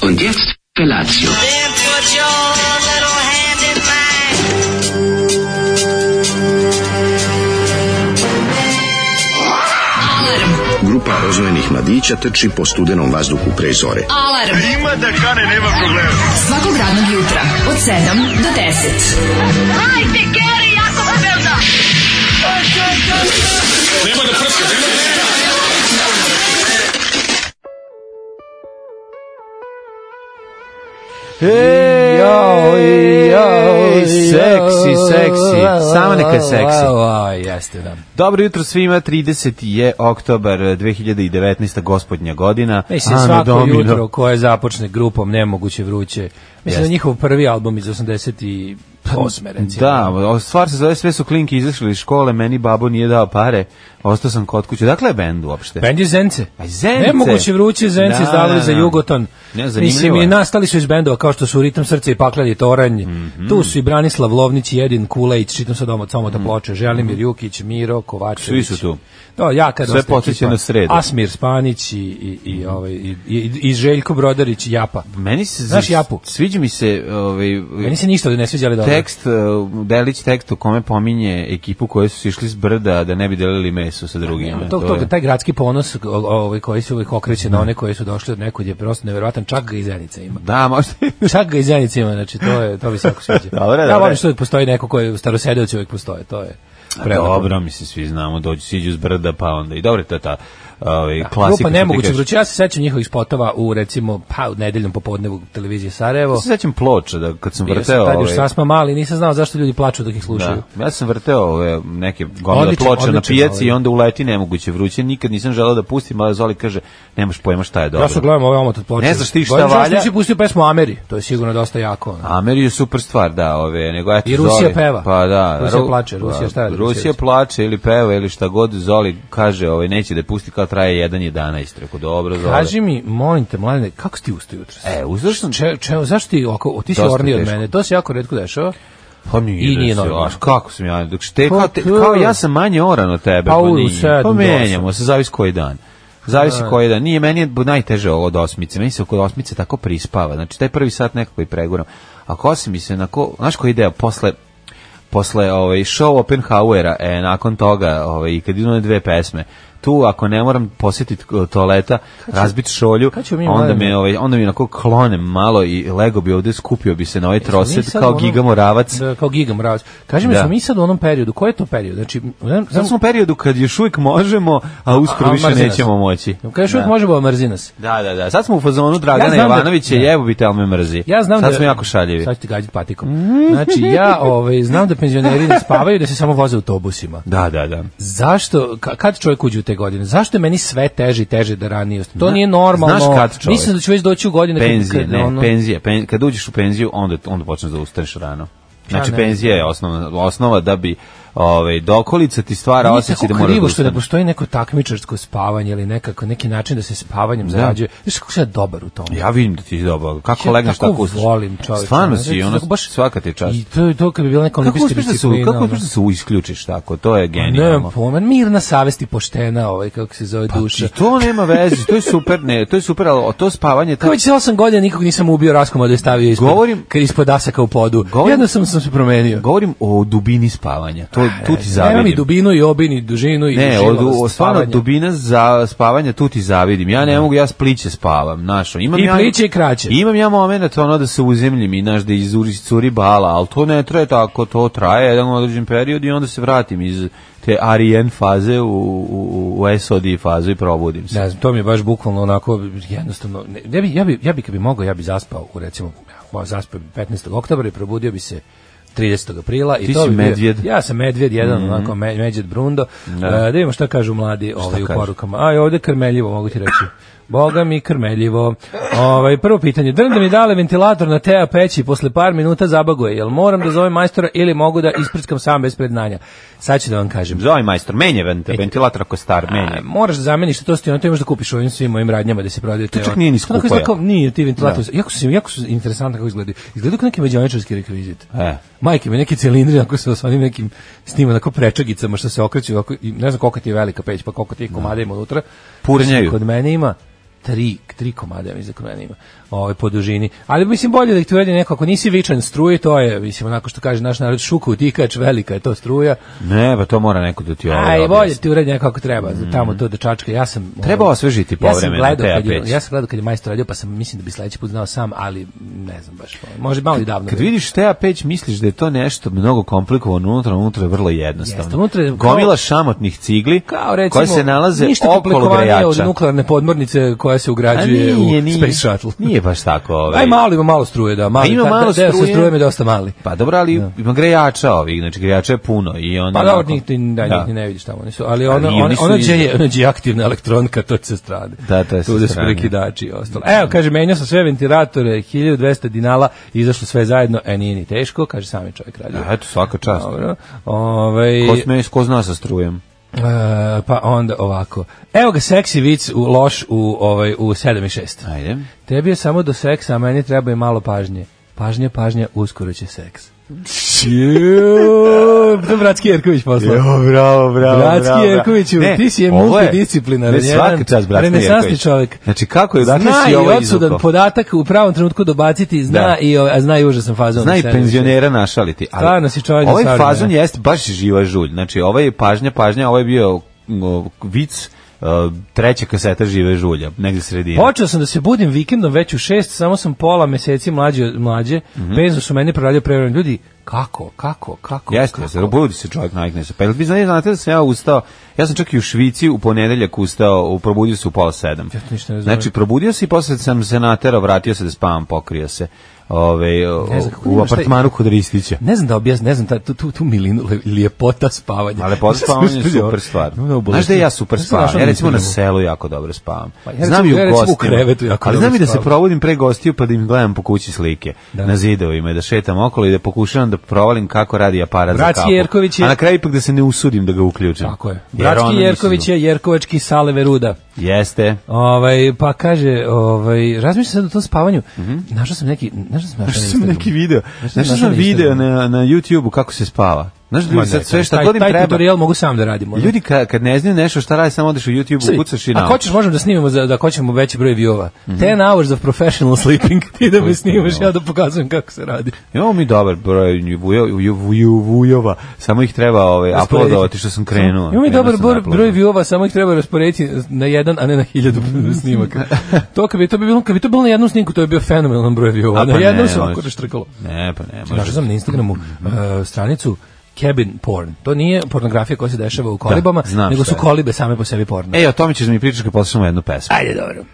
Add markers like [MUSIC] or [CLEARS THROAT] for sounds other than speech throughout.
Und jetzt Felatio. Then put your little hand in mine. Grupa rozvojenih mladića trči po studenom vazduhu pre zore. Alarm. Ima da kane, nema problema. Svakog radnog jutra, od 7 do 10. Jao, jao, seksi, jao, seksi. Samo neka je seksi. A, jeste, da. Dobro jutro svima, 30. je oktobar eh, 2019. gospodnja godina. Mislim, Ano svako Domino. jutro koje započne grupom Nemoguće vruće. Mislim da Jeste. njihov prvi album iz 88. recimo. Da, o- stvar se zove sve su klinki izašli iz škole, meni babo nije dao pare, ostao sam kod kuće. Dakle je bend uopšte? Bend je Zence. A, Zence. Nemoguće vruće Zence Pa Da, izdavali da, za da. Jugoton. Ne, zanimljivo Mislim, je. i nastali su iz bendova kao što su Ritam srce i Pakladi Toranj. Mhm. Tu su i Branislav Lovnić, Jedin Kulejć, čitam sad od samo da ploče, Želimir Jukić, Miro Kovačević. Mhm. Svi su tu. Da, ja kad Sve podsjeća na sredu. Mhm. Asmir Spanić i, i, i, ovaj, i, i, i Željko Brodarić i Japa. Meni se Znaš Japu? Sviđa mi se ovaj Meni se ništa ovde ne sviđa, ali dobro. tekst, eh, delić tekst u kome pominje ekipu koje su išli s brda da ne bi delili meso sa drugima. To, To to, je- taj gradski ponos o- ovaj, koji se uvijek okreće na one koji su došli od nekud je prosto nevjerovatan, čak ga i Zenica ima. Da, možda Čak ga i Zenica ima, znači to, je, to [LAUGHS] mi se jako sviđa. Dobro, ja dobro. volim što uvijek postoji neko koji je starosedeoci uvijek postoje, to je prelepo. Dobro, mi se svi znamo, dođu, siđu s brda, pa onda i dobro, to je ta ovaj, klasika. Grupa što ti Nemoguće kažeš. vruće, ja se sećam njihovih spotova u recimo pa u nedeljnom popodnevu televizije Sarajevo. Ja se sećam ploča, da kad sam Bio vrteo... sam tad još ovaj, sasma mali, nisam znao zašto ljudi plaču dok ih slušaju. Da. Ja sam vrteo ove neke gomile Odličan, ploče na odličan, pijaci ovaj. i onda uleti nemoguće vruće. Nikad nisam želeo da pustim, ali Zoli kaže, nemaš pojma šta je dobro. Ja sam gledam ovaj omot od ploče. Ne znaš ti šta Gordon Johnson valja. nisi pustio pesmu Ameri, to je sigurno dosta jako. ono. Ameri je super stvar, da, ove, nego eto I Rusija Zoli- peva. Pa da. Rusija Ru- pa, plače, Rusija šta radi, Rusija Rusija će? plače ili peva ili šta god Zoli kaže, ove, neće da je pusti kao traje 1.11. Rekao, dobro, Zoli. Kaži mi, molim te, mladine, kako si ti ustao jutro? E, uzeo sam Če, če, zašto ti, oko, ti si Dosta orni od teško. mene, to se jako redko dešava. Pa nije, I da nije se- normalno. Aš, kako sam ja, dok ste, ono. Pa kao, te- to- kao ja sam manje oran od tebe, Pa pa, u nije. sedam, pa do menjamo se, zavisi koji dan. Zavisi koji dan. Nije, meni je najteže ovo od osmice, meni se oko osmice tako prispava, znači taj prvi sat nekako i preguram. Ako osam mi se, onako, znaš koji ideja, posle posle ovaj show Oppenhaujera, e, nakon toga, ovaj i kad idu one dve pesme, tu ako ne moram posjetiti toaleta, razbiti šolju, kad ćemo mi, onda mladene? me ovaj onda mi onako klonem malo i lego bi ovde skupio bi se na ovaj Jesmo mi troset sad kao u onom- gigamoravac. Da, kao gigamoravac. Kaži mi, Da. smo mi sad u onom periodu, koji je to period? Znači, znam, znam, Sad smo u periodu kad još uvijek možemo, a uskoro A, više mrzim nećemo nas. moći. Kažeš, uvijek možemo, a mrzi nas. Da, da, da. Sad smo u fazonu Dragana Ja znam da- Jovanovića, da. jebu bi te, ali me mrzi. Ja znam Sad da smo jako šaljivi. Sad ću ti gađati patikom. Znači ja ovaj znam da penzioneri ne spavaju, da se samo voze autobusima. Da, da, da. Zašto ka- kad čovjek uđe u te godine? Zašto je meni sve teže i teže da ranije ustanem? To nije normalno. Znaš kad čovjek? Mislim da ću već doći u godine kad- Penzije, kad ne, ono- penzije. Pen, kad uđeš u penziju, onda, onda počneš da ustaneš rano. Znači, ne. penzija je osnovna, osnova da bi ovaj, dokolica ti stvara Meni je osjećaj da tako moraš da krivo što ne ustaneš. postoji neko takmičarsko spavanje ili nekako neki način da se spavanjem zarađuje. Znaš kako sam ja dobar u tome? Ja vidim da ti je dobro. Kako Ja legneš, tako tako ustaš. volim, čoveče, Stvarno ono, si, ono, tako baš- svaka ti čast. I to, to kad bi bila neka Kako olimpijska uspeš da se, disciplina. kako ono. uspeš da se isključiš tako? To Pa je genijalno. Pa Nemam pojma, mirna savest i poštena, ovaj, kako se zove duša. I to nema veze, to je super, ne, to je super, ali to spavanje, to Kao već 8 godina nikog nisam ubio raskomadu i stavio ispod, Govorim- kad ispod asaka u podu. Govorim- Jedno sam, sam se promenio. govorim o dubini spavanja. To tu ti Nema mi zavidim. dubinu i obin i dužinu i Ne, od, živost, o, stvarno spavanje. dubina za spavanja tu ti zavidim. Ja ne mogu, ja s pliće spavam, znaš. ono, Imam I ja, pliće i kraće. Imam ja momenat ono da se uzemljim i znaš da izuri curi bala, ali to ne traje tako, to traje jedan određen period i onda se vratim iz te REN faze u, u, u SOD fazu i probudim se. Ne znam, to mi je baš bukvalno onako jednostavno. Ne, ja bi ja bi ja bi kad bi mogao ja bi zaspao u recimo ja zaspao bi 15. oktobra i probudio bi se 30. aprila i Ti to si bi bio- medvjed. Mhm. ja sam medvjed jedan onako me, medvjed brundo. Da. da vidimo šta kažu mladi ovaj u kažu? porukama. A ovde krmeljivo mogu ti reći. Boga mi krmeljivo. Ovaj prvo pitanje, drn da mi dale ventilator na tea peći posle par minuta zabaguje. Jel moram da zovem majstora ili mogu da isprskam sam bez predznanja? Sad ću da vam kažem. Zove majstor, menje vent, ventilator ako je star, menje. A, E, moraš da zameniš to što to imaš da kupiš u ovim svim mojim radnjama da se prodaje te. čak ono- nije ni To onako skupo, izgleda ja. kao- nije ti ventilator. Jako su jako su interesantno kako izgledaju. Izgledaju kao neki međoničarski rekvizit. E. Majke mi neki cilindri ako se sa onim nekim s njima onako prečagicama što se okreću, ovako, i ne znam koliko ti je velika peć, pa koliko ti je komada ima unutra. Purnjaju. Kod mene ima tri, tri komada, ja mislim, krojena ima ovaj, po dužini. Ali mislim bolje da ih ti uredi neko, ako nisi vičan struji, to je, mislim, onako što kaže naš narod, šuku utikač, velika je to struja. Ne, pa to mora neko da ti ovo Aj, bolje objasni. ti uredi nekako treba, tamo to dečačka. Ja sam Mm. Treba ovaj, osvežiti povremeno Ja sam gledao Teja kad je, Peć. ja sam gledao kad je majstor radio, pa sam mislim da bi sledeći put znao sam, ali ne znam baš. Može malo i davno. Kad da je. vidiš Teja Peć, misliš da je to nešto mnogo komplikovano unutra, unutra je vrlo jednostavno. Jeste, unutra je kao- Gomila šamotnih cigli kao recimo koje se nalaze ništa okolo komplikovanije od grejača. nuklearne podmornice koja se A ugrađuje nije, u nije. Space Shuttle. [LAUGHS] Nije baš tako. Ovaj. [LAUGHS] Aj malo ima malo struje, da, mali. A ima ta- malo deo struje. Sa strujom je dosta mali. Pa dobro, ali ima grejača ovih, znači grejača je puno. I onda Pa da, od onako- njih, ti- da, Da. njih ni ne vidiš tamo. Nisu, ali ona, nije, ona, nisu ona, ni gdje je, izgleda. ona gdje je aktivna elektronka, to je sa strane. Da, to je sa Tu gde su strane. prekidači i ostalo. Evo, kaže, menjao sam sve ventilatore, 1200 dinala, izašlo sve zajedno, e, nije ni teško, kaže sami čovjek radio. Da, Eto, svaka čast. Dobro. Ovaj, Ko, sme, ko zna sa strujem? e, pa onda ovako. Evo ga seksi vic u loš u, ovaj, u 7 i 6. Ajde. Tebi je samo do seksa, a meni treba i malo pažnje. Pažnja, pažnja, uskoro [LAUGHS] će seks. Juuu, to bratski Jerković poslao. bravo, bravo, Pa- Bratski Jerkoviću, Ne, ti si je ovo multidisciplinaran. Ne, svaka jedan čast, Bratski Renesansni Jerković. čovjek. Znači, kako je, Zna dakle si i ovo odsudan izvukao? podatak u pravom trenutku dobaciti, zna Da. i, ovaj- a zna i užasan fazon. Zna i Sebe više. penzionera našaliti. Ali Stvarno si čovjek za Ovaj savremena. fazon jest baš živa žulj. Znači, ovaj je pažnja, pažnja, ovaj je bio mm, o, vic, uh, treća kaseta žive žulja, negde sredina. Počeo sam da se budim vikendom već u šest, samo sam pola meseci mlađe, od mlađe. Mm Mhm. su meni proradio prevremeno. Ljudi, kako, kako, kako? Jeste, kako? jeste, budi se čovjek navikne se. Pa jel vi znate, znate da sam ja ustao, ja sam čak i u Švici u ponedeljak ustao, u, probudio se u pola sedam. Ja to ništa ne razumem. znači, probudio se i posle sam se naterao, vratio se da spavam, pokrio se. Ove, o, Ne znam kako u nemaš taj- apartmanu kod Ristića. Ne znam da objasnim, ne znam ta, tu, tu, tu milinu le- ljepota spavanja. Ali pod [LAUGHS] spavanje je ono, super stvar. Znaš da ja super spavam? Ja recimo na se... selu jako dobro spavam. Pa ja Znam i recimo- u ja recimo u krevetu gostima. jako Ali dobro znam i da se spavam. provodim pre gostiju pa da im gledam po kući slike. Da. Na zidovima i da šetam okolo i da pokušavam da provalim kako radi aparat za Bratski kapu. Jerković je- A na kraju ipak da se ne usudim da ga uključim. Tako je. Jer ono Bratski mislim- Jerković je Jerkovački sale veruda. Jeste. Ovaj, pa kaže, ovaj, razmišljam sad o tom spavanju. Našao sam neki, našao sam, našao Znaš na Mhm. sam neki Instagramu. video. Znaš šta Znaš što sam sam našao na video Instagramu? na, na YouTube-u kako se spava. Znaš Ma ljudi ne, sad sve šta taj- god im Taj treba. tutorial mogu sam da radim. ono. Ljudi ka- kad ne znaju nešto šta radi, samo odeš u YouTube-u, kucaš i Mhm. Ako naučiš. hoćeš možemo da snimimo za da hoćemo veći broj view-ova. 10 hours of professional [LAUGHS] sleeping. Ti da me snimaš ja da pokazujem kako se radi. Imamo mi dobar broj vujo, vujo, vujo, vujova, samo ih treba ovaj, Rasporediti. uploadovati što sam krenuo. Imamo i Krenuo dobar sam broj, da uploadam. broj view-ova, samo ih treba rasporediti na jedan, a ne na [LAUGHS] hiljadu snimaka. to kad bi to bi bilo, kad bi to bilo na jednom snimku, to bi bio fenomenalan broj view-ova. A Na pa jednom ne, se može. ovako raštrkalo. Ne, pa ne, Našao može. Mhm. sam na Instagramu e, stranicu cabin porn. To nije pornografija koja se dešava u kolibama, znam nego šta su je. E. kolibe same po sebi porno. Ej, o tome ćeš da mi pričaš kad poslušamo jednu pesmu. Ajde, dobro.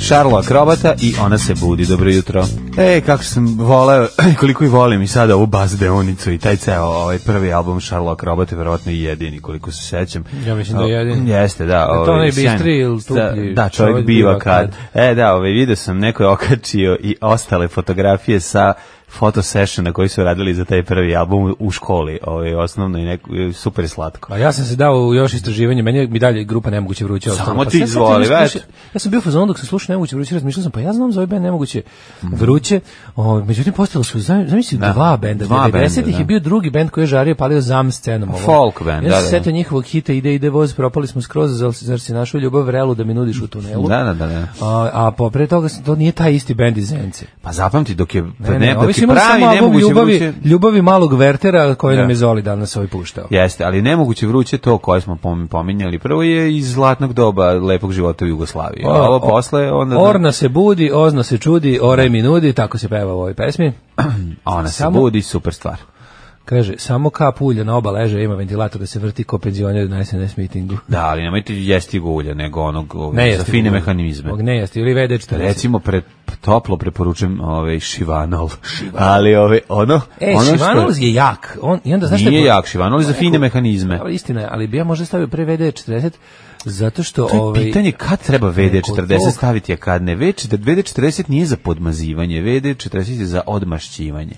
Šarlo Akrobata i ona se budi. Dobro jutro. Ej, E, kako sam voleo, [CLEARS THROAT] koliko i volim i sada ovu baz deonicu i taj ceo ovaj prvi album Šarlo Akrobata je verovatno i jedini, koliko se sećam. Ja mislim da je jedini. Jeste, da. to onaj sjajan. bistri ili Da, tuplji? Da, čovjek biva kad. E, da, ovaj, video sam, neko je okačio i ostale fotografije sa fotosessiona koji su radili za taj prvi album u školi, ovaj, osnovno i neko, super je slatko. A Pa ja sam se dao u još istraživanje, meni je mi dalje grupa Nemoguće vruće. ostala. Samo Pa ti sad sam izvoli, slušao- već. Ja sam bio u fazonu dok sam slušao Nemoguće vruće, razmišljao sam, pa ja znam za ove band Nemoguće vruće, o, međutim postalo su, znam- zamisli, Mhm. Da. dva benda, Dva benda, 90-ih je da. bio drugi bend koji je žario i palio zam scenom. ovom. Folk band, ja da, sam da, setio da. njihovog hita Ide, ide voz, propali smo skroz, zar, zar si našao ljubav vrelu da mi nudiš u tunelu? Da, da, da, da. A, a po pre toga, to nije taj isti bend iz Zence. Pa zapamti dok je Ne, ne, ovi dok su je imali pravi samo album nemoguće ljubavi, vruće. ljubavi malog Vertera koji Da. nam je Zoli danas ovaj puštao. Jeste, ali nemoguće vruće to koje smo pom- pominjali. Prvo je iz zlatnog doba lepog života u Jugoslaviji. A ovo O, o, posle onda Orna se budi, ozna se čudi, ore mi nudi, tako se peva u ovoj pesmi. a ona se samo- budi super stvar. Kaže, samo kap ulja na oba leže, ima ventilator da se vrti ko penzioner na SNS mitingu. Da, ali nemojte jesti ulja, nego onog ovog, za jeste fine ulje. mehanizme. Pa Ovog Ne jeste, ili vede 40. Recimo pre, toplo preporučujem ovaj šivanol. Ali ovaj ono E, ono Šivanov je jak. On, I onda, znaš šta je Ovaj, nije po- jak šivanol je za fine mehanizme. Dobro, Istina je, ali bi ja možda stavio pre vede 40, zato što... To je ovaj, pitanje kad treba VD40 tog- staviti, a kad ne. VD40 nije za podmazivanje, VD40 je za odmašćivanje.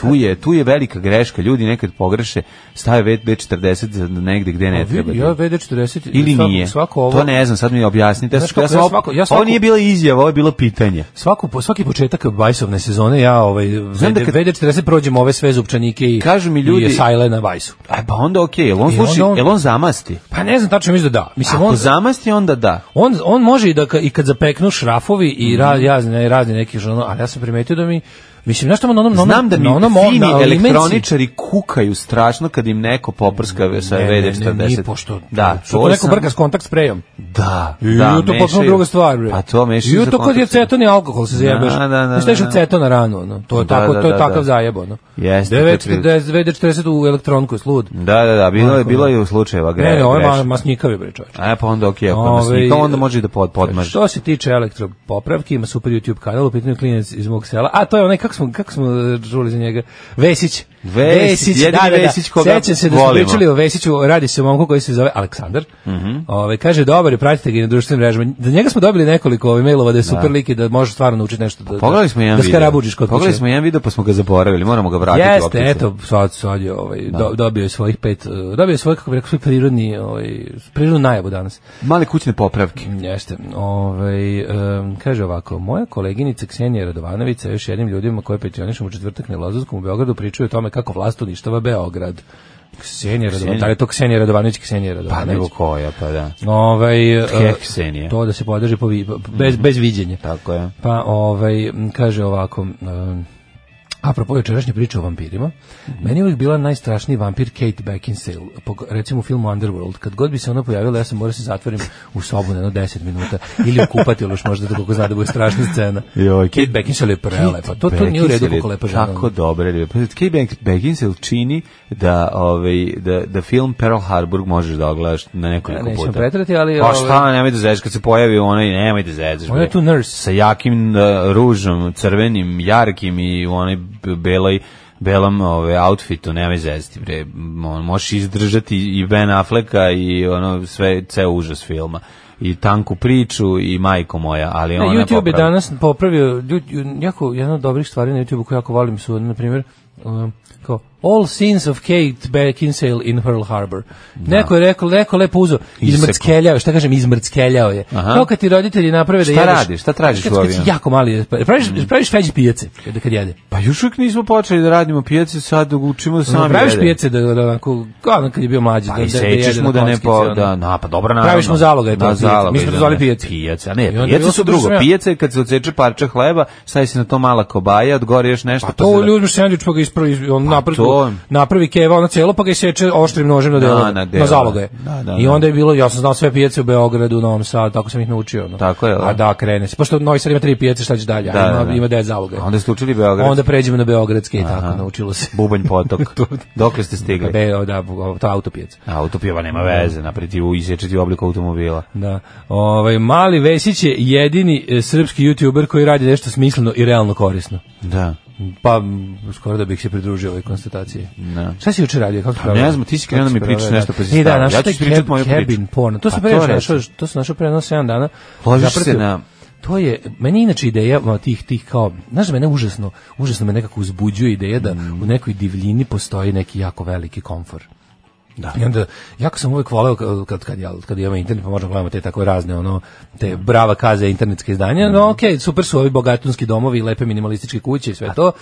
Tu je, tu je velika greška, ljudi nekad pogreše, stave VD40 negde gde ne A vidi, treba. Ja VD40 Ili svako- nije. Svako ovo, To ne znam, sad mi objasnite. Ja Znaš sam- ja kako, sam ja op- svako- ja svako- Ovo nije bila izjava, ovo je bilo pitanje. Svaku, po- svaki početak bajsovne sezone ja ovaj, Znam da VD, kad- VD40 prođem ove sve zupčanike i, Kažu mi ljudi- i sajle na bajsu. A pa onda okej, jel on I sluši, E, onda on- jel on zamasti? Pa ne znam, tačno mislim da da. Mislim, Ako on, zamasti, onda da. on, on može i, da, ka- i kad zapeknu šrafovi i ra, Mhm. razne, razni neki žano, ali ja sam primetio da mi, mislim, znaš ono- što na onom, na onom, Znam da mi na onom, fini na limenci- elektroničari kukaju strašno kad im neko poprska sa Ne, ne, ne, VD40. nije pošto, da, što to je neko sam- brka s kontakt sprejom. Da, Ju, da, to je potpuno mešaju. druga stvar, bre. Pa to mešaju Ju, za to kod je kontakte. ceton i alkohol se zajebeš. Da, da, da, Šta je da, što da. ceton na ranu, ono? To je Da, tako, da, to je da, takav da. zajeb, ono. Jeste, to je 940 u elektronku, je slud. Da, da, da, bilo je, Onako, bilo je u slučajeva gre, Ne, ne, ovo je ma- greška. masnikavi, bre, čovječe. A pa onda okej, ako nas Ove, nikao, onda može i da pod, podmaže. Ovaj, Što se tiče elektropopravki, ima super YouTube kanal, u pitanju klinac iz mog sela. A to je onaj, kako smo, kako smo e, čuli za njega? Vesić. Vesić, jedini Vesić koga Sećam se da smo volimo. Mhm. pričali o Vesiću, radi se o momku koji se zove Aleksandar. Ove, kaže, dobar je, pratite ga i na društvenim mrežama. Da njega smo dobili nekoliko ovih mailova da je super lik i da može stvarno naučiti nešto. Da, Pogledali smo jedan da video. skarabuđiš kod Pogledali kuće. smo jedan video pa smo ga zaboravili, moramo ga vratiti. Jeste, opet. eto, sad, sad je, ovaj, do- dobio je svojih pet, e, dobio je svoj, kako bi rekao, svoj prirodni, ovaj, prirodnu najavu danas. Male kućne popravke. Jeste. Ovaj em, kaže ovako, moja koleginica Ksenija Radovanović sa još jednim ljudima koje petionišemo u četvrtak na Lazarskom u Beogradu pričaju o tome kako vlast uništava Beograd. Ksenija Radovanović, da li je to Ksenija Radovanović, Ksenija Pa nego Radovanović? koja, pa da. Ovaj e, He, Ksenija. to da se podrži po vi- bez bez viđenja. Tako je. Pa ovaj m, kaže ovako em, Apropo jučerašnje priče o vampirima, meni je uvijek bila najstrašniji vampir Kate Beckinsale, pog- recimo u filmu Underworld. Kad god bi se ona pojavila, ja sam morao se zatvorim u sobu na jedno 10 minuta ili u kupatilu, još možda da koliko zna da bude strašna scena. Joj, Kate Beckinsale je prelepa, to, to nije u redu kako lepa žena. Tako dobro. je. Pa Kate Beck- Beckinsale čini da, ovaj, da, da film Pearl Harbor možeš da ogledaš na nekoliko Nećemo puta. preterati, ali, Pa ovaj, šta, nemoj da zezaš, kad se pojavi onaj, nemoj da zezaš. Ona je bre. tu nurse. Sa jakim uh, ružom, crvenim, jarkim i u onoj b- beloj belom ove, outfitu, nemoj zezati, bre. M- on- Možeš izdržati i Ben Afflecka i ono sve, ceo užas filma. I tanku priču i majko moja, ali Ne, ona E, YouTube je popravi. danas popravio ljud- jako jedna od dobrih stvari na YouTubeu koju jako volim su na primjer um, kao All scenes of Kate Beckinsale in Pearl Harbor. Neko je rekao, neko lepo uzo, Isekao. izmrckeljao, je, šta kažem, izmrckeljao je. Aha. Kao kad ti roditelji naprave da Šta jedeš. radiš, šta tražiš kad, u Mm. kad si avionu? jako mali, pa, praviš, praviš feđi pijace kad, kad jede. Pa još uvijek nismo počeli da radimo pijace, sad učimo da sami praviš jedemo. pijace da, da onako, kao ono kad je bio mlađi. Pa da, i da, da sečeš jede mu na da ne kockice, po... ono. Da, na, pa dobro, naravno. Praviš mu zaloga, je to, Da, pijace. zaloga, Mi smo to da, zvali ne, pijace. Pijace, a I ne, onda bi pijace bilo su super drugo. smeo. Pijace je kad se odseče parče hleba, stavi se na to mala kobaja, od gore još nešto. Pa to ljudi uzmeš sendvič pa ga ispravi, iz- on napravi, to- napravi keva ono celo pa ga iseče oštrim nožem na delo, Da, na na, delove. zaloga je. Da, da, I da. onda je bilo, ja sam znao sve pijace u Beogradu, u Novom Sadu, tako sam ih naučio. No. Tako je, da. A da, krene se. Pošto Novi Sad ima tri pijace, šta će dalje? Da, a ima, da, da. ima devet zaloga. Onda ste učili Beograd. Onda pređemo na Beogradske i tako, naučilo se. Bubanj potok. Dokle ste stigli? [LAUGHS] Be, o, da, o, to autopijac. Autopijeva nema veze, napred ti u- iseče ti u obliku automobila. Da. Ovaj Mali Vesić je jedini e, srpski youtuber koji radi nešto smisleno i realno korisno. Da. Pa m, skoro da bih se pridružio ovoj konstataciji. Da. Pa Šta si juče radio? Kako si proveo? ne znam, ti si krenuo Kako da mi proveo, pričaš da? nešto, pa si E, da, stavio. našao Ja ću taj ispričat cab- moju priču. cabin porno. To Pa sam to pre našao, reci. našao- to sam našao pre jedno 7 dana. Ložiš se Zapratio- na- To je, meni je inače ideja ma, tih, tih kao, znaš da mene užasno, užasno me nekako uzbuđuje ideja da Mm. u nekoj divljini postoji neki jako veliki komfor. Da. I onda, jako sam uvek voleo ka- kad, kad, ja, kad imam internet, pa možemo gledamo te tako razne, ono, te brava kaze internetske izdanja, Mhm. no okej, super su ovi bogatunski domovi, lepe minimalističke kuće i sve to,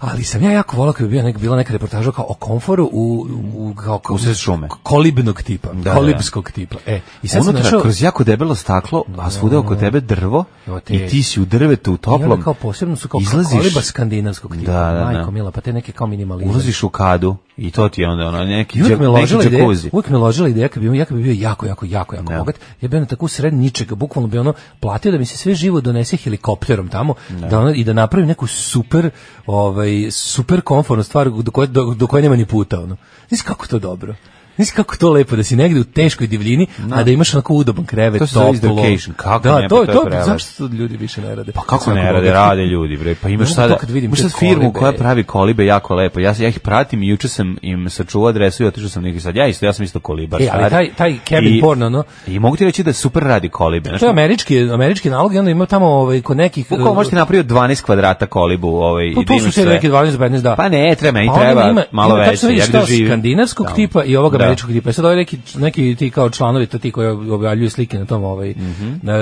ali sam ja jako voleo kad bi bio nek, bila neka reportaža kao o komforu u, u, kao, kao- Usred šume. kolibnog tipa, da. kolibskog tipa. E, i sad sam Unutra, našao- kroz jako debelo staklo, a svuda oko tebe drvo, Jo, te- i ti si u drvetu, u I onda toplom. kao posebno su kao Izlaziš- koliba skandinavskog tipa. Da, da, da. Majko mila, pa te neke kao minimalizam. Ulaziš u kadu i to ti je onda ono neki I uvijek me džak- ložila neki ideja, džakuzi. uvijek me ložila ideja kad bi, ja kad bi bio jako, jako, jako, jako Da. bogat, ja bi ono tako u sred ničega, bukvalno bi ono platio da mi se sve živo donese helikopterom tamo da ono, i da napravim neku super, ovaj, super komfornu stvar do koje, do, do koje nema ni puta. Ono. Znaš kako je to dobro? Znaš Nisi kako to lepo da si negde u teškoj divljini, a da imaš onako udoban krevet, To se zove toplo. izdrucation, kako da, ne, to, pa to, to je to, prelepo. zašto to ljudi više ne rade? Pa kako Sad ne kako rade, bogati. rade ljudi, bre. Pa imaš Ne mogu sada, to kad vidim, imaš te sad firmu kolibe. koja pravi kolibe jako lepo. Ja, ja ih pratim i juče sam im sačuvao adresu i otišao sam neki sad. Ja isto, ja sam isto kolibar. E, ali sad. taj- taj cabin I- porno, no? I mogu ti reći da super radi kolibe. znaš, To je američki, američki nalog i onda ima tamo ovaj, kod nekih... Bukvalno možete napraviti 12 kvadrata kolibu ovaj, i Pa da to su imaš te sve. neke 12 15 da. Pa ne, treba, meni Pa onda treba ima- malo ima, veće, Tačno vidiš ja gde kao živim. skandinavskog Da. tipa i ovog Da. američkog tipa. Sad ovaj neki, neki ti kao članovi, to ti koji objavljuju slike na tom ovaj, Mhm. na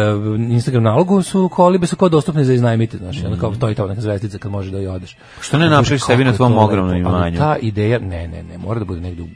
Instagram nalogu, su kolibe su kao dostupne za iznajmiti, znaš, mm onda kao to i to neka zvezdica kad možeš da i odeš. Mhm. Što ne Bože, napraviš kako sebi na je tvom to lepo, ogromnom ali imanju? Ta ideja, ne, ne, ne, mora da bude negde u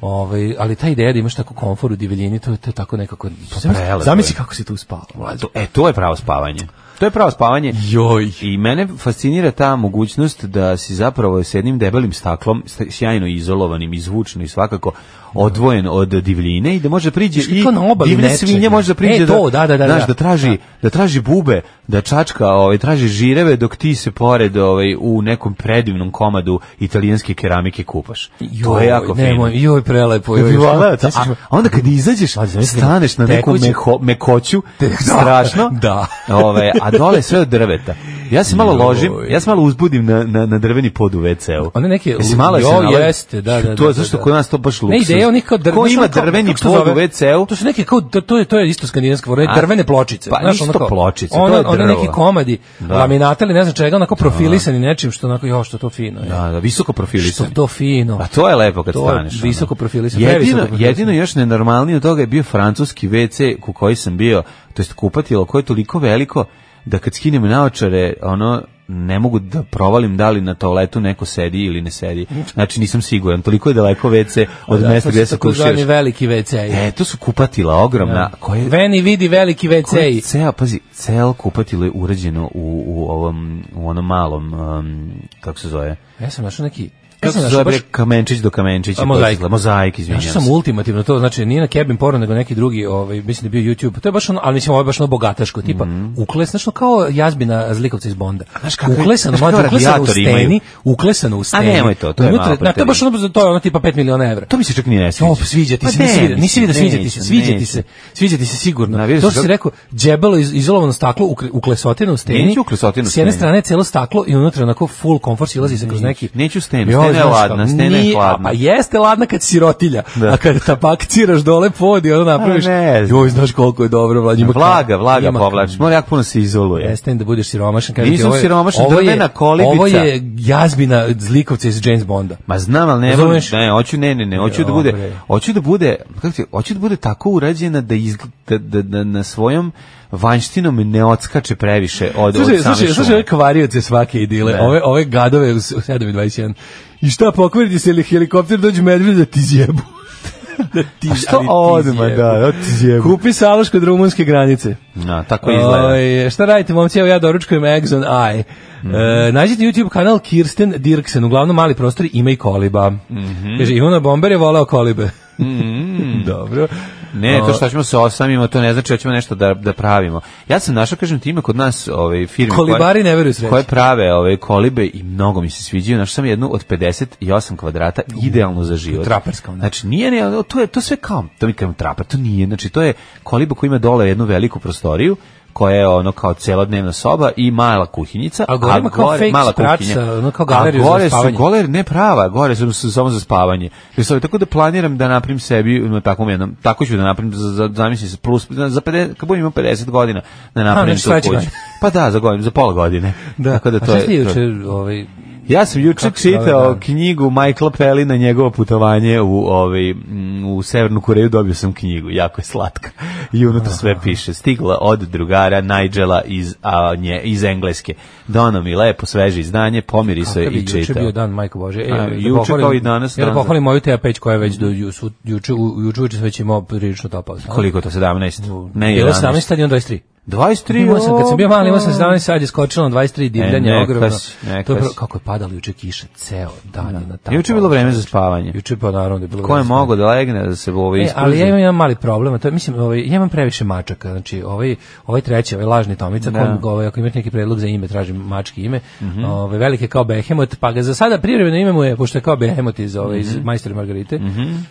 Ovaj, ali ta ideja da imaš tako komfor u divljini, to je, to je tako nekako... prelepo je. Zamisli kako si tu spao. Pa to- E, to je pravo spavanje. To je pravo spavanje. Joj. I mene fascinira ta mogućnost da si zapravo s jednim debelim staklom, sta- sjajno izolovanim, i zvučno i svakako odvojen od divljine i da može da priđe Znaš, i kao na obali divlje nečega. svinje može da priđe E, to, da, da, da, znaš, da. da traži, da traži bube, da čačka, ovaj, traži žireve dok ti se pored ovaj, u nekom predivnom komadu italijanske keramike kupaš. to je jako nemoj, fino. joj, prelepo. Joj, Bi što- voleo, Znaš, a, a onda kad izađeš, zamisli, staneš na neku tekuću- meho, mekoću, strašno, da. Ove, a dole sve od drveta. Ja se malo Joj. ložim, ja se malo uzbudim na, na, na drveni pod u WC-u. One neke- Jesi malo jo, se nalazi? jeste, da, da, To da, je zašto da, kod nas to baš Ne luksus. ideja onih kao drvene. Ko ima drveni pod u WC-u? To su neke kao dr- to je to je isto skandinavska forma, A, drvene pločice. pa nisu ono to kao- pločice, to ono, je ono drvo. neki komadi Da. laminata ili ne znam čega, onako profilisani nečim što onako jo što to fino je. Da, da, visoko što profilisani. to fino. A Pa to je lepo kad To je staneš. ono. visoko profilisano, previsoko Jedino, profilisano. jedino još nenormalnije od toga je bio francuski WC u koji sam bio, to jest kupatilo koje je toliko veliko da kad skinem naočare, ono ne mogu da provalim da li na toaletu neko sedi ili ne sedi. Znači nisam siguran, toliko je daleko WC od Da, mesta to su gde se takozvani kuširaš. veliki WC. E, to su kupatila ogromna, koje Veni vidi veliki koje WC. ceo, pazi, cel kupatilo je urađeno u, u ovom, u onom malom, um, kako se zove, Ja sam našao neki ja kako sam se našao zove, E, baš bre, kamenčić do kamenčića, A, kako se mozaik. zove, mozaik, izvinjam Našao sam se. ultimativno to, znači nije na Kevin porno nego neki drugi, ovaj mislim da je bio YouTube. To je baš ono, ali mislim ovo je baš ono bogataško, tipa uklesano što kao jazbina zlikovca iz Bonda. Mhm. Znaš kako je- uklesano, znaš kako mlađe, uklesano u radijatori imaju? steni, uklesano u steni. nemoj to, to je Unutra- malo na, to je baš ono, to je ono tipa 5 miliona evra. To mi se čak ni ne sviđa. Op, sviđa ti Pa se, ne, nisi vidio, mislim, nisi vidio, sviđa ti neću, se, sviđa ti neću. se, sviđa ti se sigurno. Na, vidiš to što kako- si rekao, džebelo iz, izolovano staklo, ukre, uklesotino u steni, Neću uklesotinu u s jedne steni. strane je celo staklo i unutra onako full komfor silazi se kroz neki... neću stenu, Jo, stena je znaš ladna, kako, stena je nije- hladna. a Pa jeste ladna kad si sirotilja, a kad tabak ciraš dole pod i ono napraviš, A ne znam. joj, znaš koliko je dobro, mlađi, ima Vlaga, kao- vlaga ima- povlačiš. Mora jako puno se izoluje. Prestajem da budeš siromašan. kažem ti, Nisam ovo je- siromašan, ovo je- drvena kolibica. Ovo je jazbina zlikovca iz James Bonda. Ma znam, ali ne, volim, Razumeš? ne, hoću, ne, ne, ne, hoću da Dobre. bude, hoću da bude, kako ti, hoću da bude tako urađena da, izg, da, da, da na svojom vanjštinom ne odskače previše od, od Slušaj, same slušaj, šume. slušaj, ove kvarioce svake idile, Ne. ove, ove gadove u s- u 7.21. I šta, pokvariti se ili helikopter dođu medvede da ti zjebu? [LAUGHS] da ti, A što ali ti odmah, zjebu. da, da ti zjebu. Kupi salaš kod rumunske granice. Na, tako izgleda. Oj, šta radite, momci, evo ja doručkujem Exxon Eye. E, nađite YouTube kanal Kirsten Dirksen, uglavnom mali prostori ima i koliba. Kaže, Ivana Bomber je voleo kolibe. [LAUGHS] Dobro. Ne, ovaj. to što ćemo se osamimo, to ne znači da ćemo nešto da, da pravimo. Ja sam našao, kažem ti, ima kod nas ovaj, firme Kolibari ne veruju koje sreći. prave ove kolibe i mnogo mi se sviđaju. Našao sam jednu od 58 kvadrata idealno za život. traparska ona. Znači nije ne, to je to sve kao, to mi kažem trapa, to nije. Znači to je koliba koja ima dole jednu veliku prostoriju koja je ono kao celodnevna soba i mala kuhinjica, A gore ima kao fake sprat sa, ono, kao galeriju a za gore spavanje. su goler ne prava, gore su, su samo za spavanje. Jer sam- tako da planiram da napravim sebi na takvom jednom, tako ću da napravim za, za zamisli se plus za 50, kad budem imao 50 godina da napravim znači tu sledeće kuću. godine. Pa da, za godinu, za pola godine. Da, Tako da A to Pa šta je. ste to- juče, ovaj, ja sam juče Kako se zove, čitao da. knjigu Michaela Pelly na njegovo putovanje u, ovaj, mm, u Severnu Koreju, dobio sam knjigu, jako je slatka. I unutra sve piše, stigla od drugara Nigela iz, a, nje, iz Engleske. Donao mi lepo sveže izdanje, pomirisao Kakav je i je juče čitao. bio dan, majko Bože. E, A, da juče pohvalim- kao i danas Ja da dan za- pohvalim moju Teja Peć koja je već do, ju, su, juče, u, juče, uveče sam već imao prilično topao. Koliko je to, 17? Ne, Bilo 11. 17, tad je on 23. 23. Imao sam, kad sam bio mali, imao sam opa. 17, sad je skočilo na 23 divljanje, E, neka ogromno. si, neka to je prvo, si. kako je padalo juče kiša, ceo dan je na tako. Juče je bilo vreme za spavanje. Juče pa naravno da je bilo. Ko je vreme za mogao da legne da se ovo E, ali ja iskruži? imam jedan mali problem, a to je, mislim, ovaj, ja imam previše mačaka, znači ovaj, ovaj treći, ovaj lažni tomica, Da. Mhm. kom, ovaj, ako imate neki predlog za ime, tražim mački ime, ovaj, velike kao Behemot, pa ga za sada privremeno ime mu je, pošto je kao Behemot iz, ovaj, iz Majstora i Margarite,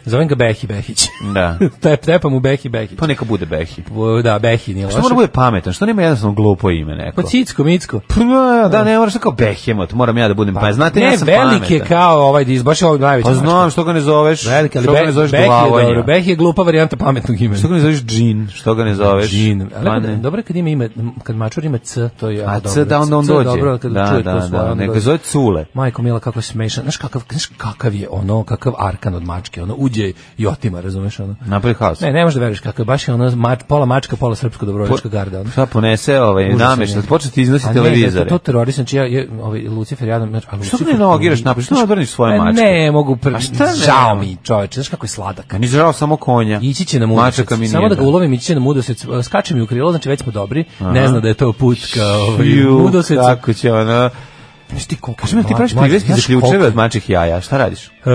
zovem ga Behi Behić. Mhm. Da. [LAUGHS] Tep, tepam mu Behi Behić. Pa neka bude Behi. O, Da, Behi nije Što loše. mora bude pametan? Što nema jednostavno glupo ime neko? Pa Cicko, Micko. Pa, da, da, ne moraš kao Behemot, moram ja da budem. Pa znate, ja ne, sam velike pametan. kao ovaj, iz, baš je ovaj najveći Pa mačka. znam, što ga ne zoveš? Velike, ali što ga ne Behi, zoveš Behi je dobro, glavonja? Behi je glupa varijanta pametnog imena. Što ga ne zoveš džin? Što ga ne zoveš? Džin. Pa Ali ne. dobro je kad ima ime, kad mačur ima C, to je jako A dobro. C, da onda on C je dođe. Dobro, kad da, čuje da, to da, svoje, onda neka dođe. zove Cule. Majko Mila kako je smešan. Znaš kakav, znaš kakav je ono, kakav arkan od mačke, ono uđe i otima, razumeš ono. Napravi haos. Ne, ne možeš da veruješ kako je, baš je ono mač, pola mačka, pola srpsko dobrovoljačka garda. Ono. Šta ponese ovaj Užasan namešta, je. počne ti iznositi A ne, televizore. To, to terorist, znači ja, ja ovaj, Lucifer, ja, ali Što ga ne nogiraš naprijed? Što ne odvrniš svoje mačke? Ne, mogu, A pre... šta ne? žao mi čoveče, znaš kako je sladak. Meni je žao samo konja. Ići će na Mačaka mi mudrosec. Samo nije da ga žao. ulovim, ići će na mudrosec. Skače mi u krilo, znači već smo dobri. Ne zna da je to put kao Ju, mudrosec. Kako će ono- ona... Znaš ti koliko Kaži mi, ti praviš mlad- privreski za znaš ključeve koliko- od mačih jaja. Šta radiš? E,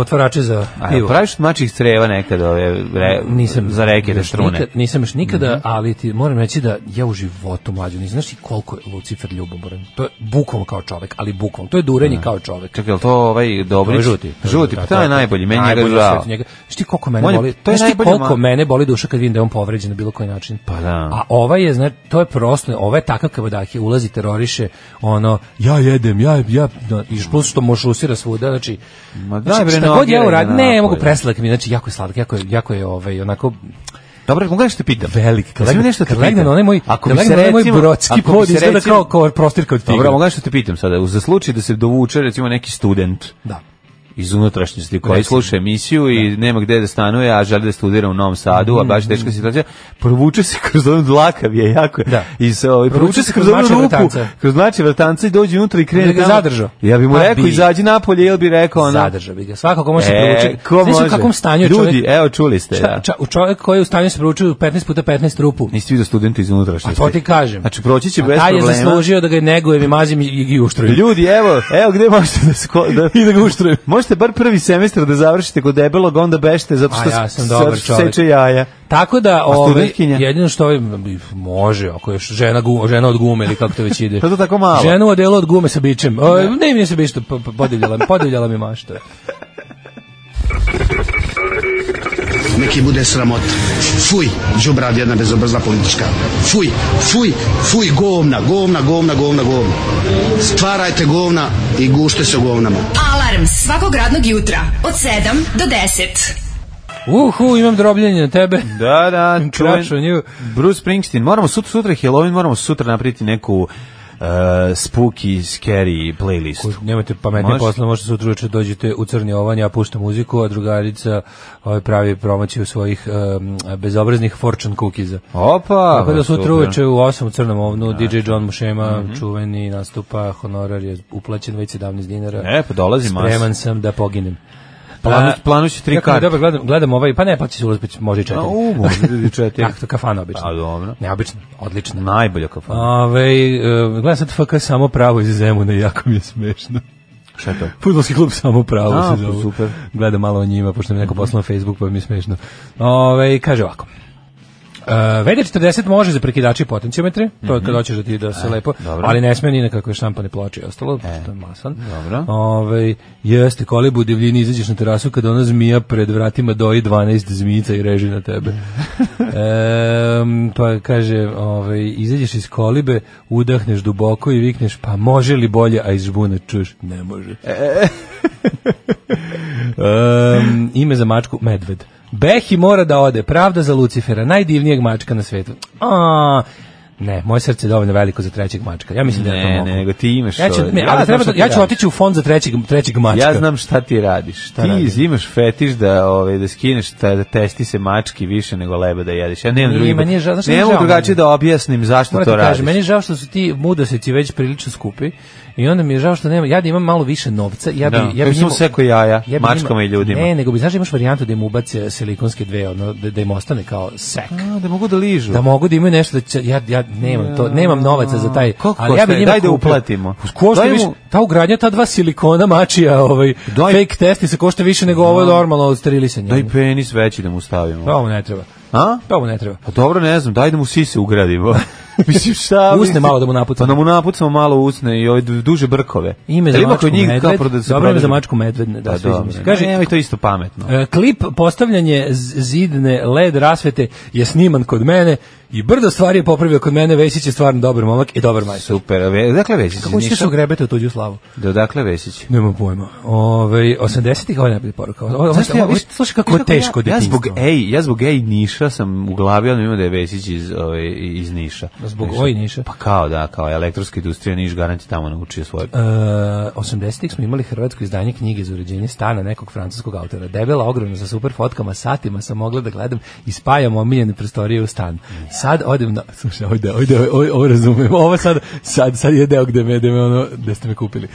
otvarače za A, pivo. praviš od mačih creva nekad ove, re, nisam za Mhm. reke da još štrune. nikad- nisam još nikada, ali ti moram reći da ja u životu mlađu ne znaš ti koliko je Lucifer ljubomoran. To je bukvalno kao čovek, ali bukvalno. To je durenje kao čovek. Čekaj, je li to ovaj To je Dobrić? žuti. Žuti, pa to je najbolji, meni njega Najbolji na žao. svetu njega. Znaš ti koliko mene On je- boli, to je znaš ti najbolji koliko ma- mene boli duša kad vidim da je on povređen na bilo koji način. Pa da. A ovaj je, znači, to je prosto, ovaj je takav kabadak je, ulazi, teroriše, ono, ja jedem, ja, ja, da, i plus što može usira svuda, znači, Ma daj znači bre, šta god nogiraj ja ga uradim, napolje. ne, mogu preslak mi, znači, jako je sladak, jako je, jako je, ovaj, onako, Dobro, mogu nešto te pitam? velik, kad Jesi mi legne, nešto te kad legne pitam? na onaj moj, Ako kad bi se legne na onaj moj recimo- brodski ako bi pod, se izgleda recimo- kao, kao prostirka od tigra. Dobro, mogu nešto te pitam sada. Za slučaj da se dovuče, recimo, neki student Da. iz unutrašnjosti koji Recimo. sluša emisiju i nema gde da stanuje, a želi da studira u Novom Sadu, a Mhm, baš je teška situacija, provuče se [LAUGHS] kroz onu dlakav je jako. Da. I se, ovaj, Provuče provuče se se kroz kroz onu mače rupu, vratanca. kroz mače vratanca i dođe unutra i krene Da ga tamo. zadržao. Ja bi mu Pa rekao, bi. izađi napolje, ili bi rekao ono, ona. Zadržao bi ga. Svakako može se E, provući. ko Znači, Znaš u može? kakvom stanju je Ljudi, čovjek? evo čuli ste. Šta, da. ča, u čovjek koji je u stanju se proučio 15 puta 15 rupu. Nisi vidio studenta iz A unutrašnjosti. to ti kažem. Znači, proći će Pa A bez taj problema. je zaslužio da ga negujem i mazim i, i uštrujem. Ljudi, evo, evo gde možete da, sko, da [LAUGHS] I da ga uštrujem. Možete bar prvi semestar da završite kod debelog, onda bešte zato što A ja sam s- dobar zato što čovek. seče jaja. Tako da, ovaj, studentkinja? jedino što ovaj, može, ako je žena, gu, žena od gume ili kako to već [LAUGHS] ide. Pa to tako malo. Žena u odelu od gume sa bičem. O, ne, mi se bič, to po- po- podivljala, podivljala mi mašta. Neki bude sramot. Fuj, džubrad jedna bezobrzla politička. Fuj, fuj, fuj, govna, govna, govna, govna, govna. Stvarajte govna i gušte se u govnama. Alarm svakog radnog jutra od 7 do 10. Uhu, imam drobljenje na [LAUGHS] tebe. Da, da, Crush čujem. on you. Bruce Springsteen, moramo sutra, sutra je Halloween, moramo sutra napraviti neku uh, spooky, scary playlistu. Nemate pametne Može. Može. posla, možda sutra uveče dođete u crni ovan, ja puštam muziku, a drugarica ovaj, pravi promoći u svojih em, bezobraznih fortune cookiesa. Opa! Tako da super. Mhm. sutra uveče u 8 u Crnom ovnu DJ John Mušema, čuveni nastupa, honorar je uplaćen već 17 dinara. E, pa dolazi mas. Spreman sam da poginem. Planu, A, planući tri jako mi je karte. Dobro, gledam, gledam ovaj, pa ne plaći se ulaz, pa će- može i četiri. A, u, [LAUGHS] može da i četiri. Tako, kafana obično. A, dobro. Ne, obično, odlično. Najbolja kafana. Ove, e, gledam sad FK samo pravo iz Zemuna i jako mi je smešno. Šta je to? Futbolski klub samo pravo A, se pa zove. super. Mhm. Gledam malo o njima, pošto mi je neko poslao na Facebook, pa mi je smešno. Ove, kaže ovako. Uh, VD40 može za prekidači i potenciometre, to je kad hoćeš da ti da se lepo, Mhm. E, dobro. E, ali ne sme ni na kakve štampane ploče i ostalo, što je masan. dobro. Ove, jeste, kolibu u divljini izađeš na terasu kada ona zmija pred vratima doji 12 zmijica i reži na [LAUGHS] tebe. Em, pa kaže, ove, izađeš iz kolibe, udahneš duboko i vikneš, pa može li bolje, a iz žbuna čuješ, ne može. Em, ime za mačku Medved. Behi mora da ode, pravda za Lucifera, najdivnijeg mačka na svetu. A, Ne, moje srce je dovoljno veliko za trećeg mačka. Ja mislim da ja to Ne, mogu. ne, nego ti imaš Ja ću, to. ne, ali znam treba šta da, ti ja ću radiš. otići u fond za trećeg, trećeg mačka. Ja znam šta ti radiš. ti radim? imaš fetiš da ovaj da skineš ta, da testi se mački više nego lebe da jedeš. Ja nemam Nije, drugi. meni je žao- znaš šta mi ne je mogu žao drugačije meni? da objasnim zašto Moram to ti radiš. kažem, meni je žao što su ti mudoseci već prilično skupi i onda mi je žao što nema, ja da imam malo više novca, ja bi, Da, ja kako bi sam sekao jaja mačkama njima- i ljudima. Ne, nego bi, znaš, imaš varijantu da im ubace silikonske dve, ono, da, da im ostane kao sek. A, da mogu da ližu. Da mogu da imaju nešto da će, ja, ja nemam to, nemam novaca za taj, Koliko ali ja bi košta? njima Daj da kupio- uplatimo. Košta Daj mu- više, ta ugradnja, ta dva silikona mačija, ovaj, Daj- fake testi se košta više nego ovo normalno od sterilisanja. Daj penis veći da mu stavimo. To mu ne treba. A? To mu ne treba. Pa dobro, ne znam, daj da mu sise ugradimo. [LAUGHS] Mislim šta? Usne mislim- malo da mu napucamo. Pa da mu napucamo malo usne i ove du- duže brkove. Ime za Jel ima mačku kod njih medved. kao proda- se Dobro ime prodaje- za mačku medved, ne, da, Pa sviđa mi dobro, se. ne, Kaže, nemoj, to je isto pametno. E, Klip postavljanje z- zidne led rasvete je sniman kod mene i brdo stvari je popravio kod mene, Vesić je stvarno dobar momak i dobar majstor. Super, a ve- dakle Vesić iz Kako ćete Niša? se ogrebete u tuđu slavu? Do dakle Vesić? Nema pojma. Ove, 80-ih ovo je najbolja poruka. Ovo- ovo- Znaš ti, ovo- ja- ovo- Slušaj kako je Znaš ja- teško ja zbog e- detinjstvo. ej, ja zbog ej Niša sam u glavi odmah imao da je Vesić iz ovaj iz Niša. Zbog Niša. oj Niša. Pa kao da, kao elektronska industrija Niš garanti tamo naučio svoje. E, 80-ih smo imali hrvatsko izdanje knjige za uređenje stana nekog francuskog autora. Debela, ogromna, sa super fotkama, satima sam mogla da gledam i spajam omiljene prostorije u stan. Sad odem na... Slušaj, ovdje, ovdje, ovdje, ovo razumijem. Ovo sad, sad, sad je deo gde me, gde me ono, gde ste me kupili.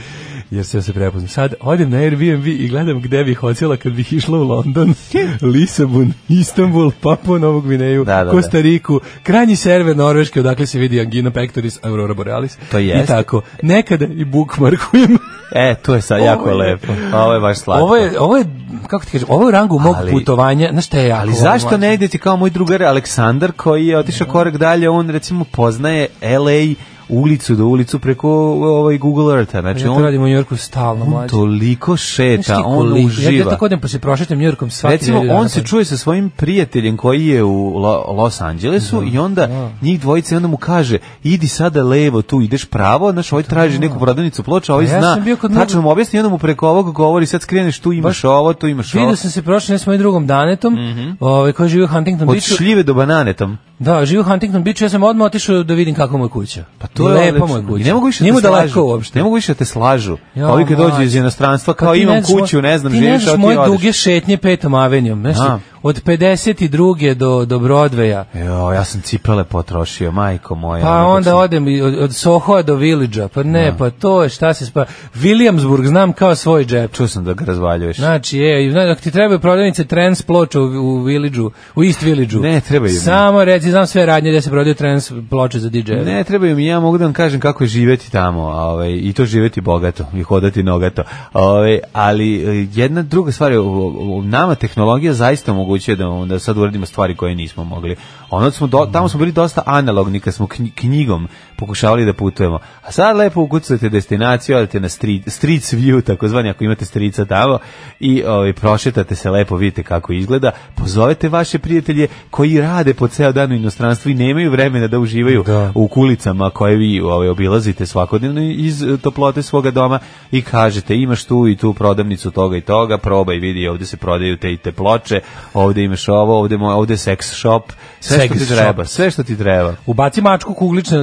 Jer se ja se prepoznam. Sad odem na Airbnb i gledam gde bih hocela kad bih išla u [LAUGHS] London, Lisabon, Istanbul, Papu Novu Gvineju, Da, da, da. Kosta Riku, krajnji server Norveške, odakle se vidi Angina Pectoris, Aurora Borealis. To jest. I tako. Nekada i bookmarkujem. E, to je sad jako Ovo je- lepo. Ovo je baš slatko. Ovo je, ovo je, kako ti kažem, ovo je u rangu mog Ali- putovanja. Znaš šta je jako? Ali volim, zašto mlađe? ne idete kao moj drugar Aleksandar koji je otišao korak dalje, on recimo poznaje LA ulicu do ulicu preko ovaj Google Eartha. Znači Ja to on radim u Njorku stalno, on mlađe. toliko Znaš šeta, ti on koliko- uživa. Ja, ja tako odem pa se prošetam Njorkom svaki Recimo, nedelju on dana, se pa- čuje sa svojim prijateljem koji je u Lo- Los Angelesu i onda njih dvojica i onda mu kaže idi sada levo, tu ideš pravo, znaš, ovaj traži neku prodavnicu ploča, ovaj A Pa ja zna, sam bio kod tačno mnogo- mu objasni i onda mu preko ovog govori, sad skreneš, tu imaš Baš- ovo, tu imaš ovo. Vidio sam se prošle ne s mojim drugom Danetom, ovaj, koji živi u Huntington Mhm. Od Beachu. šljive do bananetom. Da, živi u Huntington Beachu, ja sam odmah otišao da vidim kako mu je kuća. Pa to je lepa mu odlično. je kuća. I ne mogu više Nije da mu te daleko slažu. uopšte. Ne mogu više da te slažu. Ja, Ovi kad dođu mlađe. iz inostranstva Pa kao ti imam ne znaš kuću, moj- ne znam, ti živiš, ne a znaš ti moje odeš. duge šetnje petom avenijom, znaš, Da. od 52. do, do Broadwaya. Jo, ja sam cipele potrošio, majko moja. Pa ono, dok onda sam- odem i od, od Sohoa do Villidža, pa ne, pa to je šta se spa... Williamsburg znam kao svoj džep. Čuo sam da ga razvaljuješ. Znači, je, i zna- ako ti trebaju prodavnice trans ploča u, u Villidžu, u East Villidžu. Ne, trebaju mi. Samo reci, znam sve radnje gde se prodaju trans ploče za DJ. Ne, trebaju mi, ja mogu da vam kažem kako je živeti tamo, ovaj, i to živeti bogato, i hodati nogato. Ovaj, ali eh, jedna druga stvar je, u- u- nama tehnologija zaista omogućuje da, da sad uradimo stvari koje nismo mogli. Ono smo do- tamo smo bili dosta analogni kad smo knji- knjigom pokušavali da putujemo. A sad lepo ukucate destinaciju, odete na street, streets view, takozvani, ako imate strica tamo, i ovaj, prošetate se lepo, vidite kako izgleda, pozovete vaše prijatelje koji rade po ceo dan u inostranstvu i nemaju vremena da uživaju Da. u kulicama koje vi ovaj, obilazite svakodnevno iz eh, toplote svoga doma i kažete imaš tu i tu prodavnicu toga i toga, probaj vidi ovde se prodaju te i te ploče, ovde imaš ovo, ovde, mo- ovde je sex shop, sve Sex što ti shop. treba, sve što ti treba. Ubaci mačku kuglična,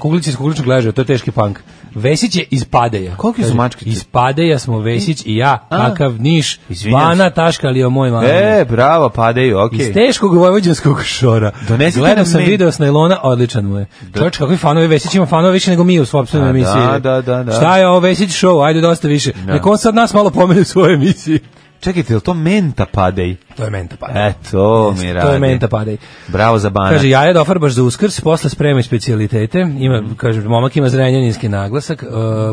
kuglici iz kugličnog ležaja, to je teški punk. Vesić je iz Padeja. Koliki su Kaže, mačkice? Iz Padeja smo Vesić i ja, A. kakav niš, Izvinjam vana taška, ali o moj vana. E, bravo, padaju, okej. Iz teškog vojvođanskog šora. Donesite nam Gledao sam mail. video s najlona, odličan mu je. Čovječ, kakvi fanovi, Vesić ima fanova više nego mi u A, svopstvenoj da, emisiji. da, da, da. Šta je ovo Vesić show, ajde dosta više. Da. Nek on sad nas malo pomeni u svojoj emisiji. Čekajte, je li to menta padej? To je menta padaj. E, to mi radi. To je menta pa- padaj. Bravo za banak. Kaže, jaja dofarbaš za uskrs, posle spremaj specialitete. Ima, kaže, momak ima zrenjaninski naglasak, e,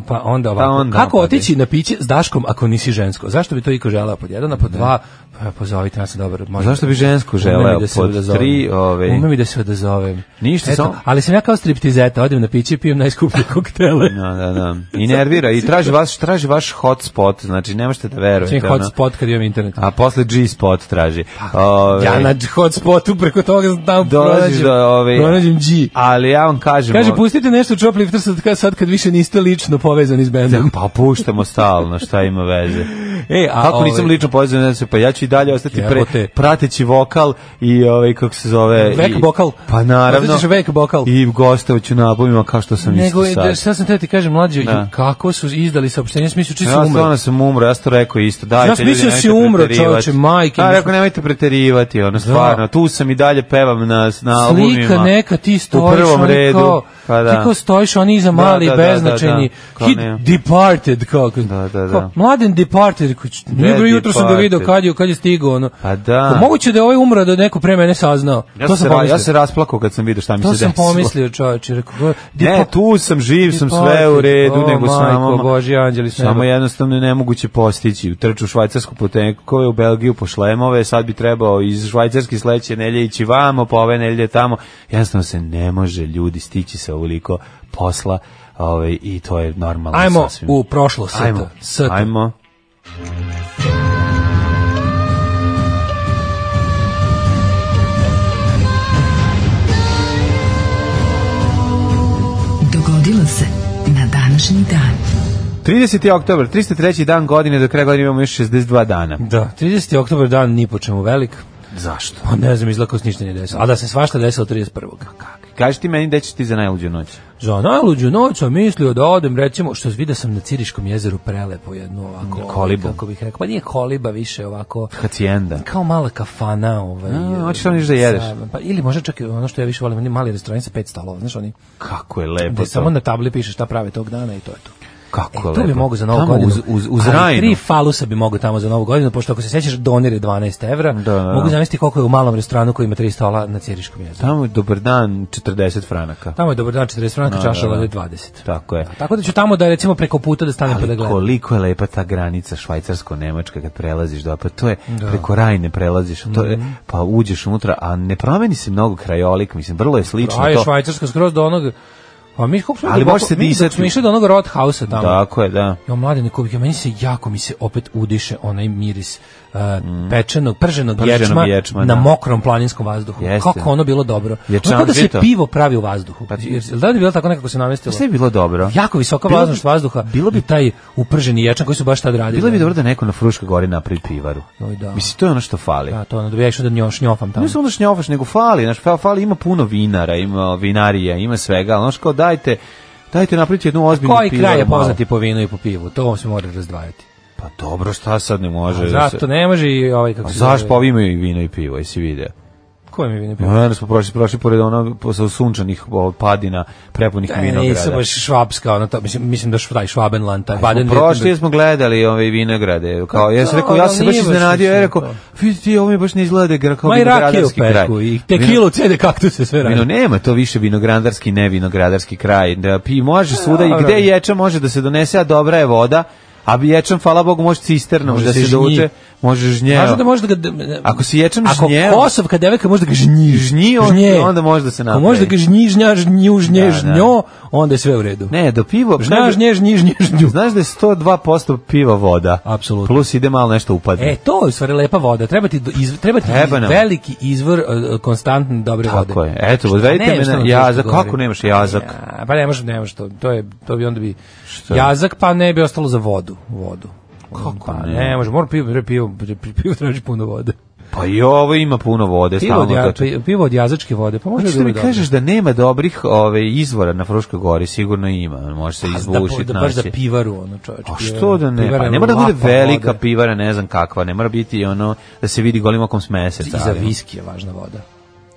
pa onda ovako. onda Kako opet. otići na piće s Daškom ako nisi žensko? Zašto bi to iko želeo pod jedan, a pod dva? Pa, pozovite nas, dobro. Možda. Zašto bi žensko Ume mi želeo da se pod odazovem. tri, ovaj- Ume mi da se odazovem. Ništa, Eto, samo- Ali sam ja kao striptizeta, odim na piće i pijem [LAUGHS] najskuplje koktele. Da, da, da. I nervira i traži vaš traži vaš hotspot, znači ne možete da Čim verujete. ono. hotspot kad imam internet. A posle G-spot traži. Ove, Ja na hotspotu preko toga znam dolaziš pronađem, Ovaj- do ove, pronađem G. Ali ja vam kažem... ono, Kaže, o- pustite nešto u Choplifter sad, kad- sad kad više niste lično povezani s Da, bendom. pa puštamo stalno, šta ima veze. E, a, Kako nisam ovaj, lično povezan, ne znam, pa ja ću će i dalje ostati pre, Jebote. prateći vokal i ovaj kako se zove Vek i- bokal. Pa naravno. Osjećaš vek bokal. I gostovaću na albumima kao što sam Nego, isto da, sad. šta sam teo ti kažem, mlađo, Da. ju, kako su izdali saopštenje, smislu, či su Ja umrli. stvarno sam umro, ja sam to rekao isto. Dajte, Ja sam mislio da si umro, čoveče, majke Ja mi. rekao, nemojte preterivati, ono, stvarno. Tu sam i dalje pevam na, na albumima. Slika neka, ti stojiš, U prvom oni redu. Kao, pa da. Ti kao stojiš, oni iza mali, da, da, da, beznačajni. da, kao He nema. departed, kao. Da, da, kao, da. mladen departed. Koji, ć- nije bro, jutro sam ga departed? vidio kad je, kad je stigao. Ono. Pa da. Kao, moguće da je ovaj umro da je neko pre mene saznao. Ja sam, to sam se, ra- pomislio. ja se rasplakao kad sam vidio šta mi se to desilo. sam pomislio, čoveče. Rekao, kao, Ne, depa- tu sam, živ sam, sve u Departed, redu, o, nego samo... majko Božji, anđeli s neba. Samo jednostavno je nemoguće postići. U trču u Švajcarsku po tenkove, u Belgiju po šlemove, sad bi trebao iz Švajcarske sledeće nelje ići vamo, pa ove nelje tamo. Jednostavno se ne može ljudi stići sa ovoliko posla ovaj, i to je normalno Ajmo sasvim. u prošlost. Ajmo, Sata. ajmo. Dogodilo se na današnji dan. 30. oktober, 303. dan godine, do kraja godine imamo još 62 dana. Da, 30. oktober dan ni po čemu velik. Zašto? Pa ne znam, izlako se ništa nije desilo. A da se svašta desilo 31. Kaži ti meni gde ćeš ti za najluđu noć. Za najluđu noć sam mislio da odem, recimo, što vidio sam na Ciriškom jezeru prelepo jednu ovako... ovaj, Kolibu. Kako bih rekao, pa nije koliba više ovako... Hacijenda. Kao mala kafana, ovaj... A, hoćeš tamo ništa da jedeš? sa- pa, ili možda čak i ono što ja više volim, oni mali restorani sa pet stalova, znaš oni, Kako je lepo gde to. samo na tabli piše šta prave tog dana i to je to. Kako E, je to bi lepo. mogu za novu Tamo godinu. Uz, uz, uz Ali Rajnu. Tri falusa bi mogu tamo za novu godinu, pošto ako se sećaš, doner je 12 evra. Da, da, da. Mogu zamisliti koliko je u malom restoranu koji ima 3 stola na Ciriškom jezeru. Tamo je dobar dan 40 franaka. Tamo je dobar dan 40 franka, čaša da, da. vode 20. Tako je. Tako da ću tamo da recimo preko puta da stanem pa da Ali gledam. koliko je lepa ta granica švajcarsko-nemačka kad prelaziš do pa to je preko Rajne prelaziš a to Mhm. je, pa uđeš unutra a ne promeni se mnogo krajolik mislim vrlo je slično A je to Švajcarska skroz do onog... Pa mi kako smo Ali duboko- može se mi dok disati. smo išli do onog Rothausa tamo. tako je da Jo, mladene kubike, meni se jako mi se opet udiše onaj miris uh, pečenog, prženog, Prženog ječma, ječma, na da. mokrom planinskom vazduhu. Jeste. Kako ono bilo dobro. Ječan Ono kao da se žito. pivo pravi u vazduhu. Pa- Jer, jel da bi bilo tako nekako se namestilo? sve bi bilo dobro Jako visoka Bilo bi- vlažnost vazduha bilo bi- i taj uprženi ječan koji su baš tad radili. bilo bi dobro da neko na Fruškoj gori napravi pivaru Joj, da. mislim to je ono što fali Da, to ono, da bi ja išao da njoš, njofam tamo. Ne samo da šnjofaš, nego fali, znaš, fa- fali, ima puno vinara, ima vinarija, ima svega, ali znaš kao dajte, dajte napraviti jednu ozbiljnu Koji pivaru kraj je malu. poznati po vinu i po pivu? To se mora razdvajati. Pa dobro, šta sad ne može? da se- Pa Zato ne može i ovaj Pa kako se zašto? zove- Pa ovi imaju i vino i pivo, jesi vidio? Ko mi vini Ja, pivo? onda smo prošli, prošli pored onog posle sunčanih o, padina, prepunih E, Nisu vinograda. baš švapska, ono to, mislim, mislim da šv- taj Švabenland, taj Baden Prošli smo gledali ove vinograde. Kao, ja sam Pa rekao, da, ja sam baš nije baš iznenadio, ja mislim rekao, to. vidi ti, ovo mi baš ne izgleda gra- kao Ma i rakiju vinogradarski kraj. pešku, i Vino- tekilu, cede, kaktuse, sve Vino radi. nema to više vinogradarski, ne vinogradarski kraj. Da, pi, može svuda i E, dobro. gde ječa može da se donese, a dobra je voda, a bi ječam, hvala Bogu, može cisternom Može da se se žnji. dovuče, može žnjeo. Kažu da može da ga... Ako si ječam Ako žnjeo- kosovka devojka može da ga žnji. Žnji, on- Žnje. onda može da se Ako napravi. može da ga žnji, žnja, žnju, žnje, Da, da. žnjo, onda je sve u redu. Ne, do pivo... Žnja, žnje, žnji, žnji, žnju. Znaš da je 102% piva voda. Apsolutno. Plus ide malo nešto upadne. E, to je u stvari lepa voda. Treba ti, do- iz, treba ti Treba nam. veliki izvor e, konstantne dobre vode. Tako je. Eto, Šta odvedite nemaš me na tamo jazak. što govorim? Kako nemaš jazak? Ja, pa ne može, ne može to. To, je, to bi onda bi... Jazak pa ne bi ostalo za vodu. Vodu. Kako pa, ne? ne? može, mora pivo, bre, pivo, bre, pivo traži puno vode. Pa i ovo ima puno vode. Pivo Stalno od, ja, to čitam. pivo od jazačke vode, pa može Hoćeš da da bude mi dobro. kažeš da nema dobrih ove, izvora na Fruškoj gori? Sigurno ima. Može se Pa da, izvušiti. da, baš za naći. pivaru, ono čovječe. A što da ne? Pa ne mora da bude velika pivara, ne znam kakva. Ne mora biti ono da se vidi golim okom s meseca. I za ali- viski je važna voda.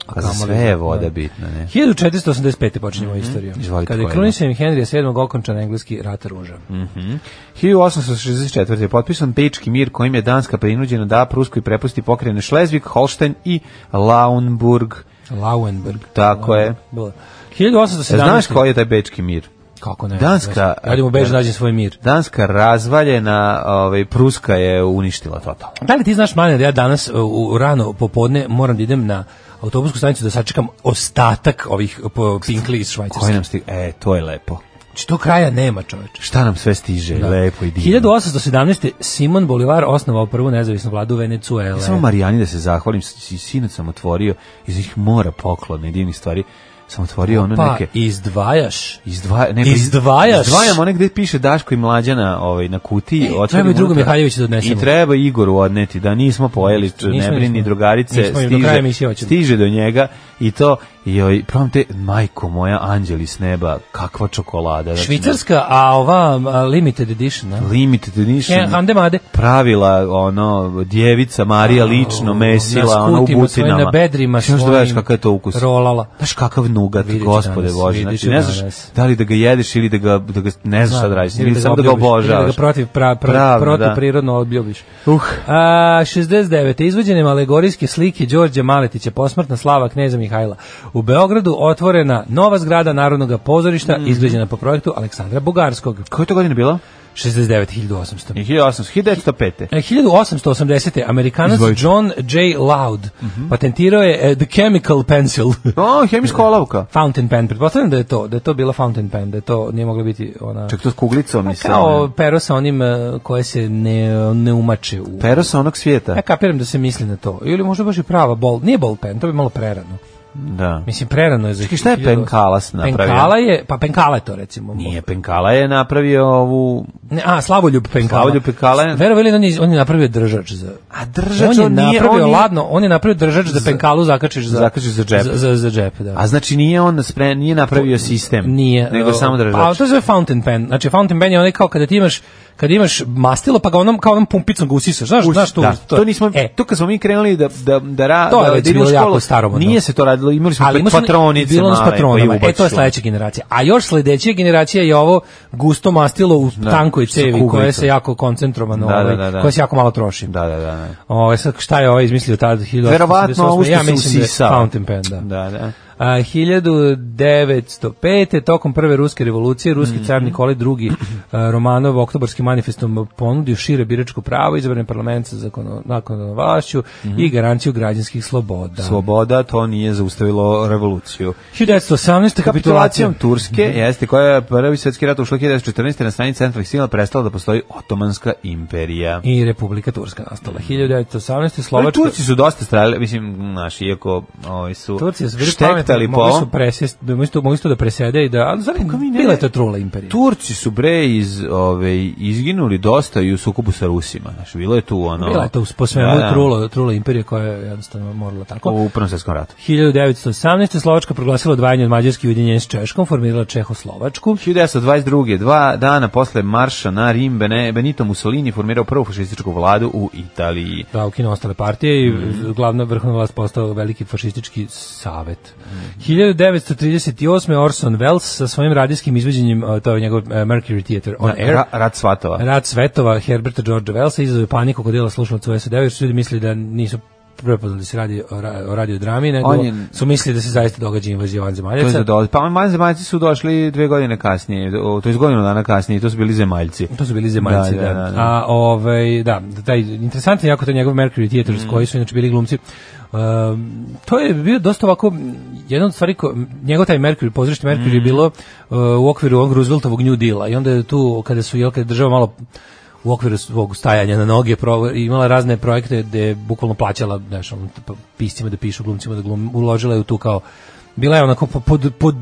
A Pa za kamoli sve je voda bitna, ne? Mhm. 1485. počinjemo istoriju. Izvolite, Kada je kolega. krunisanjem Henrija VII. okončan engleski rat ruža. Mhm. 1864. je potpisan Bečki mir kojim je Danska prinuđena da Pruskoj prepusti pokrene Šlezvik, Holštajn i Launburg. Lauenberg. Tako je. Bilo. 1817. Znaš koji je taj Bečki mir? Kako ne? Danska- Radimo u Bežu, nađem svoj mir. Danska razvaljena, ovaj, Pruska je uništila totalno. Pa Da li ti znaš, manje, da ja danas u, u rano popodne moram da idem na autobusku stanicu da sačekam ostatak ovih e, po, pinkli iz Koji Švajcarske. nam stiže? E, to je lepo. Znači, to kraja nema, čoveče. Šta nam sve stiže? Lepo i divno. 1817. Simon Bolivar osnovao prvu nezavisnu vladu Venecuele. Samo Marijani da se zahvalim, s- s- sinoć sam otvorio iz ih mora poklona i divnih stvari. sam otvorio ono Pa, neke... izdvajaš? Izdvaja, ne, pa Izdvajaš? E, Izdvajam one gde piše Daško i Mlađana ovaj, na kutiji. otvorim treba i drugu unutra. Mihajloviću da odnesemo. I treba Igoru odneti, da nismo pojeli, č- Nismo, ne brini nismo. drugarice, Nismo, do kraja emisije stiže, hoćemo. stiže do njega i to, joj, prompte, majko moja, anđeli s neba, kakva čokolada. znači, Švicarska, a ova a, limited edition, a? Limited edition. E, ande made. pravila ono djevica Marija lično mesila Na ono u skutima butinama svojim, na bedrima Znaš da svojim vidiš kakav je to ukus rolala. znaš kakav nugat Vidit ću gospode danas, bože vidit ću znači ne znaš danas. da li da ga jedeš ili da ga, da ga ne znaš šta da radiš ili, samo da ga obljubiš, obožavaš Ili da ga protiv, pra, pra, Pravno, da. protuprirodno odbljubiš. Uh. A, 69. Izvođenjem alegorijske slike Đorđe Maletića, posmrtna slava kneza Mihajla. U Beogradu otvorena nova zgrada Narodnog pozorišta, Mhm. izgrađena po projektu Aleksandra Bugarskog. koja je to godina bila? 69. 1800. 1800 1905 E, 1880. Amerikanac Izvolite. Mhm. John J. Loud patentirao je e, The Chemical Pencil. [LAUGHS] o hemijska olovka fountain pen, pretpostavljam da je to, da je to bila fountain pen, da je to nije mogla biti ona... čak to s kuglicom ono, i sa Pa Kao onim- pero sa onim e, koje se ne, ne umače u... pero sa onog svijeta Ja kapiram da se misli na to. Ili možda baš i prava bol. Nije bol pen, to bi malo prerano. da Mislim, prerano je za... Čekaj, šta je 1000 penkalas napravio? Penkala je, pa penkala je to recimo. nije Penkala je napravio ovu Ne, a, Slavoljub penkala. Slavoljub Penkala je- Verovali li on je, on je napravio držač za... A držač, on je on nije- napravio, on je- ladno, on je napravio držač da penkalu zakačiš za... Zakačiš za džep. Za, za, za džep, da. a znači nije on spre, nije napravio sistem Nije. nego e, samo držač Pa, to je fountain pen. Znači, fountain pen je onaj kao kada ti imaš kada imaš mastilo, pa ga onom, kao onom pumpicom ga usisaš. Znaš, znaš tu, da, to, nismo, E, to kad smo mi krenuli da, da, da, ra, To je da, već da idemo u bilo jako školu, staromodno. Nije se to radilo, imali smo ali ali ima patronice bilo ono s male patronama. koje E, to je ubaciš u- sledeća generacija. A još sledeća generacija je ovo gusto mastilo u tankoj sa cevi kuglicom. koje se jako koncentrovano, Da, da, ovaj, da, da. koje se jako malo troši. Da, da, da. da. Ovo, sad, šta je ovaj izmislio tada? 1888? Verovatno ovo što ja se mislim da je usisao. fountain pen, da. Da, da. A, 1905. tokom prve ruske revolucije ruski Mhm. car Nikolaj II a, Romanov oktobarskim manifestom ponudio šire biračko pravo izabran je parlament sa zakono- nakon vlašću Mhm. i garanciju građanskih sloboda. Sloboda, to nije zaustavilo revoluciju. 1918. kapitulacijom Mhm. Kapitulacijom Turske, jeste, koja je prvi svjetski rat ušla 1914. na strani centralnih sila prestala da postoji Otomanska imperija. i Republika Turska nastala. 1918. Ali Slovačka Turci su dosta strali, mislim, znaš, iako ovaj, su, Turci su bili pametni, štektali po mogli su ovom. presjest, mogli su, mogli su to da presede i da, ali zar Pa mi ne- bila je to trula imperija. Turci su bre iz ove izginuli dosta i u sukobu sa Rusima. Znaš, bilo je tu ono. Bila je to po svemu Da, da. trula, trula imperija koja je jednostavno morala tako. u Prvom svjetskom ratu. 1918. Slovačka proglasila odvajanje od Mađarske i ujedinjenje s Češkom, formirala Čehoslovačku. 1922. dva dana posle marša na Rim Bene- Benito Mussolini formirao prvu fašističku vladu u Italiji. Da, ukinu ostale partije i Mm. glavna vrhovna vlast postao veliki fašistički savet. Mm. 1938. Orson Welles sa svojim radijskim izveđenjem, a, to je njegov e, Mercury Theater on Air, Ra- rat svatova. Rad svetova Herberta Georgea Wellsa izazove paniku kod dela slušalaca u SAD-u jer su ljudi mislili da nisu prepoznali da se radi o, ra- o radiodrami, nego On je- su mislili da se zaista događa invazija To je vanzemaljaca. za dolazi. Pa mali zemaljci su došli dve godine kasnije, o, to je godinu dana kasnije, to su bili zemaljci. To su bili zemaljci, da. Da, da, da, da. A ovaj da, taj interesantno je jako taj njegov Mercury Theater Mm. s koji su inače bili glumci. Um, to je bio dosta ovako m, jedna od stvari ko, njegov taj Mercury pozorište Mercury Mm. je bilo uh, u okviru onog Rooseveltovog New Deala i onda je tu kada su jel kada je država malo u okviru svog stajanja na noge pro, imala razne projekte gde je bukvalno plaćala znaš, ono, tipa, piscima da pišu, glumcima da glum, uložila je u tu kao bila je onako po- pod, pod,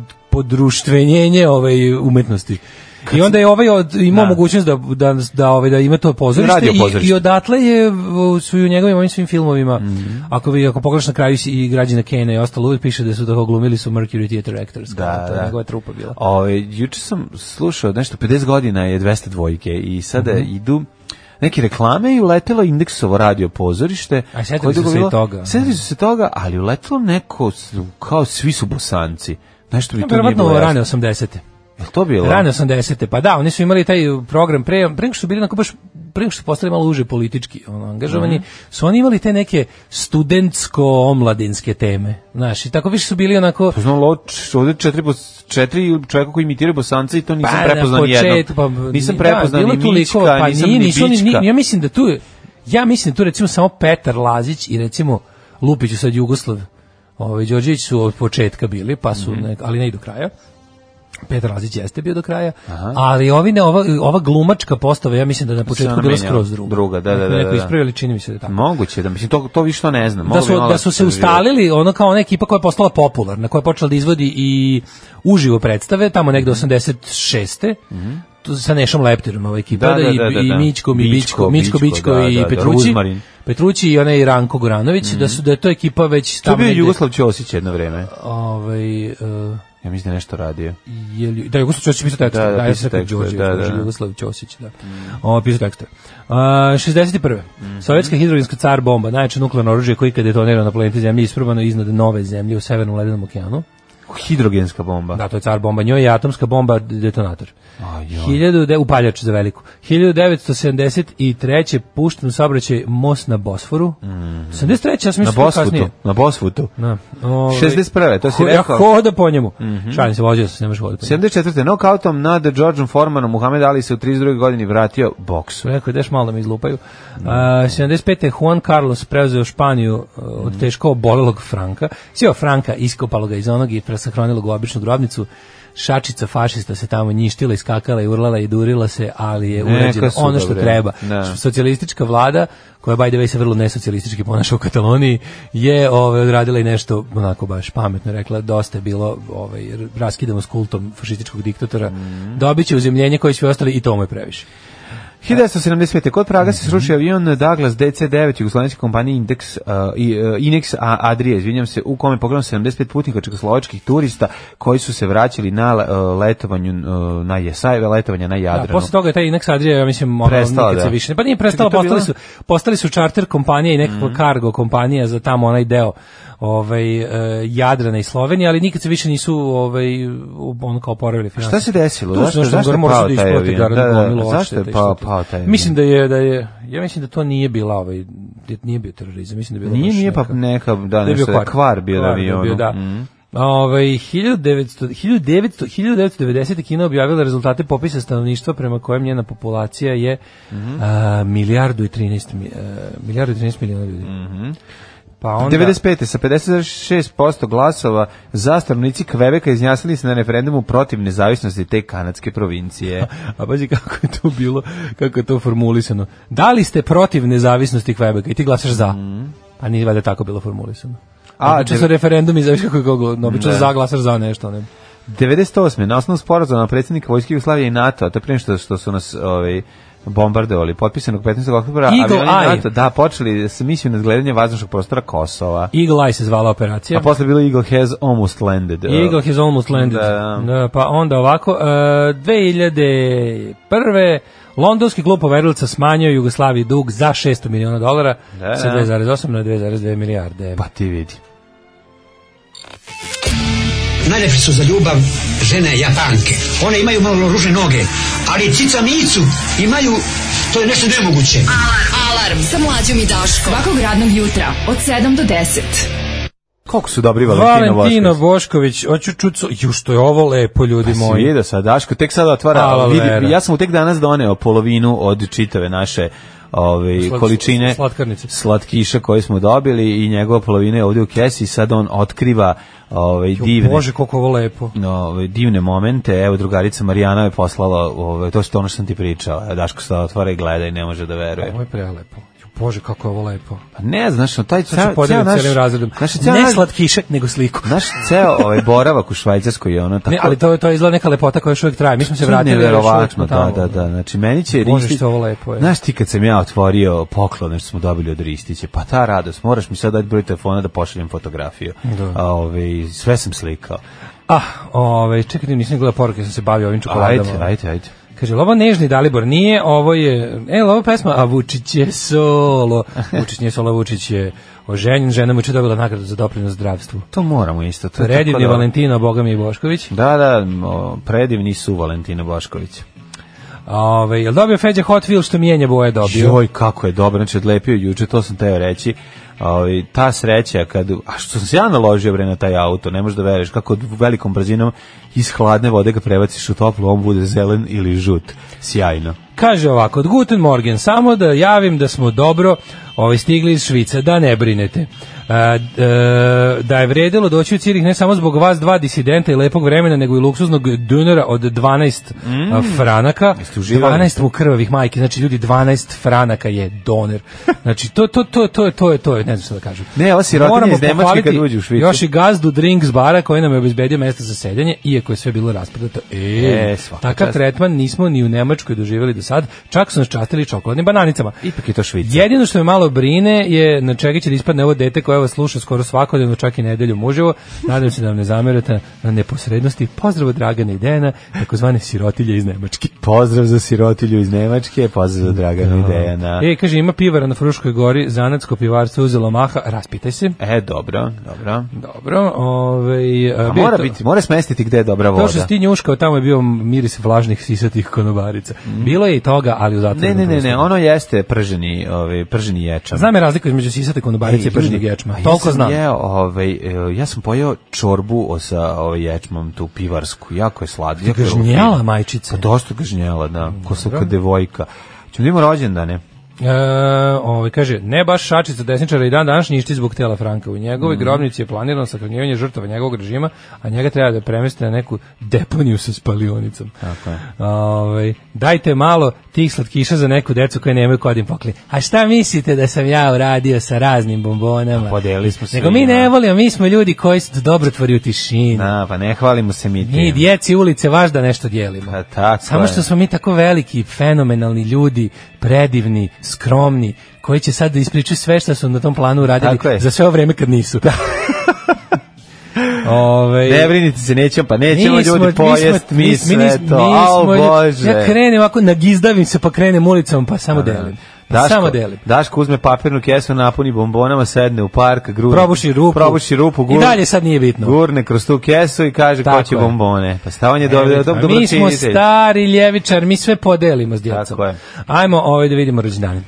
podruštvenjenje ovaj umetnosti. I onda je ovaj od, imao Da. mogućnost da, da, da, ovaj, da ima to pozorište, Radio i- pozorište. Mhm. I, odatle je, v- su i u njegovim ovim svim filmovima, ako, vi, ako pogledaš na kraju si- i građana Kena i ostalo, uvijek piše da su tako glumili su Mercury Theatre Actors, da, to je njegova trupa bila. Ono Ove, Ovaj, juče sam slušao nešto, 50 godina je 200 dvojke i sada Mhm. idu neke reklame i uletelo indeksovo radio pozorište. A setili koje je su dugo se i bilo- toga. ono. Setili su se toga, ali uletelo neko, s- kao svi su bosanci. Nešto bi to nije bilo Verovatno jasno. rane 80. Jel to bilo? Rane 80. Pa da, oni su imali taj program pre, pre nego što su bili onako baš pre nego što su postali malo uže politički ono, Mhm. angažovani, su oni imali te neke studentsko-omladinske teme. Znaš, i tako više su bili onako... Pa znam, loč, ovdje četiri, bos, četiri čovjeka koji imitiraju bosanca i to nisam prepoznan Pa, na jednom. početku, pa, nisam da, prepoznan bilo ni je tu Mička, likova, pa nisam nije, ni nisu oni- Bička. ni- ja mislim da tu, ja mislim da tu recimo samo Petar Lazić i recimo Lupiću Mhm. sad Jugoslav, ovaj, Đorđević su od početka bili, pa su, ne- ali ne i do kraja. Petar Lazić jeste bio do kraja, ali ovi ne, ova, ova glumačka postava, ja mislim da je na početku ona bila menjala. skroz druga. Druga, da, da, Neko- da, Neko da. ispravili, čini mi se da je tako. Moguće da mislim to to vi što ne znam. da Moglo bi su, malo da su se istraživati. ustalili ono kao ona ekipa koja je postala popularna, koja je počela da izvodi i uživo predstave, tamo negde Mhm. 86. Tu sa Nešom Leptirom ova ekipa, Da, da, da, i, da, da, i da. Mićkom i Bićko, Bićko, Mićko, Bićko, Bićko da, i da, da, Petrući, Ruzmarin. Petrući i onaj Ranko Goranović, da su da je to ekipa već To je tamo bio negde, Jugoslav Ćosić jedno vreme. ovaj, uh, Ja mislim da je nešto radio. je li, da Jugoslav Ćosić pisao tekste, Da, da, da, ja pisao sam rekao tekstove, Đorđe, da, Đorđe da. Mm. Jugoslav Ćosić, da. O, pisao tekste. Uh, 61. Mhm. Sovjetska hidrogenska car bomba, najjače nuklearno oružje koje je ikad detonirano na planeti Zemlji, isprobano iznad nove Zemlje u severnom ledenom okeanu. Hidrogenska bomba. Da, to je car bomba, njoj je atomska bomba detonator. Ajoj. 1000 upaljač za veliku. 1973. pušten u saobraćaj most na Bosforu. 73. ja sam Mhm. Na mislio to Bosfutu, je kasnije. na Bosfutu. Na, ovaj, 61., to si ho- ja rekao. Mhm. hoda po njemu. Šalim se, vozio sam se, ne možeš hodati po njemu. 74. nokautom nad Georgeom Formanom Muhammed Ali se u 32. godini vratio boksu. su rekao, ideš malo da me izlupaju. A, 75. je Juan Carlos preuzeo Španiju a, od teško obolelog Franka. Sjeo Franka, iskopalo ga iz onog i presahranilo ga u običnu grobnicu. Šačica fašista se tamo njištila, iskakala i urlala i durila se, ali je Neka urađeno su ono što dobre. treba. Da. Socijalistička vlada, koja by the way se vrlo nesocijalistički ponaša u Kataloniji, je ovaj, odradila i nešto onako baš pametno, rekla dosta je bilo ovaj, raskidamo s kultom fašističkog diktatora, Mhm. dobit će uzemljenje koje svi ostali i to mu je previše. 1975. Kod Praga Mhm. se srušio avion Douglas DC-9 jugoslovenske kompanije Index, uh, i, uh, Inex a, Adria, izvinjam se, u kome je pogledano 75 putnika čekoslovačkih turista koji su se vraćali na le- uh, letovanju uh, na Jesajeve, letovanja na Da, Jadranu. posle toga je taj Inex Adria, ja mislim, ono, Prestala, nikad da. se više. ne- Pa nije prestala, Čekaj, to je postali su, bila- Mhm. postali su charter kompanija i nekakva cargo kompanija za tamo onaj deo ovaj, e, Jadrana i Slovenije, ali nikad se više nisu ovaj, u- ono kao oporavili finansije. Šta se desilo? Tu su Zašto- nešto zašto je gore, morali su pao da taj isplate avion? garantnu Da, da, gomilu zašto odštete je i pao- što- pao taj avion? Mislim da je, da je, ja mislim da to nije bila, ovaj, da nije bio terorizam, mislim da je bila Nije, baš nije pa neka- neka, da, da je bio nešto, kvar. kvar bio na Kvar je avionu. bio, da. Mhm. Ovaj 1900 1900 1990 Kina objavila rezultate popisa stanovništva prema kojem njena populacija je Mhm. a, milijardu i 13 mi- a, milijardu i 13 miliona ljudi. Mhm. Pa onda 95. sa 56% glasova za stanovnici Kvebeka izjasnili se na referendumu protiv nezavisnosti te kanadske [LAUGHS] provincije. A pazi kako je to bilo, kako je to formulisano. Da li ste protiv nezavisnosti Kvebeka i ti glasaš za? Pa nije valjda tako bilo formulisano. Mhm. A, A, obično devet- su referendum i zaviš kako je kogo, no, obično za glasaš za nešto, ne. 98. na osnovu sporazuma predsjednika Vojske Jugoslavije i NATO, to je prije što, što su nas ovaj, bombardovali, potpisanog 15. oktobra, Eagle avioni Eye. NATO, da, počeli s misiju nadgledanja vazdušnog prostora Kosova. Eagle Eye se zvala operacija. A posle je bilo Eagle has almost landed. Eagle has almost landed. Da, da. Da, pa onda ovako, uh, 2001. Londonski klub poverilaca smanjio Jugoslaviji dug za 600 miliona dolara Da, sa da. 2,8 na 2,2 milijarde. Pa ti vidi. Najljepše su za ljubav žene Japanke. One imaju malo ružne noge, ali cica micu imaju, to je nešto nemoguće. Alarm sa mlađom i Daškom. Svakog radnog jutra od 7 do 10. Koliko su dobri Valentino Pa, Valentino Bošković. Bošković, hoću čucu, ju što je ovo lepo, ljudi Si moji. vidio sad, Daško, tek sada otvara. Alo, ali vidi, Vera. ja sam mu tek danas doneo polovinu od čitave naše ove, Slad- količine slatkarnice. slatkiša koje smo dobili i njegova polovina je ovdje u kesi i sad on otkriva ove, divne, Bože, koliko je ovo lepo. ove, divne momente. Evo, drugarica Marijana je poslala, ove, to što ono što sam ti pričao. Evo, Daško sada otvara i gleda i ne može da veruje. Ovo je prelepo. Ju, Bože, kako je ovo lepo. Pa ne, znaš, no, taj Sad ću ceo, ceo podeliti naš, celim razredom. naš, ceo Ne naš- slatkišek, nego sliku. naš ceo ovaj, boravak u Švajcarskoj je ono tako... Ne, ali to je to je izgleda neka lepota koja još uvijek traje. Mi smo se vratili, ali još uvijek smo neverovatno, da, tamo. da, da. Znači, meni će Bože, Ristić... što ovo lepo je. Znaš ti kad sam ja otvorio poklone što smo dobili od Ristića, pa ta radost, moraš mi sad dati broj telefona da pošaljem fotografiju. Da. A, Ove, sve sam slikao. Ah, ovaj, čekaj, nisam gledao poruke, sam se bavio ovim čokoladama. Ajde, ajde, ajde. Kaže, jel ovo nežni Dalibor nije, ovo je, e, jel ovo pesma, a Vučić je [LAUGHS] solo, Vučić nije solo, Vučić je oženjen, žena mu je juče dobila nagradu za doprinos zdravstvu. To moramo isto. To je tako Predivni dobro. Valentino, Boga mi i Bošković. Da, da, o, predivni su Valentina Bošković. Ove, jel dobio Feđa Hot Wheels što mijenja boje dobio? Joj, kako je dobro, znači odlepio je juče, to sam teo reći. Ovaj ta sreća kad a što sam se ja naložio bre na taj auto, ne možeš da veruješ kako od velikom brzinom iz hladne vode ga prebaciš u toplu, on bude zelen ili žut. Sjajno. Kaže ovako, od Guten Morgen, samo da javim da smo dobro Ovi stigli iz Švica, da ne brinete. A, d- e, da je vredilo doći u Cirih ne samo zbog vas dva disidenta i lepog vremena, nego i luksuznog dunera od 12 a, franaka. Mm. uživali? 12 mu krvavih majki, znači ljudi 12 franaka je doner. Znači to to to to je to je to je, ne znam šta da kažem. Ne, ova sirotinja Moramo iz Nemačke pohvaliti kad uđe u Švicu. Još i gazdu Drinks bara koji nam je obezbedio mesto za sedenje, iako je sve bilo rasprodato. E, E, svaka takav čast. tretman nismo ni u Nemačkoj doživjeli do sad, čak su nas častili čokoladnim bananicama. Ipak je to Švica. Jedino što me malo brine je na čega će da ispadne ovo dete koje vas sluša skoro svakodnevno, čak i nedelju muživo. Nadam se da vam ne zamerate na neposrednosti. Pozdrav od Dragana i Dejana, takozvane sirotilje iz Nemačke. Pozdrav za sirotilju iz Nemačke, pozdrav za Dragana i Dejana. E, kaže, ima pivara na Fruškoj gori, zanatsko pivarstvo uzelo maha, raspitaj se. E, dobro, dobro. Dobro, ovaj... A a, bio je Pa mora to- biti, mora smestiti gde je dobra To što voda. si ti njuškao, tamo je bio miris vlažnih sisatih konobarica. Bilo je i toga, ali u zatvoru. Mhm. Ne, ne, ne, ne, ono jeste prženi, ovaj prženi ječam. Pa Znam je razliku između sisate konobarice i prženog ljudi, ječma. a Pa ja Toliko sam znam. Jeo, ovaj, e, ja sam pojeo čorbu o- sa ovaj, ječmom, tu pivarsku, jako je sladka. Gažnjela Mm, majčice. Pa dosta gažnjela, da, ko sam kao devojka. Ćemo da imamo rođendane. E, ovaj, kaže, ne baš šačica desničara i dan danas ništi zbog tela Franka. U njegove Mhm. grobnici je planirano sahranjivanje žrtava njegovog režima, a njega treba da premeste na neku deponiju sa spalionicom. Tako je. Ovaj, dajte malo tih slatkiša za neku decu koje nemaju kod im pokli. A šta mislite da sam ja uradio sa raznim bombonama? A Pa podelili smo svi, Nego mi ne da. volimo, mi smo ljudi koji su dobrotvori u tišini. Na, pa ne hvalimo se mi Mi tim. djeci ulice vaš da nešto dijelimo. Pa tako Samo je. što smo mi tako veliki, fenomenalni ljudi, predivni, skromni, koji će sad da ispričaju sve što su na tom planu uradili Tako je. za sve ovo vreme kad nisu. [LAUGHS] Ove, Ne brinite se, nećemo, pa nećemo ljudi pojest, mi, sve to. Au, Bože. Ja krenem ovako, nagizdavim se pa krenem ulicom pa samo delim. Pa Daško, samo delim. Daško uzme papirnu kesu, napuni bombonama, sedne u park, gruni, Probuši rupu. probuši rupu I gur- dalje sad nije bitno. Gurne kroz tu kesu i kaže Tako ko će je. bombone. Pa stavanje do, Evo, do, do, a dobro mi smo stari ljevičar, mi sve podelimo s djecom. Tako je. Ajmo ovaj da vidimo rođendane.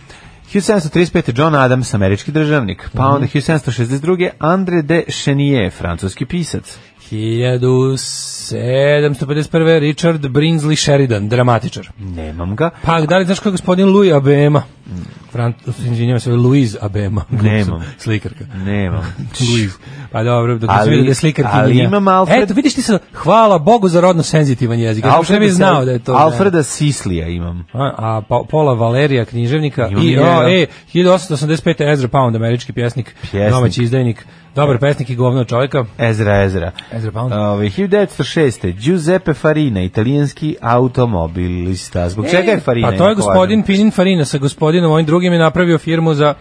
1735. John Adams, američki državnik. Mhm. Pa onda 1762. André de Chenier, francuski pisac. 1751. Richard Brinsley Sheridan, dramatičar. Nemam ga. Pa, da li znaš ko je gospodin Louis Abema? Francus, izvinjavam se, Louis Abema. [LAUGHS] Nemam. Slikarka. [LAUGHS] Nemam. Louis. Pa dobro, dok Ali- se vidi da je slikarkinja. ali imam Alfred- Eto, vidiš ti se, hvala Bogu za rodno senzitivan jezik. Ja ne bi Sa- znao da je to. Alfreda Sislija imam. A, a Pa- Paula Valerija, književnika Imam i ja, o, ja. e, 1885. Ezra Pound, američki pjesnik, Pjesnik. domaći izdajnik, dobar pesnik i govno od čovjeka. Ezra, Ezra. Ezra Pound. Ove, 1906. Giuseppe Farina, italijanski automobilista. Zbog čega je Farina? Pa to je jako gospodin važan? Pinin Farina sa gospodinom ovim drugim je napravio firmu za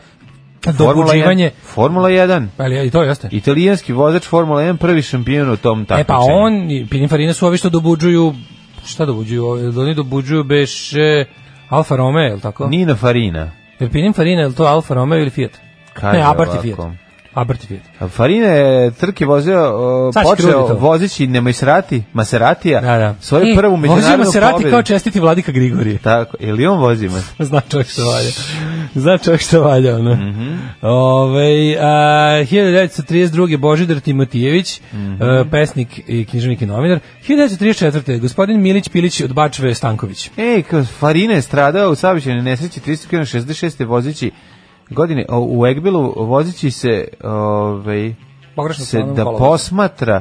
Formula dobuđivanje. 1. Formula 1. Pa ali i to jeste. Italijanski vozač Formula 1, prvi šampion u tom E pa takmičenju. on, i Pinin Farina su ovi što dobuđuju, šta dobuđuju, Ovi- oni dobuđuju beš e, Alfa Romeo, je li tako? Nina Farina. Jer Pinin Farina, je li to Alfa Romeo ili Fiat? Kaže ne, Abarth i Fiat. ovako. Abarth i Fiat. A Farina je trke vozio, o, Sad si krudi počeo to. vozići Nemaisrati, Maseratija, Da, E, da. svoju I prvu međunarodnu Vozio Maserati pobedu. kao čestiti vladika Grigorije. Tako, ili on vozi Mas- Zna čovjek što valja. Zna čovjek što valja, ono. Ovaj, a, 1932. Božidar Timotijević, e, pesnik i književnik i novinar. 1934. gospodin Milić Pilić od Bačve Stanković. Ej, kao Farina je stradao u saobraćajnoj nesreći 366. vozići godine o, u Egbilu vozići se ovaj Pogrešno se stranom da kolovođa. posmatra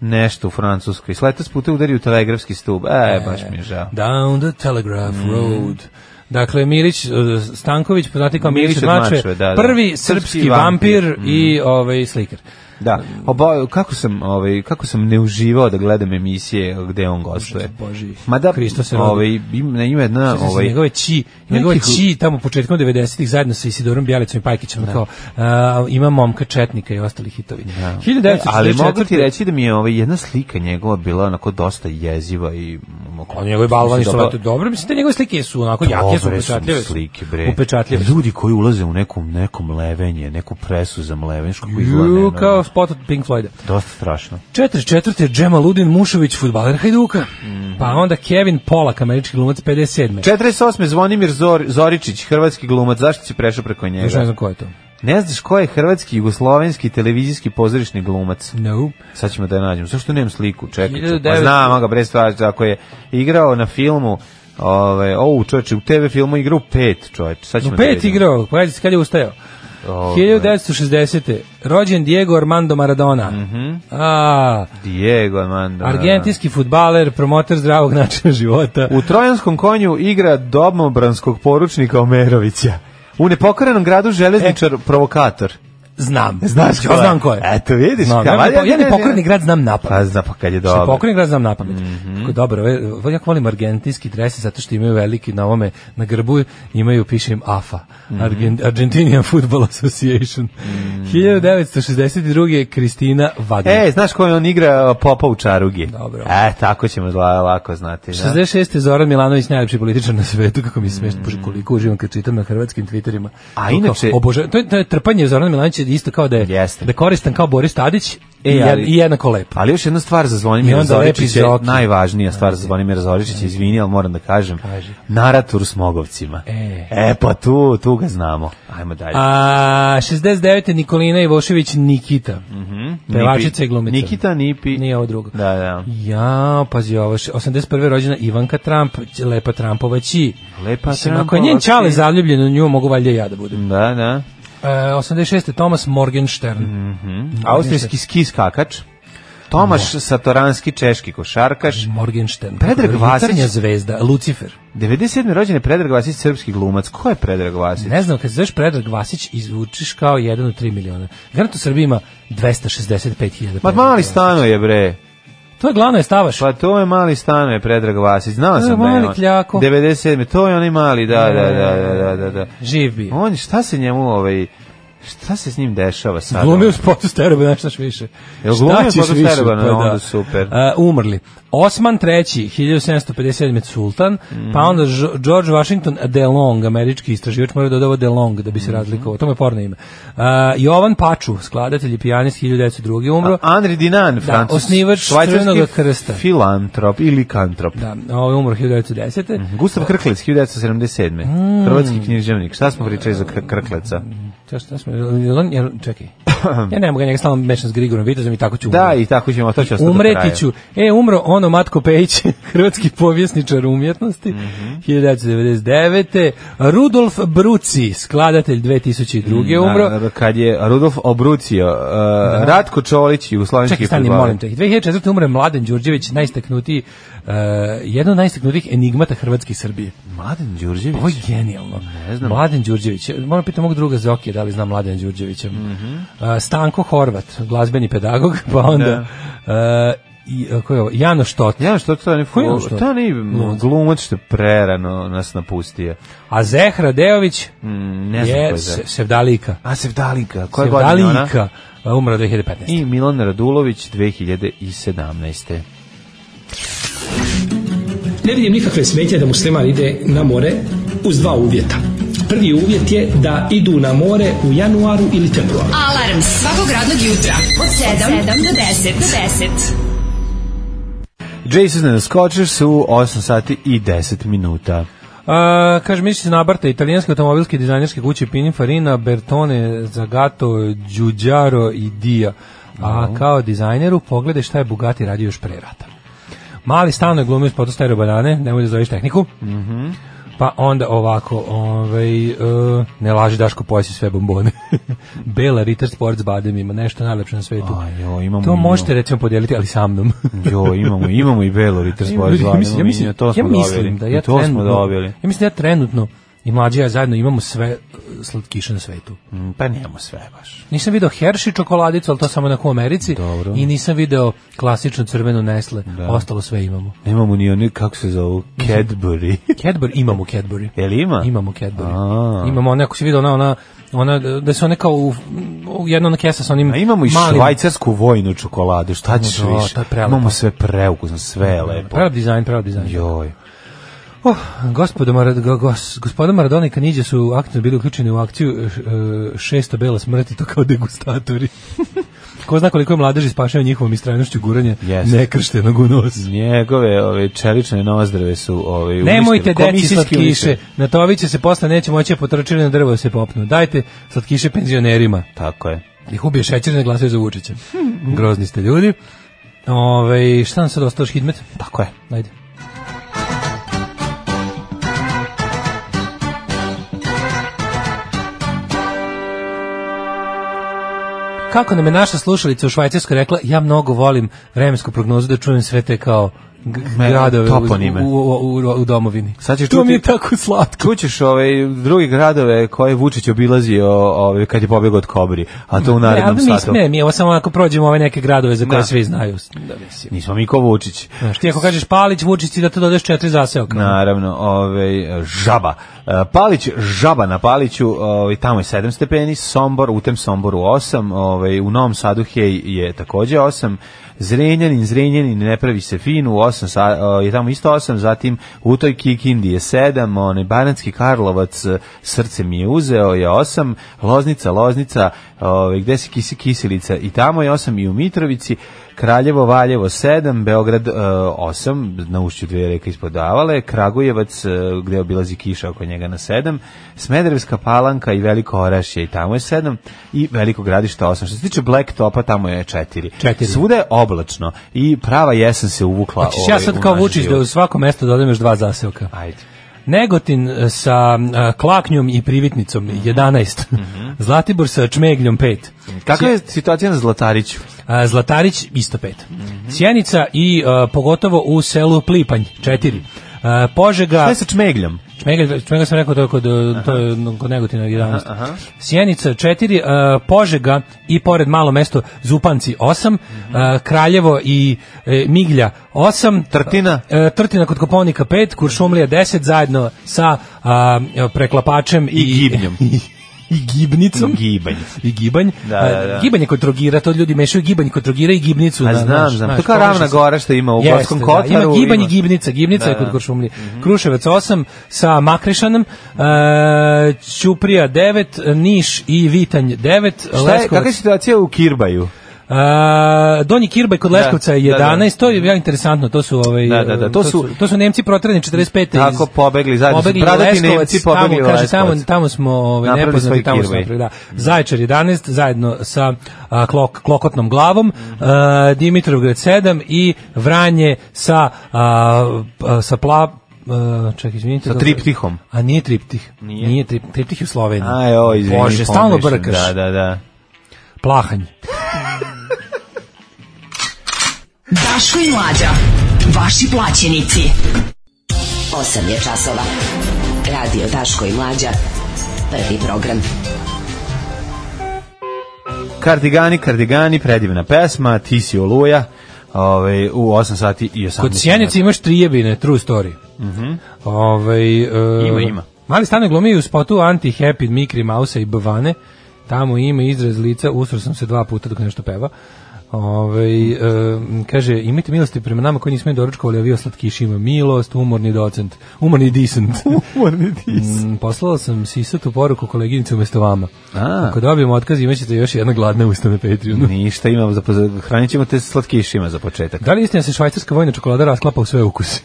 nešto u Francuskoj. Sleta s puta udari u telegrafski stub. E, baš mi je žao. Down the Telegraph Road. Dakle, Milić e, Stanković, poznati kao Milić, od Mačve, da, da. prvi Srpski srpski, vampir, vampir. i ovaj, slikar. Da. Oba, kako sam, ovaj kako sam ne uživao da gledam emisije gde on gostuje. Boži. Ma da, Hristo se rodi. ovaj im, na ime jedna, Sjećam se ovaj njegove či, njegove nekih- či tamo početkom 90-ih zajedno sa Isidorom Bjelicom i Pajkićem kao a, ima momka Četnika i ostali hitovi. Da. E, ali mogu ti reći da mi je ovaj jedna slika njegova bila onako dosta jeziva i mm, on njegove balvani što Dobro- vrati dobro, mislim te njegove slike su onako jake su Dobre su mi upečatljive. slike, bre. Upečatljive. Ljudi koji ulaze u neku, nekom levenje, neku presu za mlevenje, što kako izgleda. Ju, nenormalno. kao spot od Pink Floyda. Dosta strašno. 44. je Džema Ludin Mušović, futbaler Hajduka. Mhm. Pa onda Kevin Polak, američki glumac 57. 48. Zvonimir Zor, Zoričić, hrvatski glumac, zašto si prešao preko Još ne njega? znam ko je to. Ne znaš ko je hrvatski, jugoslovenski, televizijski pozorišni glumac? No. Sad Pa ćemo da je nađemo. Zašto nemam sliku? Čekaj, čekaj. 1900. Pa znam, aga bre stvar, ako je igrao na filmu Ove, o, čoveče, u TV filmu igra u pet, čoveče. Sad ćemo U da pet vidimo. igrao, pogledajte kad je ustajao. Ovaj. 1960. Rođen Diego Armando Maradona. A, Diego Armando. argentinski futbaler, promoter zdravog [LAUGHS] načina života. U Trojanskom konju igra domobranskog poručnika Omerovića. U nepokorenom gradu E. železničar provokator. Znam. Znaš ko Ja je? znam ko je. Eto, vidiš, Znam. kao, Ja, valja- ne, ja ne, ne ne, pokrajni ne. grad znam na pamet. Pa zna pa kad je Što je dobro. pokrajni grad znam na pamet. Tako dobro, ove, jako volim argentinski dresi zato što imaju veliki na ovome, na grbu imaju, piše im AFA, Argen- Argentinian Football Association. Mhm. 1962. Kristina Wagner. E, znaš ko je on igra popa u čarugi? Dobro. E, tako ćemo zla, lako znati. Da. 66. Zoran Milanović, najlepši političar na svetu, kako mi je smešno, bože, koliko uživam kad čitam na hrvatskim twitterima. Mm. A To inače- Kao, obože, to, je, to je trpanje Zorana Milanovića isto kao da je, Jeste. da je koristan kao Boris Tadić i, E, ali- jed- i jednako lep. Ali još jedna stvar za I Zvonimira onda Zoričića, lepi Zoki. najvažnija stvar za Zvonimira Zoričića, izvini, ali moram da kažem, naratur s Mogovcima. E. e pa tu, tu ga znamo. Ajmo dalje. A 69. Nikolina Ivošević Nikita. Mhm. Pevačica Nipi. i glumica. Nikita Nipi. Nije ovo drugo. Da, da. Ja, pazi ovo, še- 81. rođena Ivanka Trump, lepa Trumpova ći. Lepa Mislim, Ako je Pa Trumpova njen čale ći. zaljubljen u nju, mogu valjda i ja da budem. Da, da. E, 86. Thomas Morgenstern. Mhm. Austrijski ski skakač. Tomaš Satoranski, češki košarkaš. Morgenstern. Predrag Vasić. Jutarnja zvezda, Lucifer. 97. rođen je Predrag Vasić, srpski glumac. Ko je Predrag Vasić? Ne znam, kad se zoveš Predrag Vasić, izvučiš kao jedan od 3 miliona. Garant u Srbiji ima 265.000. Ma mali stano je, bre. To je glavno je stavaš. Pa to je mali stano je Predrag Vasić. Znao To je sam da je mali on. kljako. 97. To je onaj mali, da, da, da, da, da, da. Živ bio. On, šta se njemu, ovaj, šta se s njim dešava sad? Glumio u spotu Steroba, znaš znaš više. Jel Šta glumio u ćeš spotu više? Stereobana? Pa Onda da. super. A, umrli. Osman III, 1757. Sultan, Mhm. pa onda Žo- George Washington DeLong, američki istraživač, mora da dodaje ovo DeLong da bi Mhm. se razlikovao. To mu je porno ime. A, Jovan Paču, skladatelj i pijanist, 1902. umro. Andri Dinan, da, francus, osnivač švajcarski Crvenoga krsta. Filantrop ili kantrop. Da, ovo je umro 1910. Gustav Krklec, 1977. Mm. Hrvatski književnik. Šta smo pričali za Kr- Krkleca? Šta, šta smo, jel on, jel, [COUGHS] čekaj. Ja ne mogu ga njega stalno mešam s Grigorom Vitezom i tako ću Da, umreti. i tako ćemo, to će ostati do kraja. Umreti ću. E, umro ono Matko Pejić, [LAUGHS] hrvatski povjesničar umjetnosti, Mhm. 1999. Rudolf Bruci, skladatelj 2002. umro. Na- kad je Mm, Rudolf Obrucio, uh, Ratko Čolić, jugoslovenski Čekaj, stani, fudbaler. molim te. 2004. umre Mladen Đurđević, najistaknutiji, uh, jedan od najistaknutijih enigmata Hrvatske i Srbije. Mladen Đurđević. Ovo je genijalno. znam. Mladen Đurđević. Moram pitati mog druga Zokija da li znam Mladen Đurđevića. Mhm. A, Stanko Horvat, glazbeni pedagog, [LAUGHS] pa onda... a, i, a, ko je ovo? Jano Štot. Ja što to ne Ko je on što? to ne glumac što je prerano nas napustio. A Zehra Deović Mm, ne znam ko je je za- Se- Sevdalika. A Sevdalika, koja je godina ona? Sevdalika. a, Umra 2015. I Milan Radulović 2017. Ne vidim nikakve smetje da musliman ide na more uz dva uvjeta. Prvi uvjet je da idu na more u januaru ili februaru. Alarm svakog radnog jutra od 7, do 10. Do 10. Jason and the Scotchers su 8 sati i 10 minuta. A, kaže, misli se nabarta italijanske automobilske dizajnerske kuće Pininfarina, Bertone, Zagato, Giugiaro i Dia. A kao dizajneru pogledaj šta je Bugatti radio još pre rata. Mali stalno je glumio spotu stereo banane, nemoj da zoveš tehniku. Mhm. Pa onda ovako, ovaj, e, ne laži Daško, pojesi sve bombone. [LAUGHS] Bela Ritter Sports Badem ima nešto najlepše na svetu. Aj, jo, Pa imamo to i možete recimo podijeliti, ali sa mnom. [LAUGHS] Jo, imamo, imamo i Belo Ritter Sport Ljudi, Zvan, mislim, ja imamo mislim, i to smo ja dobili. mislim da ja I to smo trenutno- dobili. Ja mislim da ja trenutno i mlađi i ja zajedno imamo sve e, slatkiše na svetu. Mm, Pa nemamo sve baš. Nisam video Hershey čokoladicu, ali to samo na u Americi. Dobro. I nisam video klasičnu crvenu Nestle. Ostalo sve imamo. Nemamo ni oni, kako se zovu, Cadbury. Cadbury imamo Cadbury. [LAUGHS] Jel ima? Imamo Cadbury. A. Imamo one, ako si vidio ona, ona, ona, da se one kao u, u jedna ona kesa sa onim A imamo i malim- švajcarsku vojnu čokoladu, šta ćeš Da, više? to je prelepo. Imamo sve preukusno, sve je lepo. Prav dizajn, prav dizajn. Joj. Oh, gospodo Marad, go- gos, gospoda Maradona i Kanidje su aktivno bili uključeni u akciju e, šesto bela smrti, to kao degustatori. [LAUGHS] Ko zna koliko je mladeži spašao njihovom istrajnošću guranja Jeste. nekrštenog u nos. Njegove ove čelične nozdrave su ove uništile. Nemojte deci Komisijski slatkiše, uništile. na to ovi će se posle neće moći a potrčili na drvo da se popnu. Dajte slatkiše penzionerima. Tako je. Ih ubije šećer ne glasaju za Vučića. Grozni ste ljudi. Ovaj, Ove, šta nam sad ostalo Hidmet? Tako je. Ajde. Kako nam je naša slušalica u Švajcarskoj rekla, ja mnogo volim vremensku prognozu da čujem sve te kao g- Me- gradove u, toponime. u, u, u, u domovini. Sad ćeš to mi je čuti- tako slatko. Čućeš ove druge gradove koje je Vučić obilazio ove, kad je pobjegao od Kobri, a to u Ne, ali narednom mi satu. sme, mi ovo samo ako prođemo ove neke gradove za koje Da. svi znaju. Da, mislim. Nismo mi ko Vučić. Znaš, ti ako kažeš Palić, Vučić, ti da to dodeš četiri zaseoka. Naravno, ovaj žaba. E, Palić, žaba na Paliću, ovaj tamo je 7 stepeni, Sombor, u tem Somboru 8, ovaj u Novom Sadu hej je takođe 8. Zrenjanin, Zrenjanin ne pravi se fin, u 8 sa, o, je tamo isto 8, zatim u toj Kikindi je 7, onaj Banatski Karlovac e, srce mi je uzeo je 8, Loznica, Loznica, ovaj gde se kisi kiselica i tamo je 8 i u Mitrovici, Kraljevo, Valjevo 7, Beograd e, 8, na ušću dve reke ispod Avale, Kragujevac e, gde obilazi kiša oko njega na 7, Smederevska palanka i Veliko Orašje i tamo je 7 i Veliko gradište 8. Što se tiče Black Topa tamo je 4. Četiri. Svuda je oblačno i prava jesen se uvukla. Hoćeš ja ovaj, u sad kao naš Vučić da život. u svako mesto dodam još dva zaseoka. Ajde. Negotin e, sa e, Klaknjom i Privitnicom 11. Zlatibor sa Čmegljom 5. Kakva Mhm. je situacija na Zlatariću? A, Zlatarić isto 5. Mhm. Sjenica i e, pogotovo u selu Plipanj 4. E, Požega... Šta je sa čmegljom? Čmegalj, Čmegalj sam rekao to je kod, to je kod Negotina 11. Sjenica 4, uh, Požega i pored malo mesto Zupanci 8, Mhm. uh, Kraljevo i e, Miglja 8, Trtina? e, Trtina kod Koponika 5, Kuršumlija 10, zajedno sa a, preklapačem i, I gibnjom. [LAUGHS] i, gibnicom. Gibanj. I gibanj. Da, da, da. E, Gibanje kod Trogira, to ljudi mešaju gibanj kod Trogira i gibnicu. A na- znam, znaš, znam. To znaš, kao pomešaj ravna se. gora što ima u Jeste, Gorskom da. Kotaru. Ima gibanje gibnica, gibnica je kod Kuršumlije. Mhm. Kruševac 8, sa Makrišanom, e, Ćuprija 9, Niš i Vitanj 9, Šta je, kakva je situacija u Kirbaju? E, Donji Kirbaj kod Leskovca je da, da. 11, to je jako interesantno, to su ovaj Da, da, da, to to su- su to su Nemci proterani 45. Tako, pobegli, zajedno su pobegli pradati Leskovac, Nemci, pobegli tamo, kaže, tamo, Leskovac. tamo smo ovaj Napravili svoj nepoznati tamo smo Kirbaj. Mm. napravili, da. Zaječar 11 zajedno sa a, klok, klokotnom glavom, Mm. e, Dimitrovgrad 7 i Vranje sa a, p- sa pla Uh, čekaj, izvinite. Sa dobro. triptihom. A nije triptih. Nije. Nije, trip, triptih je u Sloveniji. Aj, o, izvini, Bože, stalno pomešam. brkaš. Da, da, da. Plahanj. Daško i Mlađa. Vaši plaćenici. 8 je časova. Radio Daško i Mlađa. Prvi program. Kardigani, kardigani, predivna pesma, ti si oluja, ove, u 8 sati i 18. Kod Sjenice imaš trijebine, true story. Ovaj, e, Mhm. Ima, ima. Mali stane glumi u spotu Anti-Happy, Mikri, Mausa i Bvane. Tamo ima izraz lica, usro sam se dva puta dok nešto peva. Ovaj, e, kaže, imajte milosti prema nama koji nismo je doručkovali, a vi o slatkišima. Milost, umorni docent, umorni disent. Umorni dis. Mm, Poslala sam sisatu poruku koleginici umesto vama. A. Ako dobijemo otkaz, imaćete još jedna gladna usta na Patreonu. Ništa imamo, za, poz- hranit ćemo te slatkišima za početak. Da li je istina da se švajcarska vojna čokolada rasklapa u sve ukuse?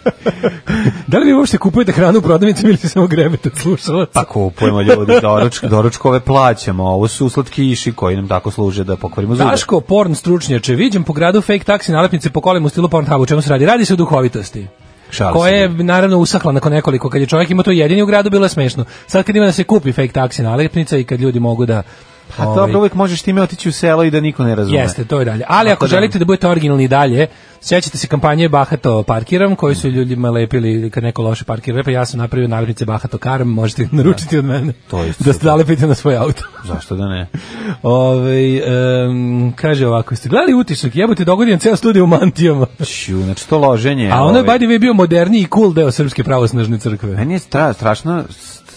[LAUGHS] da li vi uopšte kupujete hranu u prodavnicama ili samo grebete od slušalaca? Pa kupujemo ljudi, doručk, doručkove plaćamo, ovo su slatkiši koji nam tako služe da pokvarimo zube. Pa, Daško, porn stručnjače, viđem po gradu fake taksi nalepnice po kolima u stilu Pornhubu. O Čemu se radi? Radi se o duhovitosti. Šalim se. koja je naravno usahla nakon nekoliko kad je čovjek imao to jedini u gradu bilo je smešno. Sad kad ima da se kupi fake taksi nalepnica i kad ljudi mogu da Pa ovaj, dobro, uvijek možeš time otići u selo i da niko ne razume. Jeste, to je dalje. Ali ako želite da budete originalni i dalje, sjećate se kampanje Bahato parkiram, koji su ljudima lepili kad neko loše parkira, pa ja sam napravio nalepnice Bahato karam, možete naručiti od mene. To je [LAUGHS] da super. ste nalepite na svoj auto. Zašto da ne? Ovaj em, kaže ovako, ste gledali utisak, jebote dogodio ceo studij u mantijama. Ću, znači to loženje. A ono je ovaj, by the way bio moderniji i cool deo Srpske pravosnažne crkve. Meni je stra, strašno,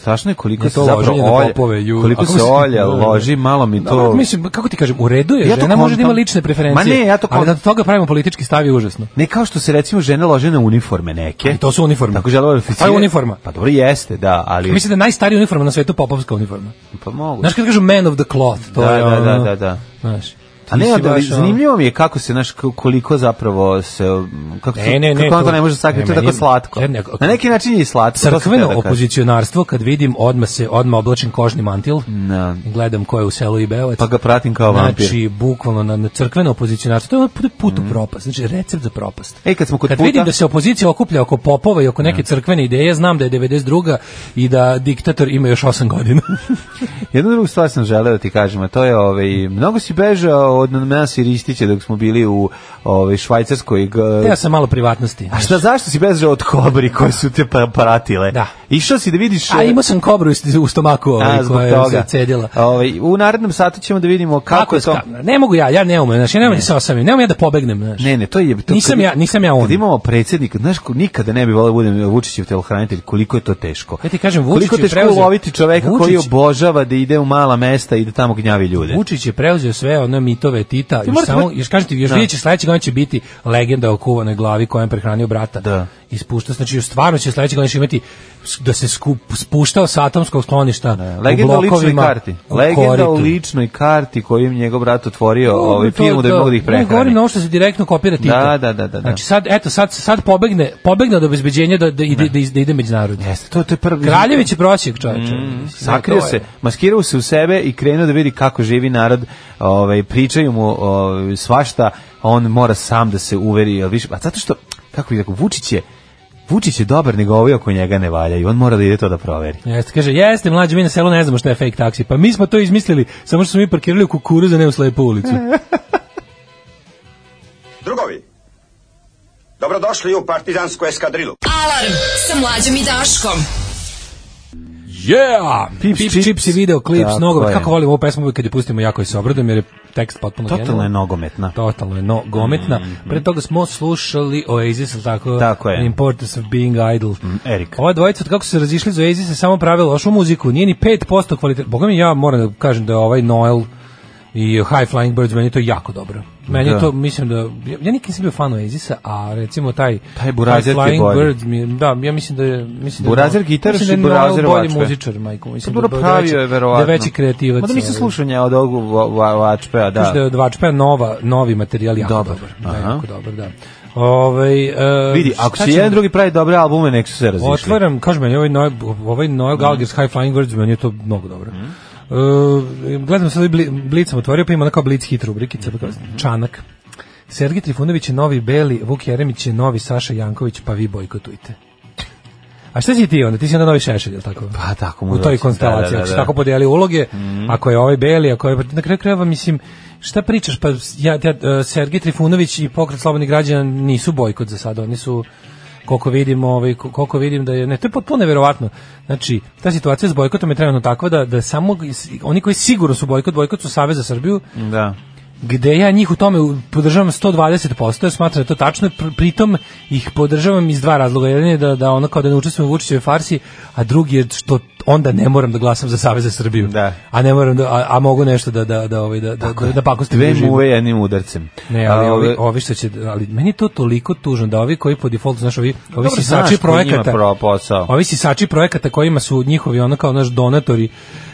strašno je koliko Je se to zapravo loženje na olja, popove, ju. koliko A kako se se- olja Da, da, da. loži, malo mi to... Dobro, mislim, kako ti kažem, u redu je, Ja to žena može da ima kontam. lične preferencije. Ma ne, ja to ali da kontam. od toga pravimo politički stav je užasno. Ne kao što se recimo žene lože na uniforme neke. I to su uniforme. Tako žele oficire. To je uniforma. Pa dobro jeste, da, ali... Mislim da je najstarija uniforma na svetu popovska uniforma. pa mogu. Znaš kad kažu man of the cloth, to Da, je da, ono- da, da, da. Znaš. ti A ne, si da, baš, ono- zanimljivo mi je kako se, naš, koliko zapravo se, um, kako, Ne, ne, ne, kako ona to to- ne može sakriti, ne, to je tako meni- slatko. ne, ne, Na neki način je i slatko. to sam crkveno htio da kažem. opozicionarstvo kad vidim odmah se odmah oblačim kožni mantil Da. i gledam ko je u selu i beovac Pa ga pratim kao vampir. Mm. znači bukvalno na, na crkveno opozicionarstvo to je ono put, put u propast znači recept za propast Ej, kad smo kod kad puta- vidim da se opozicija okuplja oko popova i oko neke crkvene ideje znam da je 92 i da diktator ima još 8 [LAUGHS] godina Jednu drugu stvar sam želeo da ti kažem, a to je ovaj, mnogo si bežao od nas i Ristića dok smo bili u ovaj, Švajcarskoj. g- ja sam malo privatnosti A šta, zašto si bežao od kobri koje su te pa- paratile? Da. Išao si da vidiš... e, a imao sam kobru u stomaku A, ovaj, zbog koja je toga. se cedila Ovaj, u narednom satu ćemo da vidimo kako, Kako je to... ska- Ne mogu ja, ja ne umem, znači, ja ne mogu da se osamim, ne mogu ja da pobegnem, znaš. Ne, ne, to je to Nisam kad- ja- nisam ja on. Kad imamo predsjednika, znaš, ko- nikada ne bi voleo da budem Vučićev telohranitelj, koliko je to teško. Ja ti kažem, Vučić koliko je teško preuzeo- uloviti čoveka koji Vučić- obožava da ide u mala mesta i da tamo gnjavi ljude. Vučić je preuzeo sve ono mitove Tita, još moraš- samo, još kažete, još Da. vidjet će sledećeg godina će biti legenda o kuvanoj glavi kojom je prehranio brata. Da. Ispušta, znači stvarno će sledećeg godina će imati s- da se skup, spuštao sa atomskog skloništa u Legenda o ličnoj blokovima. karti. u Legenda koritu. o ličnoj karti koju im njegov brat otvorio To- ovaj, to- firmu da bi to- mogu da ih ne, Govorim prehrani. na ovo što se direktno kopira Tita. Da, da, da, da, da. Znači sad, eto, sad, sad pobegne, pobegne od obezbeđenja da, da, ide, da, iz- da ide međunarodno. Jeste, to, to je prvi... Kraljević je prosjek, čoveče. Sakrio se, maskirao se u sebe i krenuo da vidi kako živi narod, ovaj, pričaju mu ovaj, svašta, a on mora sam da se uveri, jel više, a zato što, kako bih rekao, Vučić je, Vučić je dobar, nego ovi oko njega ne valjaju, on mora da ide to da proveri. Jeste, kaže, jeste mlađe, mi na selu ne znamo šta je fake taksi. Pa mi smo to izmislili, samo što smo mi parkirali u kukuruza, ne u slepu [LAUGHS] ulicu. Drugovi, dobrodošli u partizansku eskadrilu. Alarm sa mlađom i Daškom. Yeah! Pips, Pips, Chips, i video klip s Tako nogom. je. Kako volim ovu pesmu uvijek kad je pustimo jako i se obradom, jer je tekst potpuno Totalno je genijalan. nogometna. Totalno je no, gometna. Pre toga smo slušali Oasis, ili tako? Mm-hmm. Tako je. Mm, The Importance of Being Idle. Erik. Ova dvojica, od kako su se razišli za Oasis, je samo prave lošu muziku. Nije ni 5% kvaliteta. Boga mi ja moram da kažem da je ovaj Noel i High Flying Birds, meni je to jako dobro. Meni Da. je to, mislim da, ja, ja nikad nisam bio fan Oasisa, a recimo taj, Taj Burazer ti je High Flying bolji. Birds, mi je- da, ja mislim da je, mislim da je Burazer Noel- gitaraš mislim da i je Noel Burazer bolji vačpe. muzičar, majko, mislim Dobro da je pravio veći- je, verovatno. Da je veći kreativac. Mada nisam ovaj. slušao nja od ovog va- va- Vačpea, da. Znaš da je od Vačpea nova, novi materijal jako Dobar. dobar. Da, Aha. jako dobar, da. Ovaj, e, Vidi, ako šta se ćemo- jedan drugi pravi dobre albume, nek su se razišli. Otvaram, kažem meni, ovaj Noel, ovaj Noel Mhm. Gallagher's High Flying Birds, meni je to mnogo dobro. Mm. gledam sad, bli, Blitz sam otvorio, pa ima onaka Blitz hit rubrikica, pa kao Mhm. čanak. Sergij Trifunović je novi Beli, Vuk Jeremić je novi Saša Janković, pa vi bojkotujte. A šta si ti onda? Ti si onda novi Šešelj, jel tako? Pa tako mu u toj dosta, konstelaciji, da, da, ako se da. Mhm. tako podijeli uloge, ako je ovaj beli, ako je na kraju krajeva mislim šta pričaš pa ja, ja e, Sergej Trifunović i pokret slobodnih građana nisu bojkot za sada, oni su koliko vidim, ovaj, ko- koliko vidim da je, ne, to je potpuno neverovatno. Znači, ta situacija s bojkotom je trenutno takva da, da samo oni koji sigurno su bojkot, bojkot su Savez za Srbiju, Da. gde ja njih u tome u- podržavam 120%, jer smatram da je to tačno, pr- pritom ih podržavam iz dva razloga. Jedan je da, da ono kao da ne učestvujem u Vučićevoj farsi, a drugi je što onda ne moram da glasam za Savez za Srbiju. Da. A ne moram da, a, a mogu nešto da, da, da, ovaj, da, da, da, da pakostim Dve režim. muve jednim udarcem. Ne, ali A, ovi, ovi što će, ali meni je to toliko tužno da ovi koji po defaultu, znaš, ovi, ovi Dobro, znaš sisači koji njima projekata, pro- posao. ovi sisači projekata kojima su njihovi ono kao naš donatori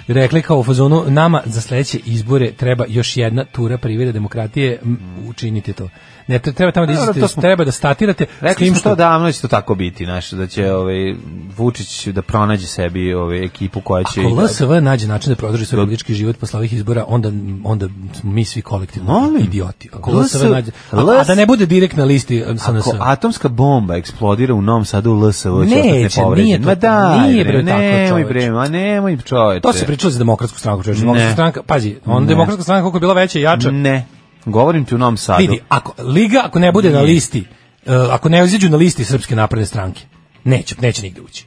rekli kao u fazonu, nama za sledeće izbore treba još jedna tura privrede demokratije, m, učinite to. Ne, tre- treba tamo da Dobro, izađete, to smo- treba da statirate, s Rekli tim smo što to davno će to tako biti, znaš, da će ovaj Vučić da pronađe sebi ovaj ekipu koja će Ako i da- LSV nađe način da prodrži svoj politički život posle ovih izbora, onda, onda smo mi svi kolektivno Molim. idioti. Ako LS LSV nađe, a, a da ne bude direkt na listi eh, SNS. Ako atomska bomba eksplodira u Novom Sadu u LSV, će Neće, ostati nepovređen. nije to- Ma da, nije, bre, tako, nemoj čoveče. bre, ma nemoj čoveče. To se pričalo za demokratsku stranku, čovječe. Demokratska Ne. stranka, pazi, on Ne. demokratska stranka koliko je bila veća i jača. Ne, govorim ti u Novom Sadu. Vidi, ako liga ako ne bude na listi, e, ako ne izađu na listi Srpske napredne stranke, neće neće nigde ući.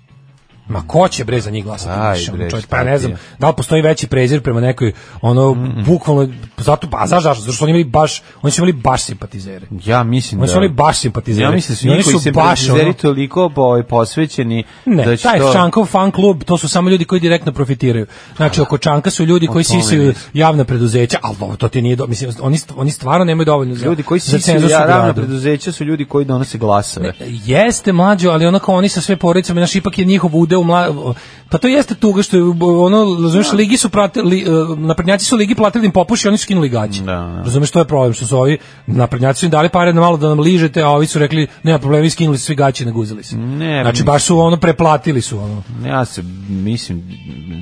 Ma ko će bre za njih glasati? Aj, Mislim, bre, čovječ, šta pa ne ti znam, je? Mm, da li postoji veći prezir prema nekoj ono bukvalno zato pa znaš zašto? Zato što oni imali baš oni su imali baš simpatizere. Ja mislim da... Oni su oni baš simpatizeri. Ja mislim da su I oni njih koji su se baš, simpatizeri ono- toliko ovaj, posvećeni Ne, da će taj to... Čankov fan klub, to su samo ljudi koji direktno profitiraju. Znači, oko Čanka su ljudi koji tome sisaju nisam. javna preduzeća, ali ovo to ti nije do... Mislim, oni, st- oni stvarno nemaju dovoljno za, Ljudi koji za su cenzus u ja, ravna gradu. preduzeća su ljudi koji donose glasove. ono Jeste mlađo, ali onako oni sa sve porodicama, znaš, ipak je njihov udeo u mla... Pa to jeste tuga što je ono, razumiješ, ligi su pratili, li, eh, naprednjaci su ligi platili da im popuši, oni su skinuli gaće. Razumeš, to je problem, što su ovi naprednjaci su im dali pare na malo da nam ližete, a ovi su rekli, nema problema, vi skinuli su svi gaće i naguzali se. Ne, znači, baš su ono, preplatili su ono. Ja se, mislim,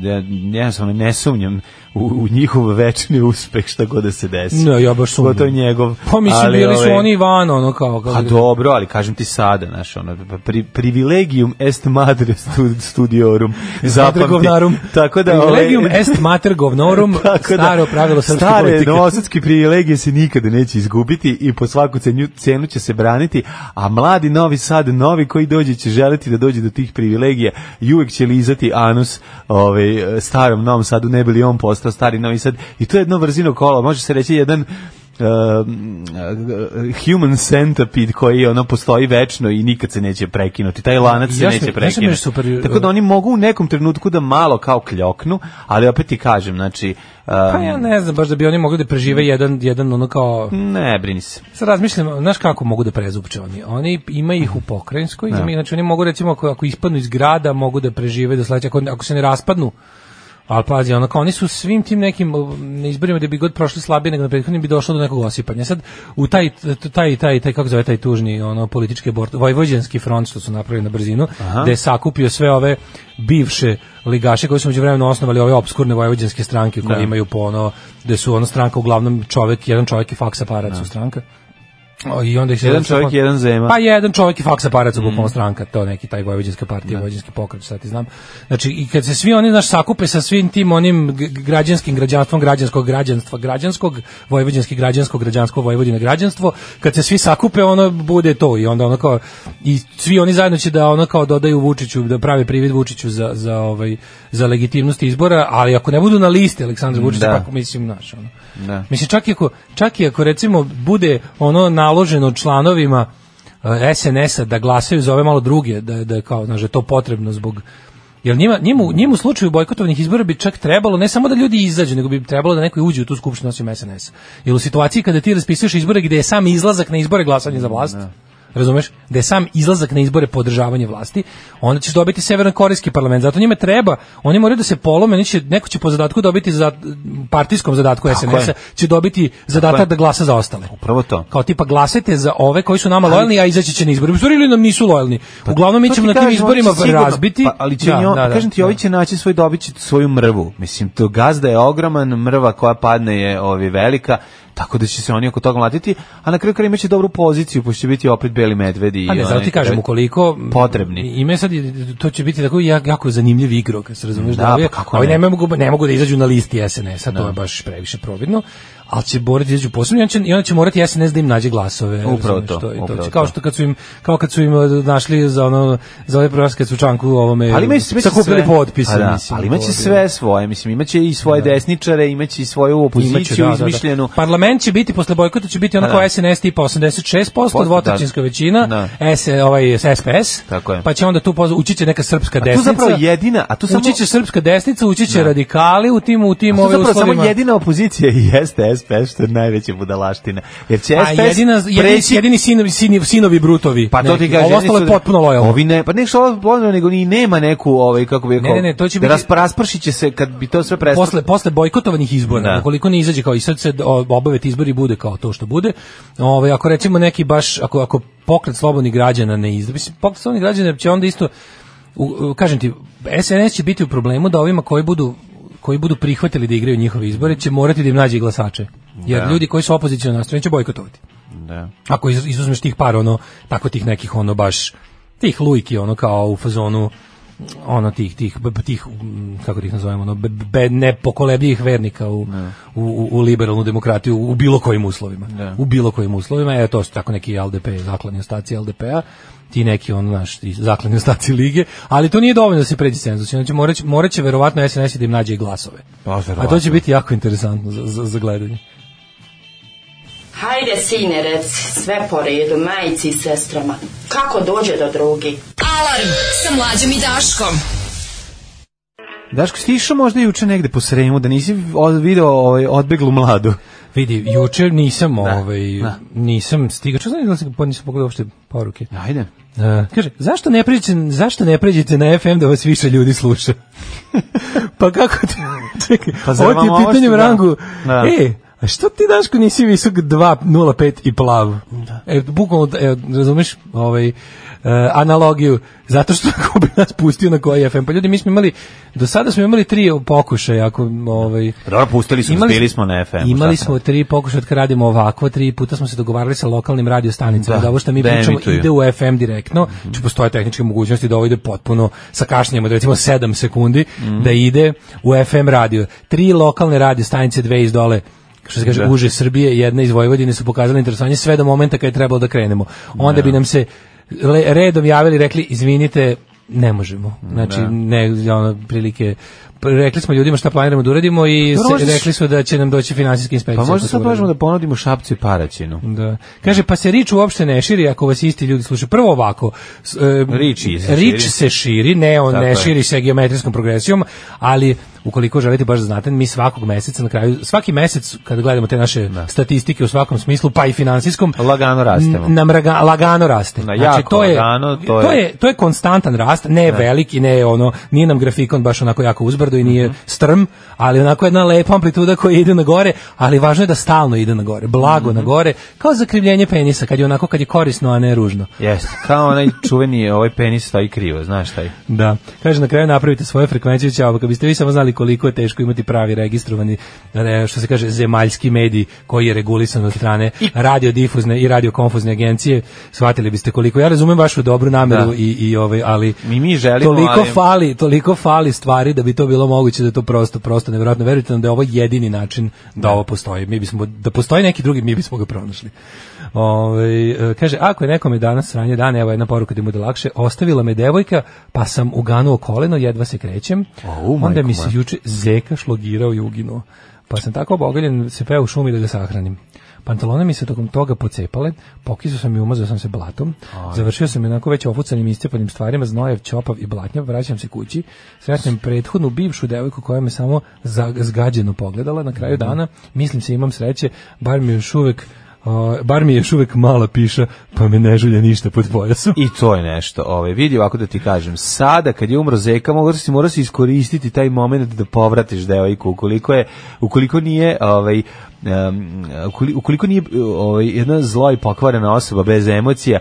da ja jednostavno ne sumnjam u, u njihov večni uspeh šta god da se desi. Ne, ja baš sumnjam. Gotovo njegov. Pa mislim, ali, bili su ovaj, oni i van, ono, kao... kao Pa dobro, ali kažem ti sada, znaš, ono, pri, privilegium est madre stu- studiorum. Mater Zapamti. govnarum. Tako da, ovaj, Privilegium est mater govnorum, [LAUGHS] Tako da, staro pravilo srpske stare politike. novosadske privilegije se nikada neće izgubiti i po svaku cenju, cenu će se braniti, a mladi novi sad, novi koji dođe će želiti da dođe do tih privilegija i uvek će lizati anus ovaj, starom novom sadu, ne bi li on postao stari novi sad. I to je jedno vrzino kola, može se reći jedan uh, human centipede koji ono postoji večno i nikad se neće prekinuti taj lanac se Ja sam- neće ja sam još prekinuti super, tako da oni mogu u nekom trenutku da malo kao kljoknu ali opet ti kažem znači Pa ja ne znam, baš da bi oni mogli da prežive jedan, jedan ono kao... Ne, brini se. Sad razmišljam, znaš kako mogu da prezupče oni? Oni ima ih u pokrajinskoj, Da. ima, znači oni mogu recimo ako, ako ispadnu iz grada, mogu da prežive do sledećeg, ako, ako se ne raspadnu. Ali pazi, ono kao oni su svim tim nekim um, na izborima da bi god prošli slabije nego na prethodnim bi došlo do nekog osipanja. Sad u taj t- taj taj taj kako zove taj tužni ono politički bord, vojvođanski front što su napravili na brzinu, Aha. gde je sakupio sve ove bivše ligaše koji su međuvremeno osnovali ove obskurne vojvođanske stranke koje Da. imaju po ono da su ono stranka uglavnom čovek, jedan čovek i faks aparat su stranka. O, I onda ih se Jedan čovjek, jedan zema. Pa jedan čovjek i faks aparat su bukvalno stranka, to neki taj vojvođanska partija, vojvođanski pokret, sad ti znam. Znači, i kad se svi oni, znaš, sakupe sa svim tim onim g- g- građanskim građanstvom, građanskog građanstva, građanskog, vojvođanski građansko, građansko, vojvodine građanstvo, kad se svi sakupe, ono bude to i onda ono kao, i svi oni zajedno će da ono kao dodaju Vučiću, da prave privid Vučiću za, za, ovaj, za legitimnost izbora, ali ako ne budu na listi Aleksandra Vučića, Da. pa mislim, znaš, ono. Da. Mislim, čak i, ako, čak i ako recimo bude ono naloženo članovima e, SNS-a da glasaju za ove malo druge, da, je- da je kao, znaš, da je to potrebno zbog Jer njima, njemu, njemu u slučaju bojkotovanih izbora bi čak trebalo, ne samo da ljudi izađu, nego bi trebalo da neko i uđe u tu skupštinu osim SNS. Jer u situaciji kada ti raspisuješ izbore gde je sam izlazak na izbore glasanje za vlast, razumeš, da je sam izlazak na izbore podržavanje vlasti, onda ćeš dobiti severnokorejski parlament. Zato njima treba, oni moraju da se polome, oni će, neko će po zadatku dobiti za, partijskom zadatku Tako je. SNS-a, će dobiti zadatak je. da glasa za ostale. Upravo to. Kao tipa glasajte za ove koji su nama lojalni, a izaći će na izbore. U stvari ili nam nisu lojalni. Uglavnom mi Pa, To ti ćemo na tim kažem, oni će izborima sigurno- razbiti. Pa, ali će i on, kažem ti, ovi će naći svoj dobit će svoju mrvu. Mislim, to gazda je ogroman, mrva koja padne je ovi velika, tako da će se oni oko toga mlatiti, a na kraju kraja imaće dobru poziciju, pošto će biti opet beli medvedi. A Pa ne, i zato onaj- ti kažem, ukoliko Potrebni. ime sad, je- to će biti tako jak- jako zanimljiv igrokaz, razumiješ? Da, Da, ovi, pa kako ovi ne. ne, mogu, ne mogu da izađu na listi SNS-a, to je baš previše providno, ali će morati da izađu posebno i onda će, i onda će morati SNS da im nađe glasove. Upravo razumeš, to, je upravo će- kao, to. što kad su im, kao kad su im eh, našli za ono, za ove prvaske sučanku ovome, ali imaće, imaće sakupili sve, potpise. Pa da, mislim, ali imaće ovdje. sve svoje, mislim, imaće i svoje desničare, imaće i svoju opoziciju Imaće, da, da, da. izmišljenu. Parlament će biti posle bojkota će biti ono Da. kao SNS tipa 86%, da. dvotrećinska većina, S, ovaj SPS. Tako je. Pa će onda tu poz- ući će neka srpska A tu desnica. zapravo jedina, a tu samo... Ući će srpska desnica, ući će radikali u tim u tim To ove zapravo samo uslovima. jedina opozicija [LAUGHS] i jeste SPS, što je najveća budalaština. Jer će A SPS Pa jedina, jedini, preći- jedini sinovi, sinovi, sinovi brutovi. Pa to ti neki. kaže, Ovo ostalo je jedini su- potpuno lojalno. Ovi ne, pa ne što ovo lojalno, nego ni nema neku, ovaj, kako bi rekao, ne, ne, to će da biti- rasp- raspršit će se kad bi to sve prestalo. posle posle bojkotovanih izbora Da. ukoliko ne izađe kao i sad se o- obave ti izbori bude kao to što bude ovaj ako recimo neki baš ako ako pokret slobodnih građana ne izda mislim pokret slobodnih građana će onda isto u- u- kažem ti SNS će biti u problemu da ovima koji budu koji budu prihvatili da igraju njihove izbore će morati da im nađe glasače jer ljudi koji su opoziciono nastrojeni će bojkotovati Da. ako iz- izuzmeš tih par ono tako tih nekih ono baš tih lujki ono kao u fazonu ono tih tih b- b- tih mm, kako da ih nazovemo ono be, be- nepokolebljivih vernika u, u, u, u liberalnu demokratiju u bilo kojim uslovima u bilo kojim uslovima e to su tako neki LDP zakladni ostaci LDP-a ti neki on naš ti zakladni ostaci lige ali to nije dovoljno da se pređe cenzus znači morat, će- morat će verovatno SNS da im nađe i glasove Pa, a to će biti jako interesantno za, za, za gledanje Hajde, sine, reci sve po redu, majici i sestrama. Kako dođe do drugi? Alarm sa mlađom i Daškom. Daško, si ti išao možda juče negde po Sremu, da nisi o- video ovaj, odbeglu mladu? Vidi, jučer nisam, ovaj, nisam stigao. Čao sam da sam pa nisam pogledao uopšte poruke. Ajde. Da. Kaže, zašto ne pređete, zašto ne pređete na FM da vas više ljudi sluša? [LAUGHS] pa [LAUGHS] kako ti... Čekaj, Pa zar ovo ti je vam ovo pitanje što- u da. rangu. Da. E, a što ti Daško nisi visok 2.05 i plav? Da. E, bukvalno, e, razumeš, ovaj, e, analogiju, zato što [LAUGHS] ako bi nas pustio na koji FM, pa ljudi, mi smo imali, do sada smo imali tri pokušaja, ako, ovaj, Dobro, pustili smo, Imali- bili smo na FM. -u, Imali šta smo tri pokušaja kad radimo ovako, tri puta smo se dogovarali sa lokalnim radio stanicama da, Da, ovo što mi da pričamo emituju. ide u FM direktno, mm postoje tehničke mogućnosti da ovo ide potpuno sa kašnjenjem od recimo 7 sekundi da ide u FM radio. Tri lokalne radio stanice, dve iz dole što se kaže, Da. uže Srbije, jedna iz Vojvodine su pokazali interesovanje sve do momenta kada je trebalo da krenemo. Onda bi nam se le- redom javili i rekli, izvinite, ne možemo. Znači, Da. ne, ono, prilike, rekli smo ljudima šta planiramo da uradimo i Dobro, se- Pa možda su- rekli su da će nam doći finansijski sam? inspekcija. Pa možda ako sad to uradimo. možemo da ponudimo šapcu i paraćinu. Da. Kaže, pa se rič uopšte ne širi ako vas isti ljudi slušaju. Prvo ovako, s- e, Rič je se rič širi. se širi, ne, on Tako ne je. širi se geometrijskom progresijom, ali ukoliko želite baš da znate, mi svakog meseca na kraju, svaki mesec kada gledamo te naše statistike u svakom smislu, pa i finansijskom, Lagano rastemo. n- nam raga- lagano raste. Znači, Na, jako lagano, to to je- je to je konstantan rast, ne veliki, ne ono, nije nam grafikon baš onako jako uzbrdo i nije Mhm. strm, ali onako jedna lepa amplituda koja ide na gore, ali važno je da stalno ide na gore, blago Mhm. na gore, kao zakrivljenje penisa, kad je onako kad je korisno, a ne ružno. Jeste, kao onaj čuveni ovaj penis stoji krivo, znaš taj. Da. Kaže na kraju napravite svoje frekvencije ćao, pa kad biste vi samo znali koliko je teško imati pravi registrovani e, što se kaže zemaljski medij koji je regulisan od strane radiodifuzne i radiokonfuzne agencije, shvatili biste koliko. Ja razumem vašu dobru nameru Da. i i ovaj, ali Mi mi želimo, toliko ali- fali, toliko fali stvari da bi to bilo moguće da je to prosto prosto nevjerojatno. Verujte nam da je ovo jedini način da ovo postoji. Mi bismo da postoji neki drugi, mi bismo ga pronašli. Ovaj, e, kaže, ako je nekome danas sranje dan, evo jedna poruka da mu da lakše, ostavila me devojka, pa sam uganuo koleno, jedva se krećem, Au, onda majko mi se moja. juče zeka šlogirao i uginuo. Pa sam tako obogaljen, se peo u šumi da ga sahranim. Pantalone mi se tokom toga pocepale, pokisao sam i umazao sam se blatom, završio sam i onako već ofucanim i iscepanim stvarima, znojev, čopav i blatnjav, vraćam se kući, sretnem prethodnu bivšu devojku koja me samo za- zgađeno pogledala na kraju dana, mislim se imam sreće, bar mi još uvek o, bar mi je još uvek mala piša, pa me ne žulja ništa pod pojasom. I to je nešto. Ovaj vidi ovako da ti kažem, sada kad je umro Zeka, moraš si moraš si iskoristiti taj moment da povratiš devojku ukoliko je ukoliko nije ovaj em, ukoli- ukoliko nije ovaj jedna zla i pokvarena osoba bez emocija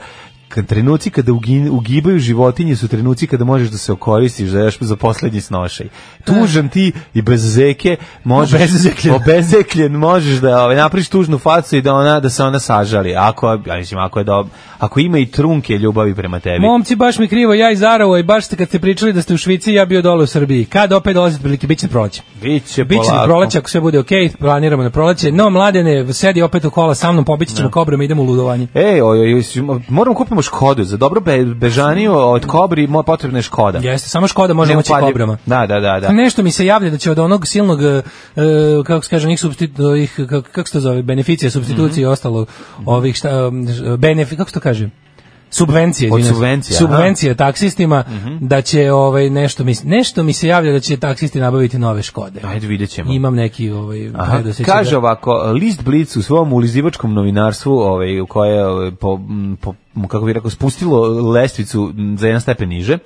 kad trenuci kada ugi- ugibaju životinje su trenuci kada možeš da se okoristiš za još za poslednji snošaj. Tužan ti i bez zeke možeš Obezekljen. obezekljen možeš da ovaj napraviš tužnu facu i da ona da se ona sažali. Ako ja mislim ako je dob, ako ima i trunke ljubavi prema tebi. Momci, baš mi krivo, ja iz Arava i baš ste kad ste pričali da ste u Švici, ja bio dole u Srbiji. Kad opet dolazite prilike, bit će proleće. Biće Biće na polako. proleće, ako sve bude okej, planiramo na proleće. No, mladene, sedi opet u kola sa mnom, pobići ćemo kobrama, idemo u ludovanje. Ej, oj, oj, oj, moramo kupimo Škodu. Za dobro be, bežaniju od kobri mo potrebna je Škoda. Jeste, samo Škoda može moći Neupadljiv- kobrama. Da, da, da, da. Nešto mi se javlja da će od onog silnog, e, kako se kaže, onih substitu- ovih, kako, kako se to zove, beneficija, Mhm. substitucije i ostalo, ovih, šta, e, benefi, kako se to kaže? subvencije, Od izvinjavam se. subvencija, Mhm. subvencije taksistima da će ovaj nešto mi nešto mi se javlja da će taksisti nabaviti nove Škode. Ajde vidjet ćemo. Imam neki ovaj Aha, predosjećaj Kaže da- ovako, list Blic u svom ulizivačkom novinarstvu, ovaj, u koje je ovaj, po, m, po, m, kako bi rekao, spustilo lestvicu m, za jedan stepen niže,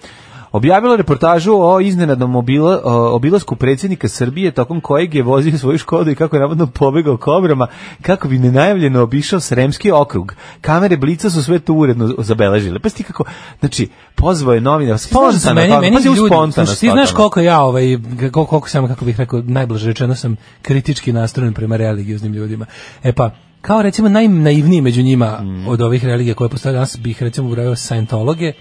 objavilo reportažu o iznenadnom obila, o, obilasku predsjednika Srbije tokom kojeg je vozio svoju škodu i kako je navodno pobegao kobrama kako bi nenajavljeno obišao Sremski okrug. Kamere Blica su sve to uredno zabeležile. Pa si ti kako, znači, pozvao je novinar, Znaš da spontano, meni, to- meni pazi, u ljudi, spontano znaš, ti to znaš tamo. koliko ja ovaj koliko, koliko sam kako bih rekao najblaže rečeno sam kritički nastrojen prema religioznim ljudima. E pa kao recimo najnaivniji među njima od ovih religija koje postoje danas bih recimo ubrao Scientologe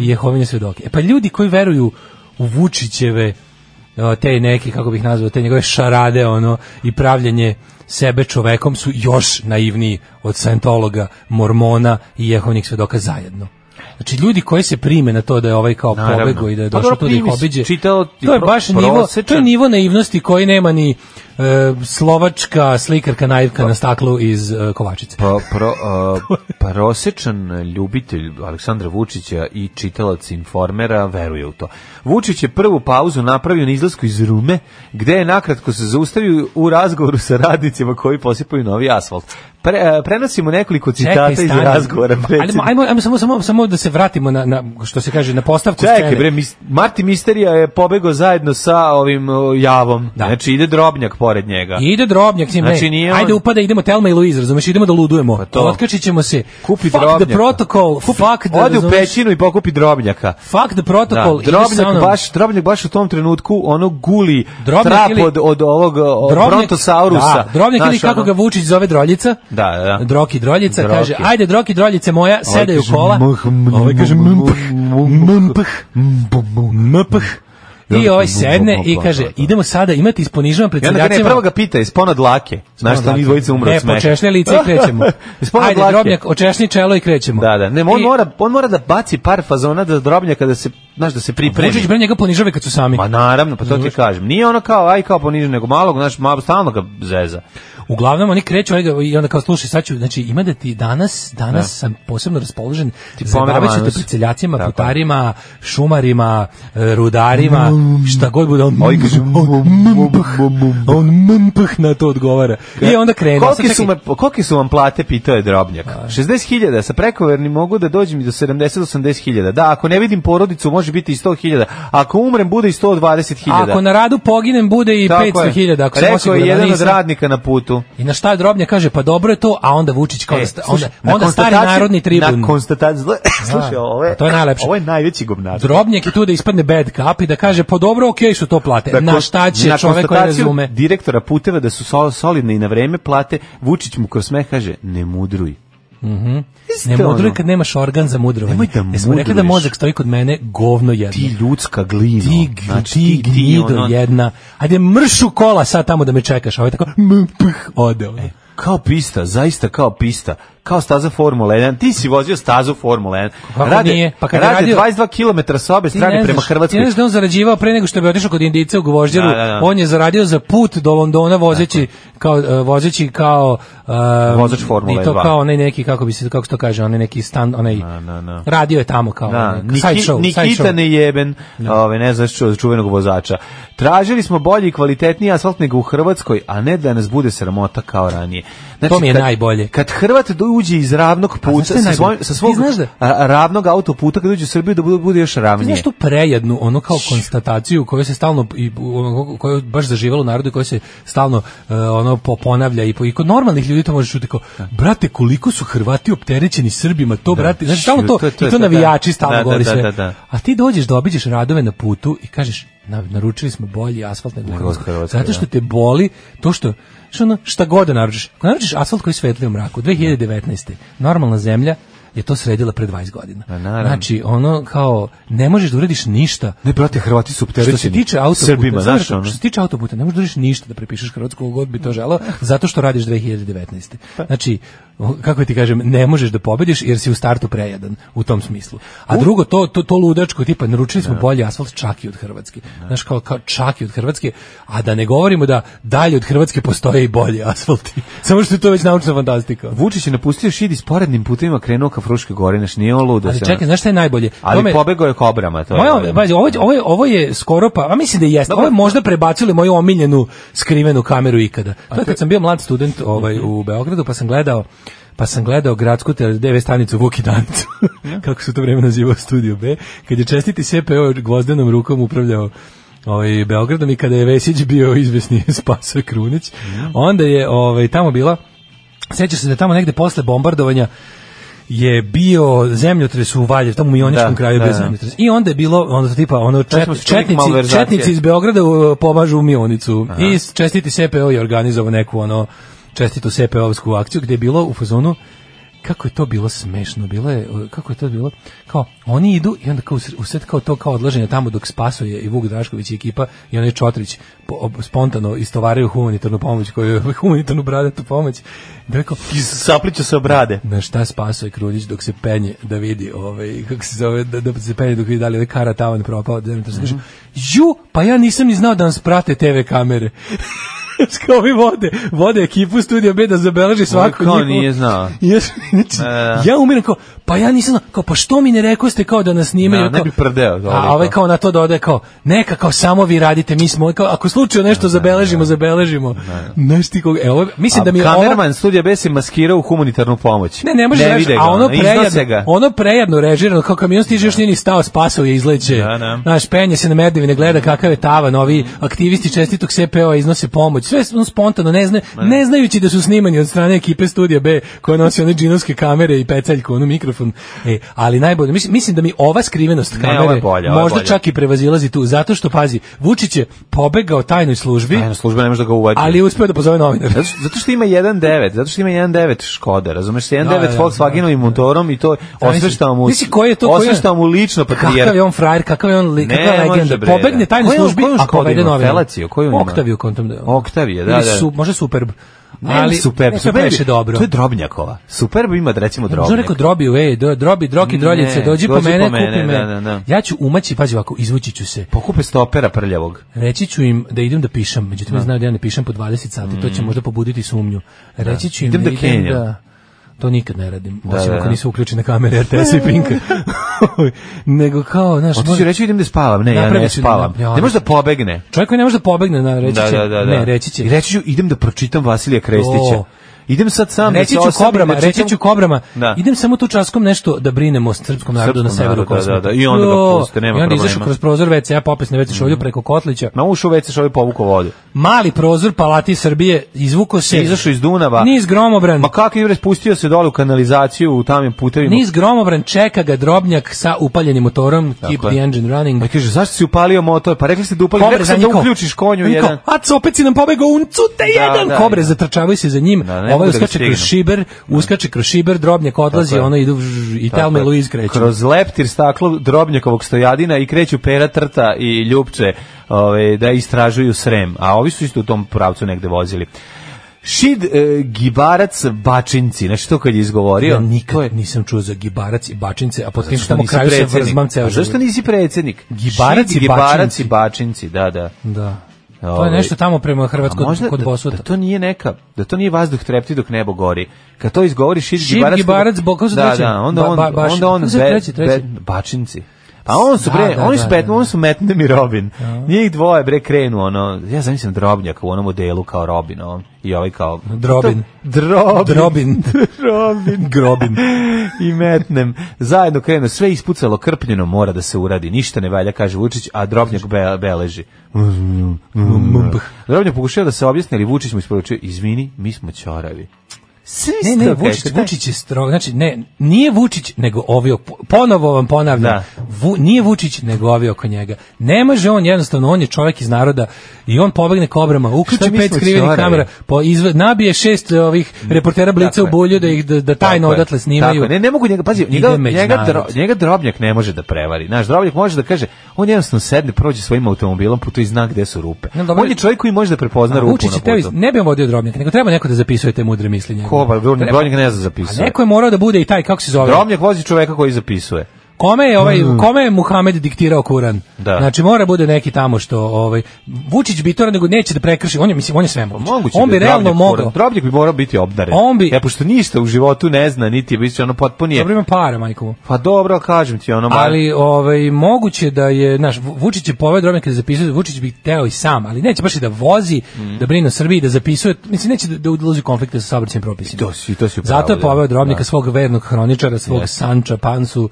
i Jehovine svedoke. E pa ljudi koji veruju u Vučićeve o, te neke, kako bih nazvao, te njegove šarade, ono, i pravljenje sebe čovekom su još naivniji od Scientologa, Mormona i Jehovnih svedoka zajedno. Znači, ljudi koji se prime na to da je ovaj kao Naravno. pobego i da je Pa došao dobro, tu da ih primi se, obiđe, čitao ti to je pro- baš nivo, to je prosečan. nivo naivnosti koji nema ni e, slovačka slikarka naivka na staklu iz e, Kovačice. Pa, pro, uh, prosečan ljubitelj Aleksandra Vučića i čitalac informera veruje u to. Vučić je prvu pauzu napravio na izlasku iz rume, gde je nakratko se zaustavio u razgovoru sa radnicima koji posipaju novi asfalt. Pre, uh, prenosimo nekoliko citata iz stani. razgovora. Ajmo, predsjednika. ajmo, ajmo samo, samo, samo da se vratimo na, na, što se kaže, na postavku Čekaj scene. bre, mis, Marti Misterija je pobegao zajedno sa ovim uh, javom. Znači ide drobnjak pored njega. I Ide drobnjak, njim, Znači, ne. nije on- Pa Ajde upada, idemo Telma i Luiz, razumeš, idemo da ludujemo. to. Otkačit ćemo se. Kupi fuck drobnjaka. the protocol, fuck the, Ode u razumeš, pećinu i pokupi drobnjaka. fuck the Da, protocol. ideš sa drobnjak mnom. baš, drobnjak baš u tom trenutku ono guli Drobnjak trap ili- od, od ovog o, brontosaurusa. Da, drobnjak ili Znaš, kako ono- ga Vučić zove droljica. Da, da. Droki droljica, Droki. Ovaj kaže, ajde droki droljice moja, sedaj u kaže, kola. "Mh, m, Ovaj kaže, m, mph, mph, mph. I ovaj sedne i kaže, idemo sada, imate isponižavan pred I onda ga ne, seljacima. prvo ga pita, isponad lake. Znaš što Odlake. oni dvojice umre Ne, od smeha. E, počešlja lice i krećemo. [LAUGHS] Ispod Ajde, dlake. drobnjak, očešni čelo i krećemo. Da, da. Ne, on, I- mora, on mora da baci par fazona da drobnjaka da se, znaš, da se pripremi. Vučić bre njega ponižava kad su sami. Ma naravno, pa to ti kažem. Nije ono kao, aj kao ponižen, nego malog, znaš, malo, stalno ga zeza. Uglavnom oni kreću oni ga- i onda kao slušaj sad ću znači ima da ti danas danas Da. sam posebno raspoložen ti pomeram zabaviću te anus. pred seljacima, Tako. putarima, šumarima, e, rudarima, Mm. šta god bude on. Ovi kaže, on mmph, on mmph na to odgovara. I onda krene. E, Sad Koliki čekaj, su, me, koliki su vam plate, pitao je Drobnjak. 60.000, sa prekovernim mogu da dođem i do 70-80.000. Da, ako ne vidim porodicu, može biti i 100.000. Ako umrem, bude i 120.000. Ako na radu poginem bude i Tako 500.000 je. ako sam Rekao je osiguran. jedan da od nisam. radnika na putu. I na šta Drobnja kaže, pa dobro je to, a onda Vučić kao da sta- onda, E, na onda stari konstataciji- narodni tribun. Na konstataciji, zle- [LAUGHS] slušaj, Da. ovo A je, to je najlepše. Ovo je najveći gubnar. Drobnjak je tu da ispadne bad cup i da kaže, pa dobro, okej su to plate. Da, na kon- šta će na čovek koji konstataciju razume? direktora puteva da su sol- solidne i na vreme plate, Vučić mu kroz smeh kaže, ne mudruj. Mhm. Isto Ne mudruj ono. kad nemaš organ za mudrovanje. Nemoj da Jesmo rekli da mudruješ. mozak stoji kod mene govno jedno. Ti ono, ljudska znači, glina. Ti, g- ti ono- gnido ono. jedna. Ajde, mršu kola sad tamo da me čekaš. A Ovo je tako, mph, ode. E, ono. Kao pista, zaista kao pista. Kao staza Formula 1. Ti si vozio stazu Formula 1. Kako nije? Pa kad je rade radio- 22 km sa obe Ti strane ne prema znaš- Ti ne Hrvatskoj. znaš da je on zarađivao pre nego što bi otišao kod Indijica u Gvožđeru. Da, da, da. On je zaradio za put do Londona vozeći kao, e, vozeći kao... e, Vozač Formule I to 2. kao onaj neki, kako bi se, kako se to kaže, onaj neki stand, onaj... Na, na. Radio je tamo kao... Da, onaj, side Niki, show, side Nikita show. Nejeben, ove, ne znaš ču- čuvenog vozača. Tražili smo bolji i kvalitetniji asfalt nego u Hrvatskoj, a ne da nas bude sramota kao ranije. Znači, To mi je najbolje. Kad Hrvat do- uđe iz ravnog znaš puta, šta je sa, svoj, najbolje? sa Ti svog znaš da- a- ravnog autoputa, kad uđe u Srbiju, da bude, bude još Ti ravnije. Znaš tu prejednu, ono kao konstataciju koju se stalno, i, ono, koju je baš zaživalo u narodu, i koja se stalno e, ono po- ponavlja i, po, i kod normalnih ljudi to možeš čuti kao, brate, koliko su Hrvati opterećeni Srbima, to brate, znači stalno to, To je- to je- i to to je- navijači da. stalno Da, da, govori da, sve. da, da. A ti dođeš da obiđeš radove na putu i kažeš, "Na- naručili smo bolji asfalt nego u Nego Hrvatskoj." Hrvatskoj, Zato što da. te boli to što što ono, šta god da naručiš. Ako naručiš asfalt koji svetli u mraku, 2019. normalna zemlja je to sredila pre 20 godina. Pa naravno. Znači, ono kao, ne možeš da uradiš ništa. Ne, brate, Hrvati su Što se opterećeni tiče autoputa, Srbima, samo znaš da- ono. što se tiče autoputa, ne možeš da uradiš ništa da prepišeš Hrvatsku koliko god bi to želeo, zato što radiš 2019. Pa. Znači, o, kako ti kažem, ne možeš da pobediš jer si u startu prejedan u tom smislu. A drugo, to, to, to ludačko, tipa, naručili smo bolji asfalt čak i od Hrvatske. Znaš, kao, kao čak i od Hrvatske, a da ne govorimo da dalje od Hrvatske postoje i bolji asfalti. [LAUGHS] Samo što je to već naučna fantastika. Vučić je napustio šid i sporednim putima krenuo ka Fruške gore, znaš, nije on ludo. Ali sve, čekaj, ono. znaš šta je najbolje? To me- Ali pobegao je kobrama, to Moja, je. ono. pazi, ovo, ovo, je- ovo je skoro pa, a mislim da jeste. Ovo je možda prebacili moju omiljenu skrivenu kameru ikada. To je kad sam bio mlad student ovaj, u Beogradu, pa sam gledao pa sam gledao gradsku TV stanicu Vuki Danicu, [LAUGHS] kako se u to vreme nazivao Studio B, kad je čestiti CPO gvozdenom rukom upravljao ovaj, Beogradom i kada je Vesić bio izvesni [LAUGHS] Spaso Krunić, onda je ovaj, tamo bila, sjećaš se da je tamo negde posle bombardovanja je bio zemljotres u Valjevu, tamo u Mioničkom Da, kraju da, bio da. zemljotres. I onda je bilo, onda tipa, ono čet- smo se čuli četnici, malverzacije. četnici iz Beograda uh, pomažu u Mionicu. I s- čestiti SPO je organizovao neku ono čestitu SPO-ovsku akciju gdje je bilo u fazonu kako je to bilo smešno, bilo je, kako je to bilo, kao, oni idu i onda kao usred, usred kao to kao odlaženje tamo dok spasuje i Vuk Drašković i ekipa i onaj Čotrić po- ob- spontano istovaraju humanitarnu pomoć, koju, [LAUGHS] humanitarnu bradatu pomoć. Da je kao, Sapliće se obrade. na šta spasuje Kruljić dok se penje da vidi ovaj kako se zove da, da se penje dok vidi da li je kara tavan propao da mm kaže ju pa ja nisam ni znao da nas prate TV kamere [LAUGHS] kao vi vode, vode ekipu studija B da zabeleži svaku kao njihovu- nije [LAUGHS] znao. I Ja, sam- znači, da. ja umiram kao, pa ja nisam znao, kao, pa što mi ne rekoste kao da nas snimaju? Da, ne Kao- bi prdeo, dobro, A ovaj kao. kao na to dodaje kao, neka kao samo vi radite, mi smo, kao, ako slučajno nešto zabeležimo, zabeležimo. Znaš ti kako- e, ovo, mislim da mi je ova- Kamerman studija B se maskirao u humanitarnu pomoć. ne, ne može da vide reći, ga, a ono iznose prejadno, ga. ono prejadno režirano, kao kamion stiže još nije ni stao, spasao je, izleće. Da, da. Mm. Znaš, penje se na medivine, gleda kakav je tavan, ovi aktivisti čestitog CPO iznose pomoć, sve ono spontano, ne, zna, ne znajući da su snimani od strane ekipe Studija B, koja nosi one džinovske kamere i peceljku, ono mikrofon. E, ali najbolje, mislim, mislim da mi ova skrivenost kamere ovo je bolje, ovo je možda bolje. čak i prevazilazi tu, zato što, pazi, Vučić je pobegao tajnoj službi, Tajna služba ne može da ga uvađe. ono- ali je uspeo da pozove novinar. Zato što, zato što ima 1.9, zato što ima 1.9 Škoda, razumeš, sa 1.9 Da, da, da. Volkswagenovim motorom i to osvešta mu. Misli, koji je to, koji je- osvešta mu lično patrijarh. Kakav je on frajer, kakav je on li, Pa Ne, kakav je može, legenda. bre, Pobegne da. tajne Koju- službi, koju a Škodu povede ima? novinar. Felaciju, koju ima? Oktaviju kontom da. Oktavije, da, Ili da. Su, može Superb. Ne, Ali, super, ne, super, previše dobro. To je Drobnjakova. Superb ima, da recimo Ja bih Drobnjak. rekao drobi, ej, do- drobi, droki, Ne, droljice, dođi po dođi mene, po mene, kupi me. da, da, da. Ja ću umaći, pazi ovako, izvući ću se. Pokupe stopera prljavog. Reći ću im da idem da pišem, međutim ja znaju da ja ne pišem po 20 sati, to će možda pobuditi sumnju. Reći ću im Idem da, Mm. da idem kenjam. da to nikad ne radim, osim da, ako da. nisu uključene kamere RTS i [LAUGHS] Pinka. Nego kao, znaš, Otiću može- i reći idem da spavam, ne, ja Napravit ne ću da spavam. napravim. Ne može da pobegne. Čovjek koji ne može da pobegne, na, reći Da, će, da, da, da. ne, reći će. I reći ću idem da pročitam Vasilija Krestića. To. Idem sad sam da reći se ću osamim, kobrama, da reći čitam- ću kobrama. Da. Idem samo tu časkom nešto da brinemo o srpskom narodu na Srpskom severu narodu, da, Kosova. da, da, i onda ga Jo, puste, nema I onda problema. Mhm. izašao kroz prozor WC, ja popis na WC šolju preko Kotlića. Na ušu već se ovaj povuko vodu. Mali prozor palati Srbije, izvuko se. Izašao iz Dunava. Niz gromobran. Ma kako je spustio se dole u kanalizaciju u tamim putevima. Niz gromobran čeka ga drobnjak sa upaljenim motorom, keep je. the engine running. Pa kaže, zašto si upalio motor? Pa rekli ste da upali, Kobre rekli sam da zanjikao. uključiš konju On kao, jedan. Aco, opet si nam pobegao, uncu te Da, jedan! da, Kobre da. zatrčavaju se za njim, Da, ne mogu ovaj da ga uskače kroz stignu. šiber, uskače kroz šiber, drobnjak odlazi, Tako je. ono idu vž, i Tell me Louise kreće. Kroz leptir staklo drobnjakovog stojadina i kreću pera trta i ljupče ove, da istražuju srem. A ovi su isto u tom pravcu negde vozili. Šid e, Gibarac Bačinci, znači to kad je izgovorio. Ja nikad to je- nisam čuo za gibarac i bačince, a Zato potom što tamo nisi kraju se predsednik. vrzmam ceo A Zašto život. nisi predsjednik? Gibarac Šid i Gibarac Bačinci. i Bačinci, da, da. Da. To Ovaj, je nešto tamo prema A Hrvatskoj možda kod da- Bosuta. Da to nije neka, da to nije vazduh trepti dok nebo gori. Kad to izgovori Šid Šid Gibarac... Gibarac, bo- kako se da, treće? da, onda Ba- on, ba- baš- onda on kako se be- treće, treće? be- bačinci. Pa on su Da, bre, da, oni da, su pet, da, da. oni su metnem i Robin. Njih dvoje bre krenu ono, ja zamislim drobnjak u onom delu kao Robin, ovom, i ovaj kao Drobin. Drobin. [LAUGHS] Drobin. Robin. Grobin. I metnem. Zajedno krenu, sve ispucalo krpnjeno, mora da se uradi. Ništa ne valja, kaže Vučić, a Drobnjak be- beleži. Drobnjak pokušao da se objasni, ali Vučić mu isporučio, izvini, mi smo ćoravi. Svi Ne, ne, ste, Vučić, kažete, Vučić je strog. Znači, ne, nije Vučić, nego ovi oko, ponovo vam ponavljam, Da. Vu- nije Vučić, nego ovi oko njega. Ne može on jednostavno, on je čovjek iz naroda i on pobegne kobrama, Šta uključi mi pet smo skrivenih ćoravi? kamera, po izve- nabije šest e, ovih reportera blica Tako u je. bulju da ih da, da tajno Tako je, odatle snimaju. tako je. Ne, ne mogu njega, pazi, Ide njega, među njega, narod. dro- njega drobnjak ne može da prevari. Naš drobnjak može da kaže, on jednostavno sedne, prođe svojim automobilom, putu i zna gde su rupe. Ne, dobro. on je čovjek koji može da prepozna A rupu Vučić na je teo iz- putu. ne bi on vodio drobnjak, nego treba neko da zapisuje te mudre misli njega. Ko, pa, drobnjak ne zna zapisuje. Neko je morao da bude i taj, kako se zove? Drobnjak vozi čoveka koji zapisuje. Kome je ovaj kome je Muhamed diktirao Kuran? Mm. Da. Znači mora bude neki tamo što ovaj Vučić bi to nego neće da prekrši. On je mislim on je sve Moguće On da bi je realno Drobnjak mogao. moran- Drobnjak bi morao biti obdaren. On bi- E, pošto ništa u životu ne zna, niti je biti ono potpunije. Dobro ima para, majko. mu. Pa dobro, kažem ti ono... Ali... Ali ovaj moguće da je, znaš, Vu- Vučić je poveo drobne kada zapisuje, Vučić bi teo i sam, ali neće baš i da vozi, Mhm. da brine o Srbiji, da zapisuje, mislim neće da, da ulazi u konflikte sa saobraćajnim propisima. I to si- to si u pravu, Zato je da. poveo drobnika Da. svog vernog hroničara, svog Sanča Pansu,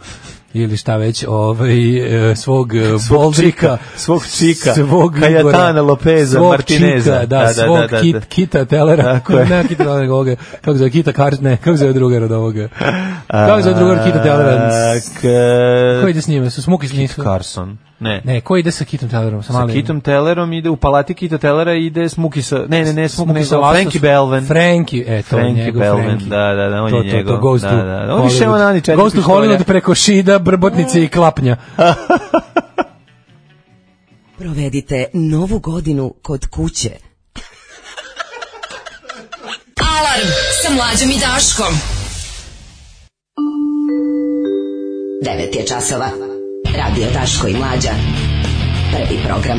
ili šta već, ovaj, e, svog e, Svog Boldrika, čika, svog čika, svog Cayetana Igora, Lopeza, svog Martineza. čika, da, Da, da, svog da, da, Kit- da. Kita Telera, Tako je. [LAUGHS] ne Kita Telera, nego ovoga, kako se zove, Kita Kart, ne, kako se zove drugar od [LAUGHS] ovoga, kako se zove E, drugar Kita Telera, ko ide s njima, su smuki s njima, Kit Carson. Ne. ne, ko ide sa Kitom Tellerom, sa Sa malim, Kitom Tellerom ide u palati Kita Tellera ide Smuki sa ne ne ne Smuki, Smuki nego sa Lasos. Frankie Belven. Frankie, e, to je Frankie njegov Belven, Frankie. da, da, da, on to, je to, To, njegov, goes da, to, da, da. On više Hollywood. nema nani četiri Goes to pištolja. Hollywood preko šida, brbotnice i klapnja. Provedite novu godinu kod kuće. Alarm sa mlađom i Daškom. 9 je časova. Radio Daško i Mlađa. Prvi program.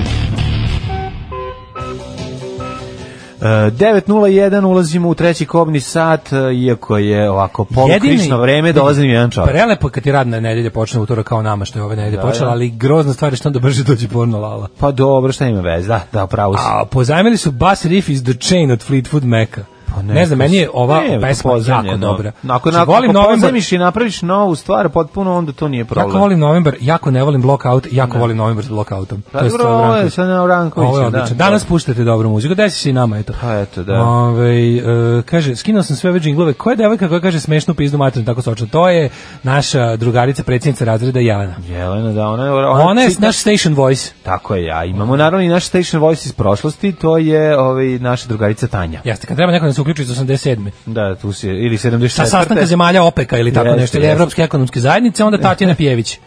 E, 9.01 ulazimo u treći kobni sat, e, iako je ovako polukrišno vreme, dolazi mi jedan čovjek. Prelepo je kad ti radna nedelja počne utora kao nama što je ove nedelje Da, počela, da. ali grozna stvar je što onda brže dođe porno lala. Pa dobro, šta ima veze, da, da, pravo si. A pozajmili su Bass Riff iz The Chain od Fleetwood Maca. Pa ne, znam, to meni je s- ova ne, to pesma pozajmljeno. jako dobra. Ako, Znači, ako, volim ako Novembar- pozajmiš i napraviš novu stvar, potpuno onda to nije problem. Jako volim novembar, jako ne volim blockout, jako volim novembar s blockoutom. Pa dobro, Stevan ovo je Branković. sa Neom Rankovićem, Ovo je da, odlično. to je. Danas puštate dobru muziku, desi se i nama, eto. Pa eto, da. Ovaj, e, kaže, skinuo sam sve ove džinglove, koja je devojka koja kaže smešnu pizdu materinu, tako sočno? To je naša drugarica, predsjednica razreda Jelena. Jelena, da, ona je... Ona je čita- naš station voice. Tako je, ja. Imamo naravno i naš station voice iz prošlosti, to je ovaj, naša drugarica Tanja. Jeste, kad treba neko da se uključi iz 87. Da, tu si, ili 74. Sa sastanka zemalja OPEK-a ili tako Jeste, nešto, ili jeste. Evropske ekonomske zajednice, onda Tatjana [LAUGHS] Pjević,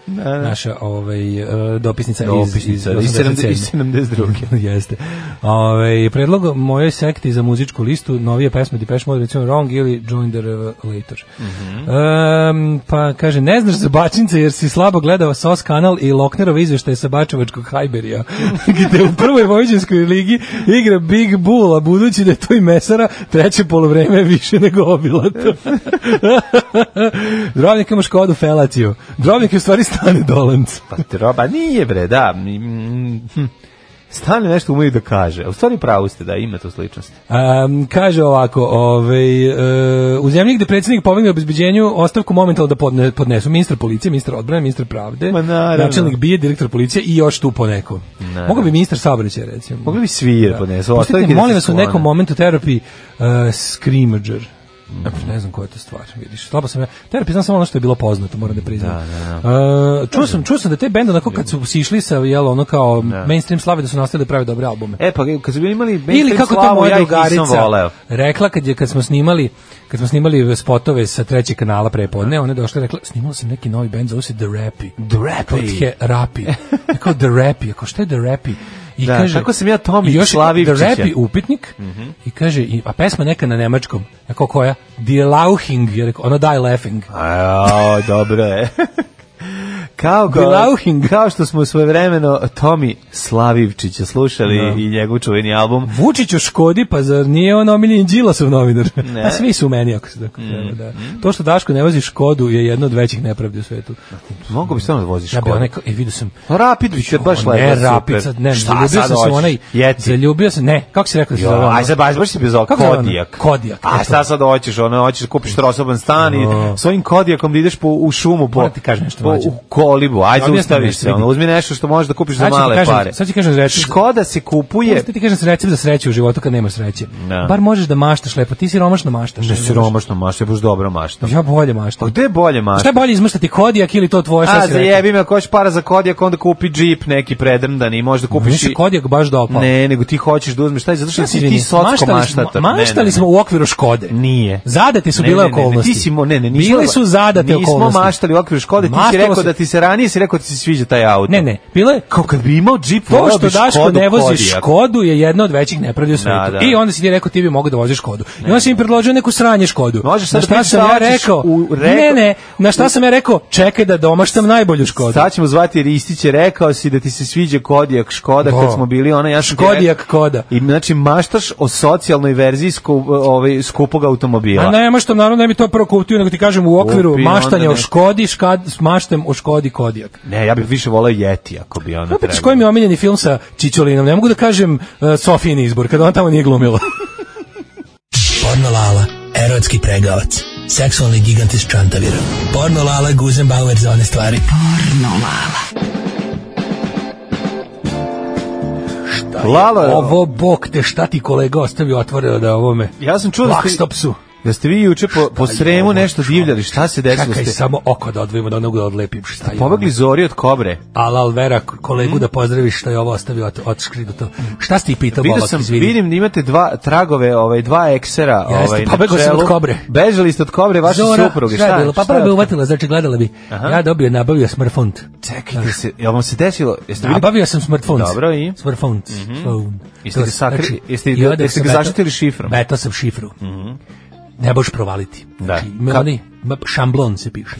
naša ovaj, e, dopisnica, Dopisnica, iz 70- iz 72. [LAUGHS] Jeste. Ove, predlog moje sekti za muzičku listu, novije pesme Depeche Mode, recimo Wrong ili Join the Revelator. Em, pa kaže, ne znaš za Bačince jer si slabo gledao SOS kanal i Loknerova izveštaje sa Bačevačkog Hajberija, [LAUGHS] gde u prvoj vojđanskoj ligi igra Big Bull, a budući da je to i mesara, treće polovreme je više nego obilato. [LAUGHS] Drobnik ima Škodu Felaciju. Drobnik je u stvari stane dolanc. Pa troba, nije bre, da. mm, hm. Stane nešto umeju da kaže. U stvari pravu ste da ima tu sličnost. Um, kaže ovako, ovaj, e, u zemlji gde predsjednik pobegne obezbeđenju, ostavku momentalno da podne, podnesu ministar policije, ministar odbrane, ministar pravde, Ma naravno. načelnik bije, direktor policije i još tu poneko. Mogu bi ministar saobraćaja recimo. Mogli bi pa svi jer podnesu. Pustite, ostavke da molim se vas, u sklone. nekom momentu terapiji uh, Screamager. Mhm. Ne znam koja je to stvar, vidiš. Slabo sam ja. Terapi znam samo ono što je bilo poznato, moram da priznam. E, čuo, sam, čuo sam da te bende onako kad su sišli sa, jel, ono kao mainstream slave, da su nastavili da prave dobre albume. E, pa kad su bili imali Ili kako to slavu, moja ja ih nisam drugarica voleo. rekla kad je kad smo snimali kad smo snimali spotove sa trećeg kanala prepodne, ona je došla i rekla snimala sam neki novi bend zove se The Rapi. The Rapi. Od He [LAUGHS] Rapi. Ja Kao The Rapi, ako šta je The Rapi? I Da, tako sam ja Tomi i još je Slavivčića. Mhm. The Rapi upitnik i kaže, i, a pesma neka na nemačkom, ako koja? Die Lauching, je rekao, ona Die Laughing. A, dobro [LAUGHS] je. Kao, kao, Belauhing. kao što smo svojevremeno Tomi Slavivčića slušali i njegov čuveni album. Vučić u Škodi, pa zar nije on omiljen Đilasov novinar? [LAUGHS] A svi su u meni, ako se Mhm. tako treba, da. To što Daško ne vozi Škodu je jedno od većih nepravdi u svetu. Mogu bi samo da voziš Ja bi kola. onaj, kao- e, vidio sam, Rapid je baš O, lepo. Ne, super. rapica, ne, Šta zaljubio sad sam se u hoćeš? onaj, Jeti. zaljubio sam, ne, kako si rekao da se Jo, zove ono? aj sad baš, baš si bio zvao Kako je ono? Kodijak. Kodijak, A eto. šta sad hoćeš, ono, hoćeš da kupiš trosoban stan i O. svojim Kodijakom da ideš po, u šumu, po, Moram ti kažem nešto, po, mlađe. u kolibu, aj Objasni zaustaviš nešto, se, ono, vidi. uzmi nešto što možeš da kupiš za Sad ću ti male kažem- pare. sad ću ti kažem reći- Škoda se kupuje, Možda ti ti kažem sreće za sreću u životu kad nema sreće. Da. Bar možeš da maštaš lepo, ti siromašno maštaš. ne možeš. siromašno mašta, baš dobro mašta. Ja bolje Pa maštam. gde je bolje mašta? Šta je bolje izmrštati kodijak ili to tvoje šta A, si za rekao? jebi me, ako hoćeš para za kodijak, onda kupi džip neki predrndan i možda Meni kupiš se i... kodijak Pa baš dopao. Ne, nego ti hoćeš da uzmeš, taj, zato što Ja se si ti izvinim, socko maštali smo- maštatar. Ne, ne, Maštali ne. smo u okviru Škode. Nije. Zadate su Ne, bile ne, ne, ne, okolnosti. ti si mo- ne, ne, nismo- Bile su zadate okolnosti. Nismo maštali u okviru Škode, ti si Maštalo rekao se- da ti se ranije si rekao da ti se sviđa taj auto. Ne, ne, bilo je Kao kad bi imao džip, To voleo što bi Daško Škodu ne vozi Kodiaq. Škodu je jedna od većih nepravdi u svetu. da. I onda si ti rekao ti bi mogao da voziš Škodu. I onda si mi predložio neku sranje Škodu. Možeš sad na da šta pričaš sam šta ja hoćeš rekao? u- Ne, rekao- ne, na šta sam ja rekao? Čekaj da domaštam najbolju Škodu. Sad ćemo zvati Ristić je rekao si da ti se sviđa Kodijak Škoda Da. kad smo bili ona ja sam ti Škodijak rekao- Koda. I znači maštaš o socijalnoj verziji sku, ovaj skupog automobila. A ne, maštam, naravno ne bi to prvo kupio, nego ti kažem u okviru Kupi, maštanja onda o ne. Škodi, škad, s maštem o Škodi Kodijak. Ne, ja bih više voleo Jeti ako bi ono ona. Opet, s trebala. znači, kojim je omiljeni film sa Čičolinom? Ne mogu da kažem uh, Sofijin izbor, kada on tamo nije glumila. Porno lala, erotski pregavac. Seksualni gigant iz Čantavira. Porno Lala Guzenbauer za one stvari. Porno Lala. Lalo je- Ovo, bok te, šta ti kolega ostavio otvoreno da ovome? Ja sam čuo da ste- Blackstop su. Da ste vi juče po, po Sremu nešto divljali, šta se desilo? Čakaj, ste? samo oko da odvojimo da onog da odlepim. Šta je ono. Pobegli zori od kobre. Ala Alvera, kolegu Mhm. da pozdraviš što je ovo ostavio od, od to. Šta si ti pitao, Vidio Bobak, sam, izvini? vidim da imate dva tragove, ovaj dva eksera, Jeste, ovaj. na pobegao sam čelu. od kobre. Bežali ste od kobre vaše Zora, supruge, šta je šta? bilo? Pa šta prvo je bi od- uvatila, znači gledala bi. Ja dobio, nabavio smrfont. Čekajte se, jel vam se desilo? Jeste bili- Nabavio sam smartphone. Dobro, i? Smartphone. Mhm. Phone. Jeste To ga sam- sakri- jeste- znači, i onda jeste sam ga metao- zaštitili šifrom? Mhm. Metao sam šifru. Ne možeš provaliti. Da. Znači, ima Ka- onaj- ima šamblon se piše.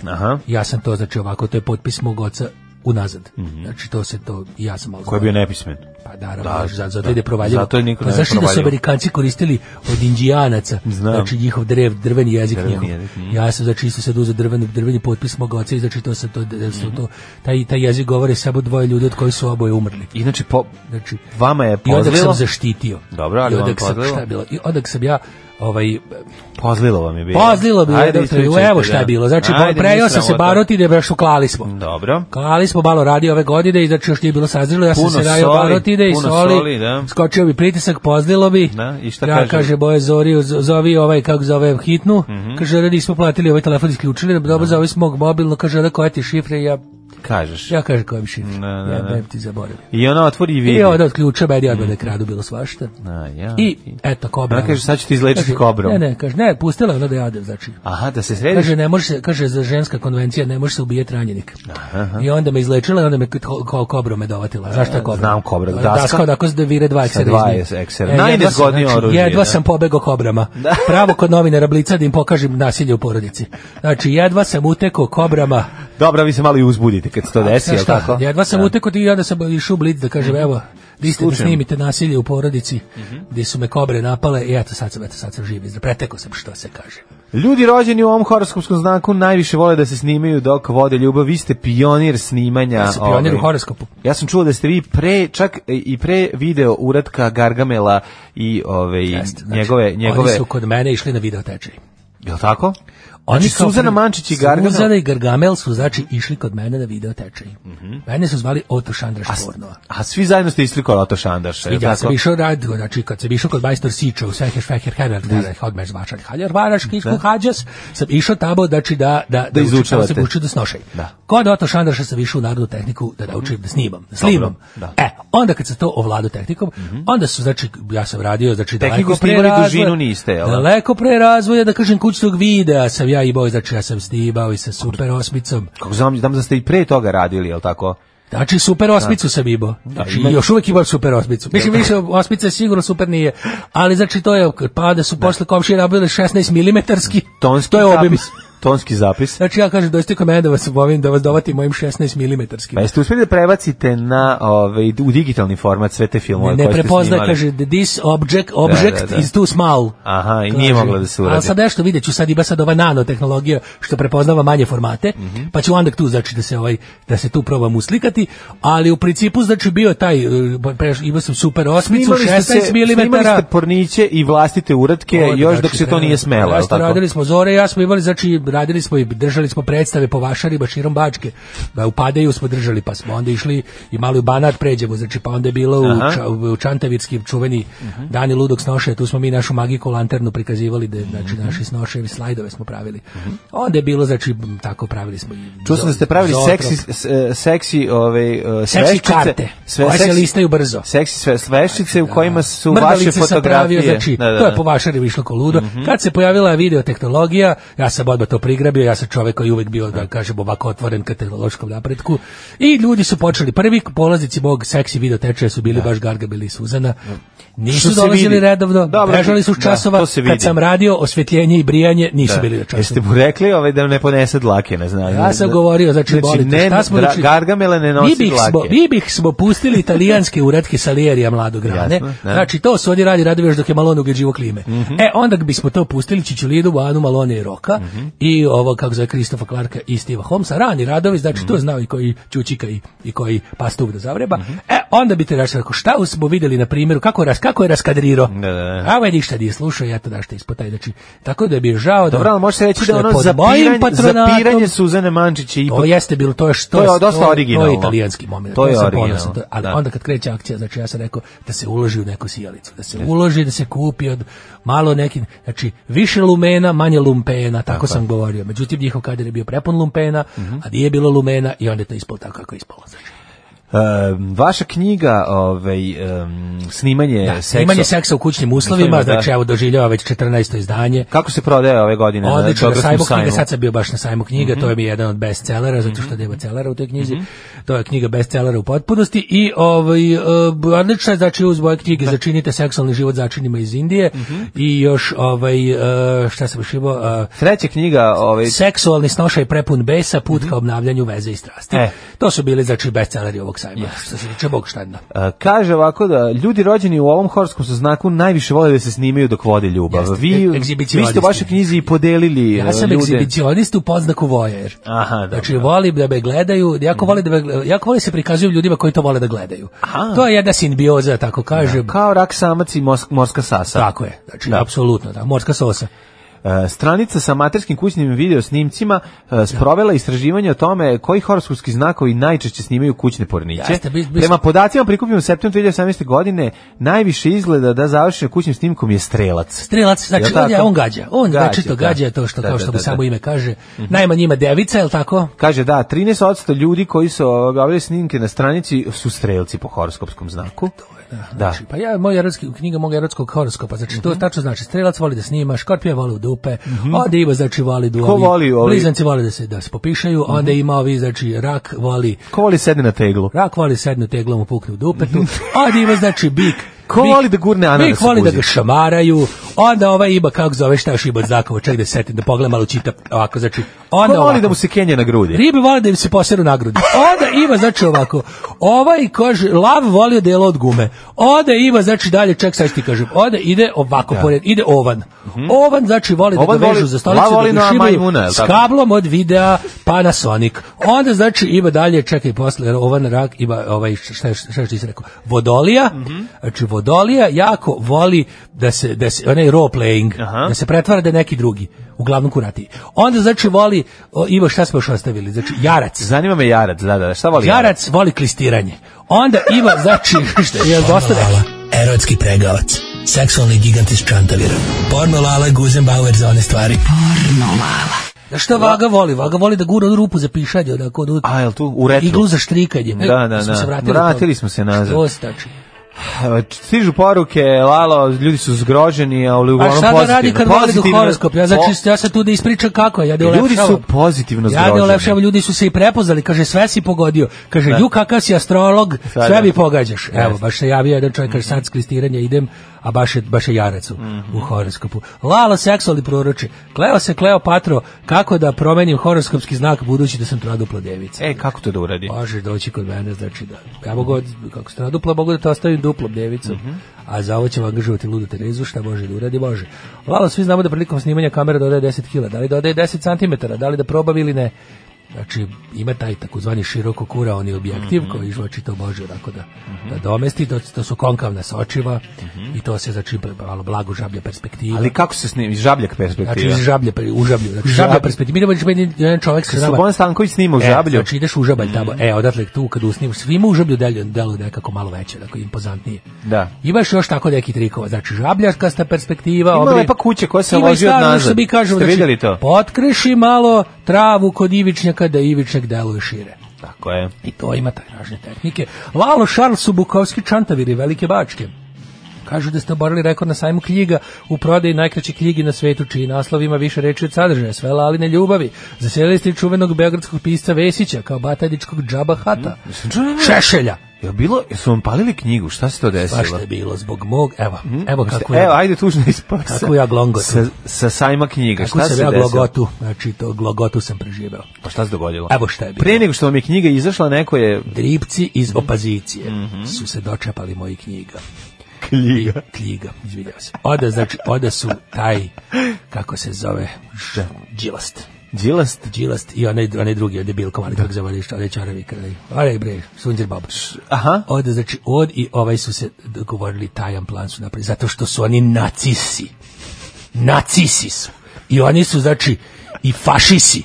Ja sam to, znači ovako, to je potpis mog oca unazad. Znači to se to, ja sam malo Mhm. Ko je bio nepismen? Pa naravno, Da, znaš, zato, da. ide provaljivo. Zato je niko pa ne zašto da su provaljivo. Amerikanci koristili od indijanaca? Znam. Znači njihov drev, drveni jezik Drveni njihov. jezik, mhm. Ja sam znači isto sad uzeo drveni, drveni potpis mog oca i znači to se to, da Mhm. su to taj, taj jezik govore samo dvoje ljudi od kojih su oboje umrli. Inače, po, znači, vama je I onda pozlilo? sam zaštitio. Dobro, ali I onda vam sam, pozlilo? šta je bilo? I onda sam ja ovaj, Pozlilo vam je bilo. Pozlilo bi, Ajde, doktor, ispričajte, evo šta je da. bilo. Znači, Ajde, prejao nije sam se sramota. baroti da je baš klali smo. Dobro. Klali smo malo radi ove godine i znači još nije bilo sazrilo, ja sam Puno se rajao soli, barotide i puno soli, soli, da. skočio bi pritisak, pozdilo bi, Da, i šta ja kaže? kaže boje Zori, z- zovi ovaj, kako zove, hitnu, Mhm. kaže da nismo platili ovaj telefon, isključili, dobro, zove s mog mobilno, kaže da koja ti je šifra i ja, Kažeš. ja kaže koja mi šifra, Da, da, ja da. bem ti zaboravio. I ona otvori i vidi. I onda od ključa meni odmah na kradu bilo svašta. A, ja. I eto kobra. Ona kaže, sad ću ti izlečiti Kaže, kobrom. Ne, ne, kaže ne, pustila je ona da jadem, znači. Aha, da se središ. Kaže ne može se, kaže za ženska konvencija ne može se ubijati ranjenik. Aha. E, I onda me izlečila i onda me ko, ko, kobrom me dovatila. Zašto je kobra? Znam kobra, Daska. daska. Daska odako se devire dva Sa eksera. dva iz nje. eksera. E, jedva Najnezgodnije sam, znači, oružje, Jedva da. sam pobegao kobrama. [LAUGHS] Pravo kod novinara Blica da im pokažem nasilje u porodici. Znači jedva sam utekao kobrama. Dobro, vi se malo i uzbudite kad se to desi, Znaš jel šta, tako? Mhm. jedva sam utekao i onda sam išao u Blitz da kažem, evo, vi ste da Slučajno. Mhm. snimite nasilje u porodici, gdje su me kobre napale i eto sad sam, eto sad sam živ, izdrav. pretekao sam što se kaže. Ljudi rođeni u ovom horoskopskom znaku najviše vole da se snimaju dok vode ljubav. Vi ste pionir snimanja. Ja sam pionir ovaj. u horoskopu. Ja sam čuo da ste vi pre, čak i pre video uratka Gargamela i ove, Znači, njegove, njegove, Oni su kod mene išli na video tečaj. jel tako? Oni Znači, kao Suzana prvi- Mančić i Gargamel. Suzana i Gargamel su znači išli kod mene na video tečaj. Mene su zvali Oto Šandraš Mhm. A, s- Pornova. a svi zajedno ste išli kod Oto Šandaša, jel Ja sam tako? išao radio, znači kad sam išao kod majstor Siča u Seher Feher Herer, da Hodmer Zvačar Haljar Varaški, Da. Hađas, sam išao tamo, znači da, da, da, učim, tamo izučavate. sam učio da snošaj. Da. Kod Oto Šandraša sam išao u narodnu tehniku da naučim da snimam, da snimam. da. E, onda kad se to ovlado tehnikom, onda su, znači, ja sam radio, znači, Tehniku daleko pre snimali, razvoja, dužinu niste, jel da? daleko pre razvoja, da kažem, kućnog videa sam ja imao, znači, ja sam snimao i sa Super Osmicom, Kako znam, znam da ste i pre toga radili, jel tako? Znači, super osmicu sam imao. Znači, ima- još uvijek imam super osmicu. Mislim, više osmica sigurno super nije. Ali, znači, to je, pa da su posle komšije nabili 16 milimetarski. Tonski To je obim. zapis. Tonski [LAUGHS] zapis. Znači, ja kažem, dođite kod mene da vas obavim, da vas dovatim mojim 16 milimetarski. Pa jeste uspjeli da prebacite na, ove, u digitalni format sve te filmove Ne, koje ne ste prepozna, snimali? kaže, this object, object Da, da, da. is too small. Aha, i nije Kaže, mogla da se Ali uradi. sad nešto vidjet ću, sad ima sad ova nanotehnologija što prepoznava manje formate, Mhm. pa ću onda tu, znači, da se, ovaj, da se tu probam uslikati, ali u principu, znači, bio je taj, e, preš- imao sam super osmicu, Snimali ste 16 se- Snimali milimetara. ste porniće i vlastite uratke Ovo je još drugačije dok se to vreme. nije smelo, Ja jel smo tako? radili smo zore, ja smo imali, znači, radili smo i držali smo predstave po vašarima širom Bačke. Da, u Padeju smo držali, pa smo onda išli i malo u Banat pređemo, znači, pa onda je bilo u, Aha. Mhm. ča, u Čantavirski čuveni Dani ludog snoše, tu smo mi našu magiku lanternu prikazivali, da, znači, Mhm. naši snoševi slajdove smo pravili. Onda je bilo, znači, m, tako pravili smo i... Čuo sam Mhm. da ste pravili zootrop. seksi, s- e, seksi, ove, e, sveščice, karte, koje se listaju brzo. Seksi sve, sveščice u kojima su vaše Mrdalice sam fotografije. pravio, znači, Da, da, to je da. Mhm. po vašarima išlo ko ludo. Kad se pojavila videotehnologija, ja sam odmah to prigrabio, ja sam čovek koji je uvek bio, da kažem, ovako otvoren ka tehnološkom napretku. I ljudi su počeli, prvi polaznici mog seksi videotečaja su bili baš Gargabel i Suzana. Nisu Što se dolazili vidi. redovno, Dobro, bežali su s da, časova, to se vidi. kad sam radio osvetljenje i brijanje, nisu Da. bili na času. Jeste mu rekli ovaj, da ne ponese dlake, ne znam. Ja sam govorio, znači, boli te, Ovaj, ne, šta smo dra- učili? Gargamele ne nosi mi bih dlake. smo, mi bih smo pustili italijanske uretke Salierija mladog grane. Jasno, da. Mhm. Znači, to su oni Mhm. radi, radi još dok je Malone ugeđivo klime. E, onda bismo to pustili Čičulidu, Anu, Malone i Roka i i ovo kako zove Kristofa Clarka i Steva Holmesa, rani radovi, znači Mhm. to je znao i koji Ćućika i, i koji Pastub da zavreba. E, onda bi te rešao, rekao, šta smo vidjeli na primjeru, kako, ras, kako je raskadrirao. Da, da, da. A ovaj ništa nije slušao, ja to dašte ispotaj. Znači, tako da bi žao da... Dobro, ali može se reći što da je ono pod mojim zapiranje, patronatom- zapiranje Suzane Mančić je ipak... to jeste bilo to je što To je dosta originalno. To je italijanski moment. To je sam originalno, ponosan, to- ali da. onda kad kreće akcija, znači ja sam rekao da se uloži u neku sijalicu, da se uloži, da se kupi od malo nekim, znači više lumena, manje lumpena, tako sam govorio. Međutim njihov kadar je bio prepun lumpena, Mhm. a nije bilo lumena i onda je to ispalo tako kako je ispalo. Znači, Ehm, vaša knjiga, ovaj, ehm, snimanje da, seksa... imanje seksa u kućnim uslovima, Uslovima, da. znači evo doživljava već 14. izdanje. Kako se prodaje ove godine? na Odlično, na Beogradskom sajmu knjiga, sajmu? sad sam bio baš na sajmu knjiga, Mhm. to je mi jedan od bestsellera, zato što nema celera u toj knjizi. To je knjiga bestsellera u potpunosti i ovaj, e, odlična je, znači uz moje knjige Začinite seksualni život začinima iz Indije Mhm. i još, ovaj, e, šta sam još imao, e, Treća knjiga, ovaj, Seksualni snošaj prepun besa, put ka obnavljanju veze i strasti. Mhm. E. To su bili, znači, bestselleri ovog sajma, što se tiče Bog štadna. e, kaže ovako da ljudi rođeni u ovom horskom su znaku najviše vole da se snimaju dok vode ljubav. Jeste, e- Vi, vi ste egzibicionisti. u vašoj knjizi i podelili Ja e, sam ljude. egzibicionist u poznaku vojer. Aha, dobro. Mhm. Znači, volim da me gledaju, jako volim da me, gle- jako volim se prikazuju ljudima koji to vole da gledaju. To je jedna simbioza, tako kažem. Kao rak samac i mos- morska sasa. Tako je, znači, apsolutno, da, morska sosa. E, stranica sa amaterskim kućnim video snimcima e, sprovela istraživanje o tome koji horoskopski znakovi najčešće snimaju kućne porniće. Jeste, bi- bi- Prema podacima prikupljenim u septembru 2018. godine najviše izgleda da završeno kućnim snimkom je strelac. Strelac, znači, Jel on, tako? je, on gađa, on znači to da. gađa to što, Da, kao da, Mhm. što mu da, samo da. ime kaže. Najmanje ima devica, je li tako? Kaže da, 13% ljudi koji su obavili snimke na stranici su strelci po horoskopskom znaku. Da. Mhm. Znači, pa ja, moj erotski, knjiga mog erotskog horoskopa, znači to tačno znači, strelac voli da snima, škorpija voli u dupe, a diva znači voli da Ko ovi- voli ovi- Mhm. blizanci vole da se, da se popišaju, onda ima ovi, znači rak voli Ko voli sedne na teglu? Rak voli sednu teglom pukne u dupetu, a diva znači bik. Ko Bik- voli da gurne ananas Bik voli u da guzi? ga šamaraju, onda ovaj ima, kako zove, šta još ima od zakova, ček da se setim, da pogledam malo čita, ovako, znači, Ko onda voli ovako. da mu se kenje na grudi? Ribe vole da im se poseru na grudi. Onda ima, znači ovako, ovaj kaže, lav voli delo od gume. Onda ima, znači dalje, ček, sad ću ti kažem, onda ide ovako pored, ide ovan. Ovan, znači, voli da Mhm. Ovan ga vežu voli- za stolicu, lav voli da ga na šibaju majmuna, jel s tako? kablom od videa Panasonic. Onda, znači, ima dalje, čekaj, posle, ovan rak, ima, ovaj, šta, je- šta, je ti se rekao, vodolija, znači, vodolija jako voli da se, da se, onaj role playing, da se pretvara da je neki drugi uglavnom kurati. Onda znači voli, o, ima šta smo još ostavili, znači jarac. Zanima me jarac, da, da, šta voli jarac? Jarac voli klistiranje. Onda ima, [LAUGHS] znači, šta je dosta Pornolala, erotski pregavac, seksualni gigant iz Čantavira. Pornolala Guzenbauer za one stvari. Pornolala. Da šta Vaga voli? Vaga voli da gura onu rupu za pišanje, onako, od, A, jel tu u retru? iglu za štrikanje. E, Da, da, smo da. se vratili, Vratili od toga. smo se nazad. Što se tači? E, Stižu poruke, Lalo, ljudi su zgroženi, ali A uglavnom šta pozitivno. da radi kad voli do Pozitivno- horoskop? Ja, znači, Po- ja sam tu da ispričam kako je, ja da Ljudi ulepšavam. su pozitivno Ja ne zgroženi. olepšavam, ljudi su se i prepoznali, kaže sve si pogodio. Kaže, ju kakav si astrolog, Sad, sve da. mi pogađaš. Evo, Jeste. baš se javio jedan čovjek, kaže sad s klistiranja idem, a baš je, baš je jarac u, u horoskopu. Lalo seksualni proroče, kleo se kleo patro, kako da promenim horoskopski znak budući da sam trodupla devica. E, kako to da uradi? Može doći kod mene, znači da. Ja mogu, od- kako se dupla, mogu da te ostavim duplom devicom. A za ovo ćemo angažovati ludu Terezu, šta može da uradi, može. Lalo, svi znamo da prilikom snimanja kamera dodaje 10 kila. Da li dodaje 10 cm, da li da probavi ili ne. Znači, ima taj takozvani široko kura, on je objektiv koji žvači to može onako da, da domesti, to, to su konkavna sočiva i to se znači malo blago žablja perspektiva. Ali kako se snimi? Žabljak Znači, perspektiva. iz žablje, pre- u žablju. Znači, žablja Žab- perspektiva. Mi idemo, meni jedan čovjek sa nama- Slobodan Stanković snima u žablju. E, znači ideš u žabalj tamo. E, odatle tu kad usnimaš, svima u žablju deluje deluje nekako malo veće, tako impozantnije. Da. Imaš još tako neki trikova, znači žabljarkasta perspektiva. Ima obri- lepa kuća koja se Ima i loži od staro, ono nazad. što mi kažemo, Ste znači, vidjeli to? Potkreši malo travu kod ivičnjaka da ivičnjak deluje šire. Tako je. I to ima taj razne tehnike. Lalo Charles su Bukovski čantaviri, velike bačke. Kažu da ste oborili rekord na sajmu knjiga u prodaji najkraće knjigi na svetu, čiji naslov ima više reči od sadržaja, sve laline ljubavi. Zaselili ste i čuvenog beogradskog pisca Vesića, kao batajničkog džaba hata. Mm. Šešelja! Je bilo, jesu vam palili knjigu? Šta se to desilo? Baš je bilo zbog mog, evo, evo Jeste- kako je. Mm. Evo, ajde tužno ispasa. Kako ja glongotu. Sa, sa sajma knjiga. Kako šta sam se ja desilo? glogotu, znači to glogotu sam preživeo. Pa šta se dogodilo? Evo šta je bilo. Pre nego što vam je knjiga izašla, neko je [LAUGHS] Dripci iz Mhm. opozicije su se dočepali mojih knjiga. knjiga. Knjiga, izvinjavam se. Oda, znači, oda su taj, kako se zove, ž- džilast. Đilast? Đilast i onaj, onaj drugi, onaj Bilko, ali kako zavali, što onaj čaravi kralj. Onaj bre, Sunđer Baba. Aha. Ovde, znači, od i ovaj su se dogovorili, tajan plan su napravili, zato što su oni nacisi. Nacisi su. I oni su, znači, i fašisi.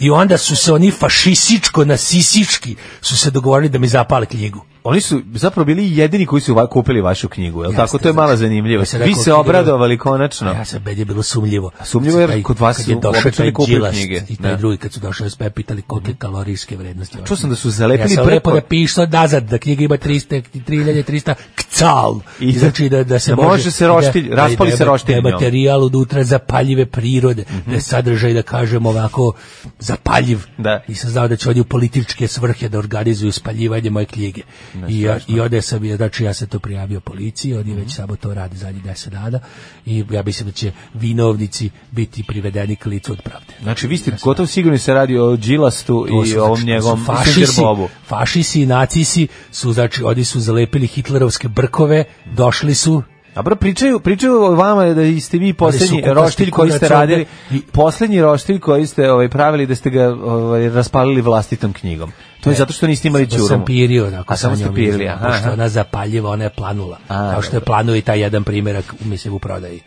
I onda su se oni fašisičko-nasisički su se dogovorili da mi zapale knjigu. Oni su zapravo bili jedini koji su va- kupili vašu knjigu, je li Jeste, tako? To je mala znači, zanimljivost. ja sam Vi rekao, se knjiga- obradovali konačno. Ja sam, meni je bilo sumljivo. Sumnjivo jer Taj- kod vas kad su je došao obično taj ne kupuju Đilas knjige. I taj Da. drugi, kad su došli, SP pitali kolike kalorijske vrednosti. Čuo sam da su zalepili Ja sam preko- lepo napisao nazad da knjiga ima 300, 3300 kcal. I da- znači da, da se da može... može se roštilj- raspali da- se Mhm. da- roštilj Da je njom. materijal unutra zapaljive prirode, da je sadržaj, da kažem ovako, zapaljiv. Da. Nisam znao da će oni u političke svrhe da organizuju spaljivanje moje knjige. I, ja, I onda sam, je, znači ja sam to prijavio policiji, oni već Mhm. samo to rade zadnjih 10 dana i ja mislim da će vinovnici biti privedeni k licu od pravde. Znači, vi ste gotovo sigurni se radi o Đilastu To su, i znači, ovom to su njegovom fašisi, Sunđerbobu. fašisi i nacisi su, znači, oni su zalepili hitlerovske brkove, došli su, Dobro, pričaju, pričaju o vama da ste vi posljednji Ali su kupasti roštilj koji ste kurac ovde radili, posljednji roštilj koji ste ovaj, pravili da ste ga ovaj, raspalili vlastitom knjigom. To je zato što niste imali To džurumu. E, sam pirio, onako, A samo sa ste njom pirili, izgleda, aha. Pošto je aha. ona zapaljiva, ona je planula. A, kao što je planuo i taj jedan primjerak, mislim, u prodaji.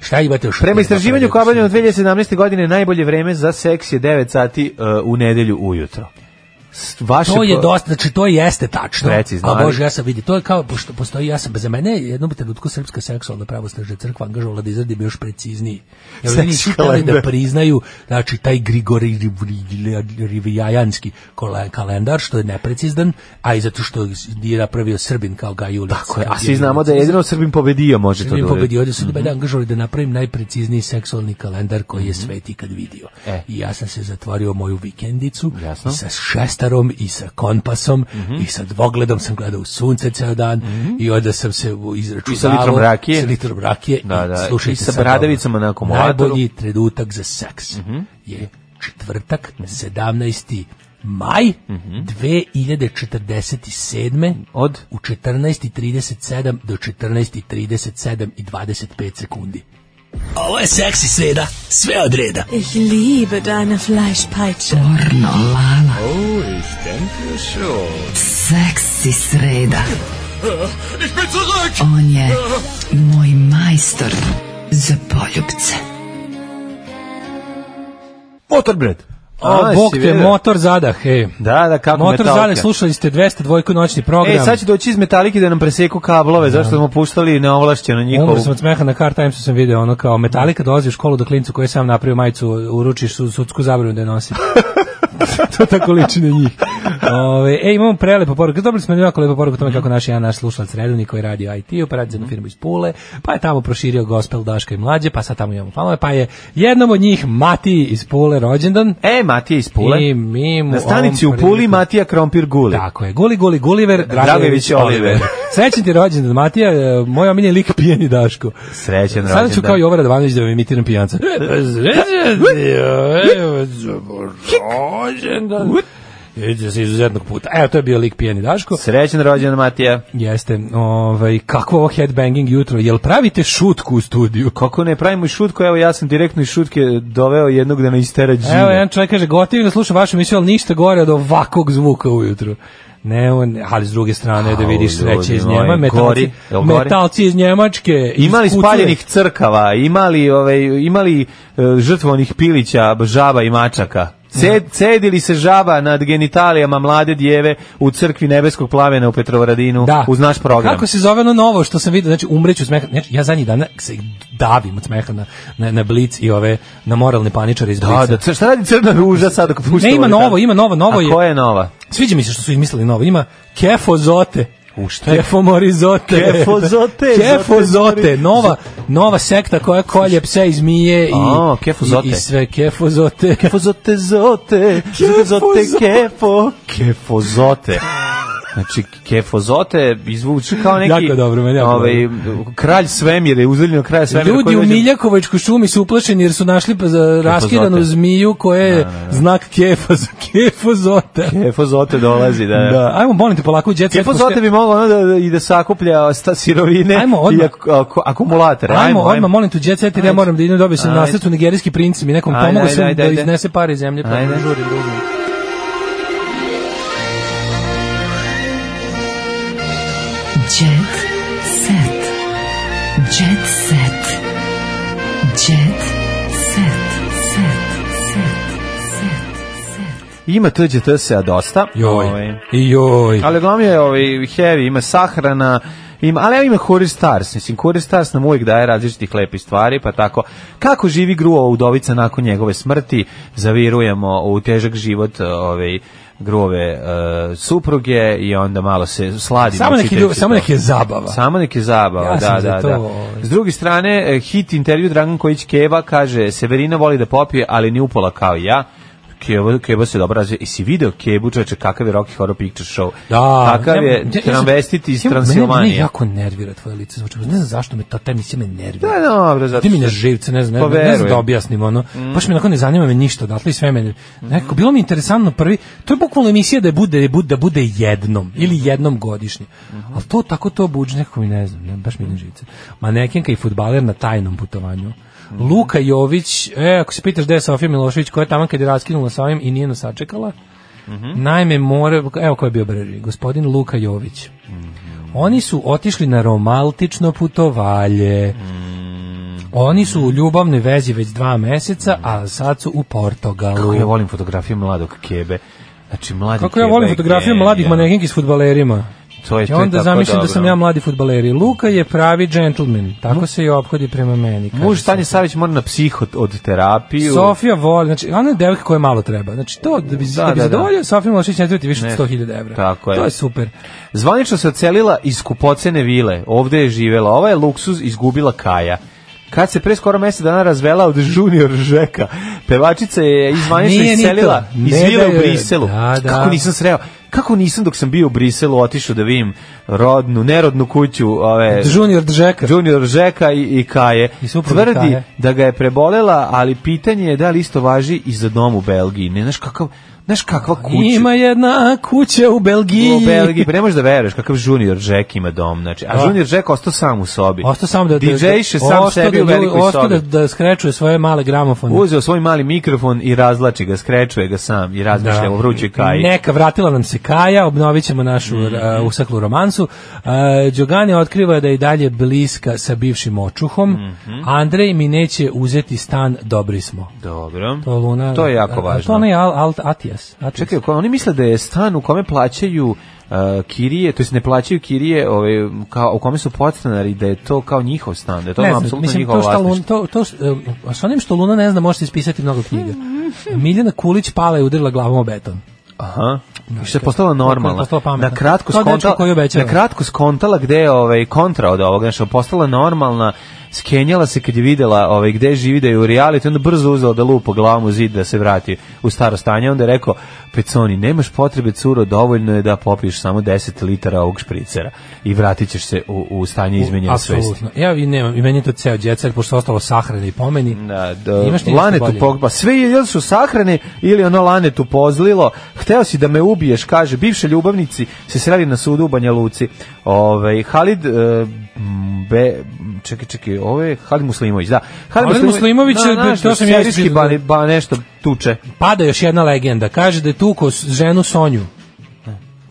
Šta imate još? Prema istraživanju Kobanju od 2017. godine najbolje vreme za seks je 9 sati uh, u nedelju ujutro. S- Vaše To je ko- dosta, znači to jeste tačno. Precizno, A ali- bože, ja sam vidio, to je kao pošto postoji ja sam za mene je jednom trenutku srpska seksualna pravosnažna crkva angažovala da izradi još precizniji. Jer oni Seks nisu hteli da kalendar. priznaju znači taj Grigori Rivijajanski kola- kalendar što je neprecizan, a i zato što je napravio Srbin kao Gajulic. Tako A svi znamo da je jedino Srbin pobedio može to Srbin da uradi. pobedio, ovdje su mene mm-hmm. angažovali da napravim najprecizniji seksualni kalendar koji je svet ikad vidio. E. I ja sam se zatvorio u moju vikendicu Jasno. Mm-hmm. sa šestarom i sa kompasom i sa dvogledom sam gledao u sunce ceo dan i onda sam se u- izračunavao. I sa litrom rakije. Sa litrom rakije. Da, i da, slušajte i sa sad ovo. bradavicama na akumulatoru. Mhm. Najbolji trenutak za seks je četvrtak, 17. maj 2047. Mhm. Od? U 14.37 do 14.37 i 25 sekundi. Ovo je seksi sreda, sve od reda. Ich liebe deine Fleischpeitsche. Lala. Oh, ich denke schon. Seksi sreda. Ich bin zurück! On je moj majstor za poljubce. Motorbred. O, A, bog si te, vidio? motor zadah, hej. Da, da, kako Motor metalke. zadah, slušali ste 202 noćni program. E, sad će doći iz metalike da nam preseku kablove, zašto smo puštali neovlašćeno njihovu. Umro sam od smeha na Car Timesu sam video ono kao Metallica dolazi u školu do klincu koji je sam napravio majicu, uručiš su, sudsku zabranu da je [LAUGHS] nosi. to tako liči na njih. Ove, e, imamo prelepo poruku. Dobili smo jednu jako lepo poruku o Mhm. tome kako naš jedan naš slušalac redovni koji radi u IT, operacija za jednu firmu iz Pule, pa je tamo proširio gospel Daška i mlađe, pa sad tamo imamo fanove, pa je jednom od njih Mati iz Pule rođendan. E, Matija iz Pule. I mi mu Na stanici ovom u Puli prilikom- Matija Krompir Guli. Tako je. Guli, guli, Guliver, Dragojević Dragojević, Oliver. Oliver. Srećan ti rođendan, Matija, e, moj omiljeni lik pijeni Daško. Srećan Sada ću rođendan. kao Jovan Radovanović da vam imitiram pijanca. Idete se izuzetnog puta. Evo, to je bio lik pijeni Daško. Srećan rođendan Matija. Jeste, ovaj, kako ovo headbanging jutro, jel pravite šutku u studiju? Kako ne pravimo i šutku, evo ja sam direktno iz šutke doveo jednog da me istera džina. Evo, jedan čovjek kaže, gotivim da slušam vašu emisiju, ali ništa gore od ovakvog zvuka ujutru. Ne, on, ali s druge strane da Au, vidiš sreće ljudi iz moji, Njema, metalci, gori, jel gori? metalci iz Njemačke. iz Imali Kucure. spaljenih crkava, imali ovaj imali e, žrtvovanih pilića, žaba i mačaka. Ced, cedili se žaba nad genitalijama mlade djeve u crkvi nebeskog plamena u Petrovaradinu Da. uz naš program. Kako se zove ono novo što sam vidio, znači umreću smeha. Znači, ja zadnjih dana se davim od smeha na, na, na blic i ove, na moralne paničare iz blica. Da, da, cr- šta radi crna ruža sad dok pušta Ne, ima ovaj novo, kanal? ima novo, novo A je- koja je nova? Sviđa mi se što su izmislili novo. Ima kefozote. U šta je? Kefomorizote. Kefozote, [LAUGHS] Kefozote. zote, Nova, nova sekta koja kolje pse i zmije i, A, kefozote. i, i sve kefozote. [LAUGHS] Kefozote zote, zote zote kefo, kefozote. Znači, kefozote izvuči kao neki... Jako dobro, meni jako ovaj, Kralj svemira, uzaljeno kraja svemira. Ljudi koji u dođe- Miljakovačkoj šumi su uplašeni jer su našli pa za- raskidanu zmiju koja je znak [LAUGHS] kefoz, kefozota. Kefozote dolazi, da. Da, ajmo, molim te, polako u jet set. Kefozote bi moglo ono da, da, i da sakuplja sta sirovine Ajmo i odmah. ak, ak- akumulatore. Ajmo, odmah, molim tu jet set, jer ja moram da idem, dobio sam Ajde. nasletu nigerijski princ, mi nekom Ajde, pomogao ajde, sam ajde, da ajde. iznese pare iz zemlje, pa Ajde. ne žurim da uzmem. Jet set. Jet set. Jet set. Set. Ima tuđe TSA dosta. Joj, Ovaj. i joj. Ali uglavnom je ovaj, heavy, ima sahrana, ima, ali evo ima Huri Stars, mislim, Huri Stars nam uvijek daje različitih lepih stvari, pa tako, kako živi gruva udovica nakon njegove smrti, zavirujemo u težak život ovaj, grove eh, supruge i onda malo se sladimo. Samo neki čitajući ljubav- samo to. neki je zabava. Samo neki je zabava, Ja sam da, za da, to, da. ovaj. S druge strane, eh, hit intervju Dragan Kojić Keva kaže, Severina voli da popije, ali ni upola kao ja. Keva, Keva se dobro razvija. I si video Kebu, čoveče, kakav je Rocky Horror Picture Show. Da, Kakav ja- je ja- ja sam- tramvestit iz ja- mene- Mene Transilvanije. jako nervira tvoje lice, zvuči. Ne znam zašto me ta ta emisija me nervira. Da, dobro, zato Ti mi na što- živce, ne znam, Pa ne, znam- ne znam verujem. Mm. da objasnim ono. Baš me onako ne zanima me ništa odatle i sve meni. Nekako, bilo mi interesantno prvi, to je bukvalno emisija da je bude, da bude, da bude jednom ili Mhm. jednom godišnje. Ali to tako to buđi, nekako mi ne znam, ne, baš mi na živce. Manekenka i futbaler na tajnom putovanju. Mhm. Luka Jović, e, ako se pitaš gde je Sofija Milošević, koja je tamo kad je raskinula sa ovim i nije nas sačekala, Mhm. Naime, more, evo ko je bio brži, gospodin Luka Jović. Oni su otišli na romantično putovalje. Oni su u ljubavnoj vezi već dva meseca, a sad su u Portugalu. Kako ja volim fotografije mladog Kebe. Znači, mladi Kako ja Keba volim je fotografiju genijalan. mladik manekinki s futbalerima. To je, E, to Ja je onda tako zamišljam da dobro. sam ja mladi futbaleri. Luka je pravi džentlmen, tako se i ophodi prema meni. kaže Muž Stanje Savić mora na psiho od terapiju. Sofija voli, znači ona je devojka koja malo treba. Znači to da bi da, da, bi da. zadovoljio Sofiju Milošić ne treba ti više od Ne. 100.000 evra. Tako je. To je super. Zvanično se ocelila iz kupocene vile. Ovde je živela. Ova je luksuz izgubila Kaja. Kad se pre skoro mesec dana razvela od junior Žeka, pevačica je izvanično Ah, Nije ni iscelila to. Ne iz vile da u je- Briselu. Da, da. Kako nisam sreo? Kako nisam dok sam bio u Briselu otišao da vidim rodnu, nerodnu kuću ove, Junior Džeka. E, Junior Žeka i, i Kaje. supruge Tvrdi Kaje. da ga je prebolela, ali pitanje je da li isto važi i za dom u Belgiji. Ne znaš kakav... Znaš kakva kuća? Pa Ima jedna kuća u Belgiji. U Belgiji, pa ne možeš da veruješ kakav Junior Jack ima dom, znači, a Da. Junior Jack ostao sam u sobi. Ostao sam da... DJ-še sam ostao sebi da u lju- velikoj ostao sobi. da, da skrećuje svoje male gramofone. Uzeo svoj mali mikrofon i razlači ga, skrečuje ga sam i razmišlja o vrućoj kaji. Neka, vratila nam se Kaja, obnovit ćemo našu Mhm. uh, usaklu romansu. Uh, Đogani otkriva da je i dalje bliska sa bivšim očuhom. Mhm. Andrej mi neće uzeti stan, dobri smo. Dobro. To Luna... To je jako a- a važno. To onaj Al, Alt Atijas. Atijas. Čekaj, ko- oni misle da je stan u kome plaćaju uh, kirije, to jest ne plaćaju kirije, ovaj, kao, u kome su podstanari, da je to kao njihov stan, da je to ono ne znam, apsolutno mislim, njihovo to šta Luna, vlasništvo. to, to, s- e, s onim što Luna ne zna, možete ispisati mnogo [LAUGHS] knjiga. Miljana Kulić pala je udarila glavom o beton. Aha. I što je postala normalna. Postala pametna. na kratko Kao dečko skontala, koji obećava. na kratko skontala gde je ovaj kontra od ovoga, znači postala normalna, skenjala se kad je videla ovaj gde živi da je u reality, onda brzo uzela da lupa glavom u zid da se vrati u staro stanje, onda je rekao Peconi, nemaš potrebe curo, dovoljno je da popiješ samo 10 litara ovog špricera i vratit ćeš se u, u stanje izmenjene svesti. Apsolutno. Ja i nemam, i meni je to ceo djecar, pošto je ostalo sahrane i pomeni. Da, Imaš ti da, nešto lanetu bolje? pogba. Sve je- ili su sahrane ili ono lanetu pozlilo. Hteo si da me ubiješ, kaže. Bivše ljubavnici se sreli na sudu u Banja Luci. Ovaj Halid... e, m, be, čekaj, čekaj, ovo je Halid Muslimović, da. Halid Muslimović je- znaš, to sam ja serijski ispred- ba, ba, nešto tuče. Pada još jedna legenda. Kaže da je tuko s- ženu Sonju.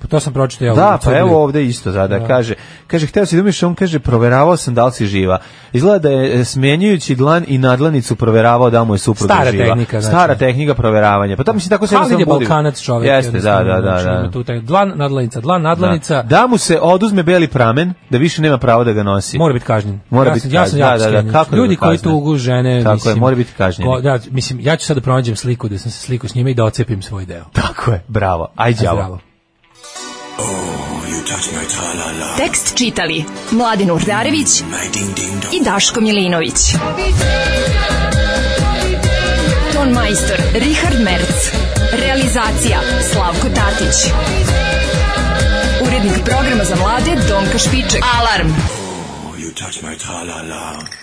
Pa to sam pročitao ja. u Da, pa Cugliju. evo ovde isto zada Da. kaže. Kaže hteo si da umiješ, on kaže proveravao sam da li si živa. Izgleda da je e, smenjujući dlan i nadlanicu proveravao da li mu je supruga Stara živa. tehnika, znači. Stara tehnika proveravanja. Pa to mislim tako se Halid je jednostavno budi. balkanac čovjek. Jeste, da, jednostavno, da, da, znači, ima da. Tu taj dlan, nadlanica, dlan, nadlanica. Da. da mu se oduzme beli pramen, da više nema pravo da ga nosi. Mora biti kažnjen. Mora ja, biti sam- ja sam kažnjen. jako Da, da, da, skenjen. kako da Ljudi ga koji kazne? tugu žene, Tako mislim, je, mora biti kažnjen. ko- da, mislim, ja ću sad da pronađem sliku da sam se sliku s njime i da ocepim svoj deo. Tako je, bravo. Aj, đavo. Zdravo. Tekst čitali Mladin Urdarević i Daško Milinović. Ton majstor Richard Merc. Realizacija Slavko Tatić. Urednik Urednik programa za mlade Donka Špiček. Alarm. Oh, you touch my tra-la-la.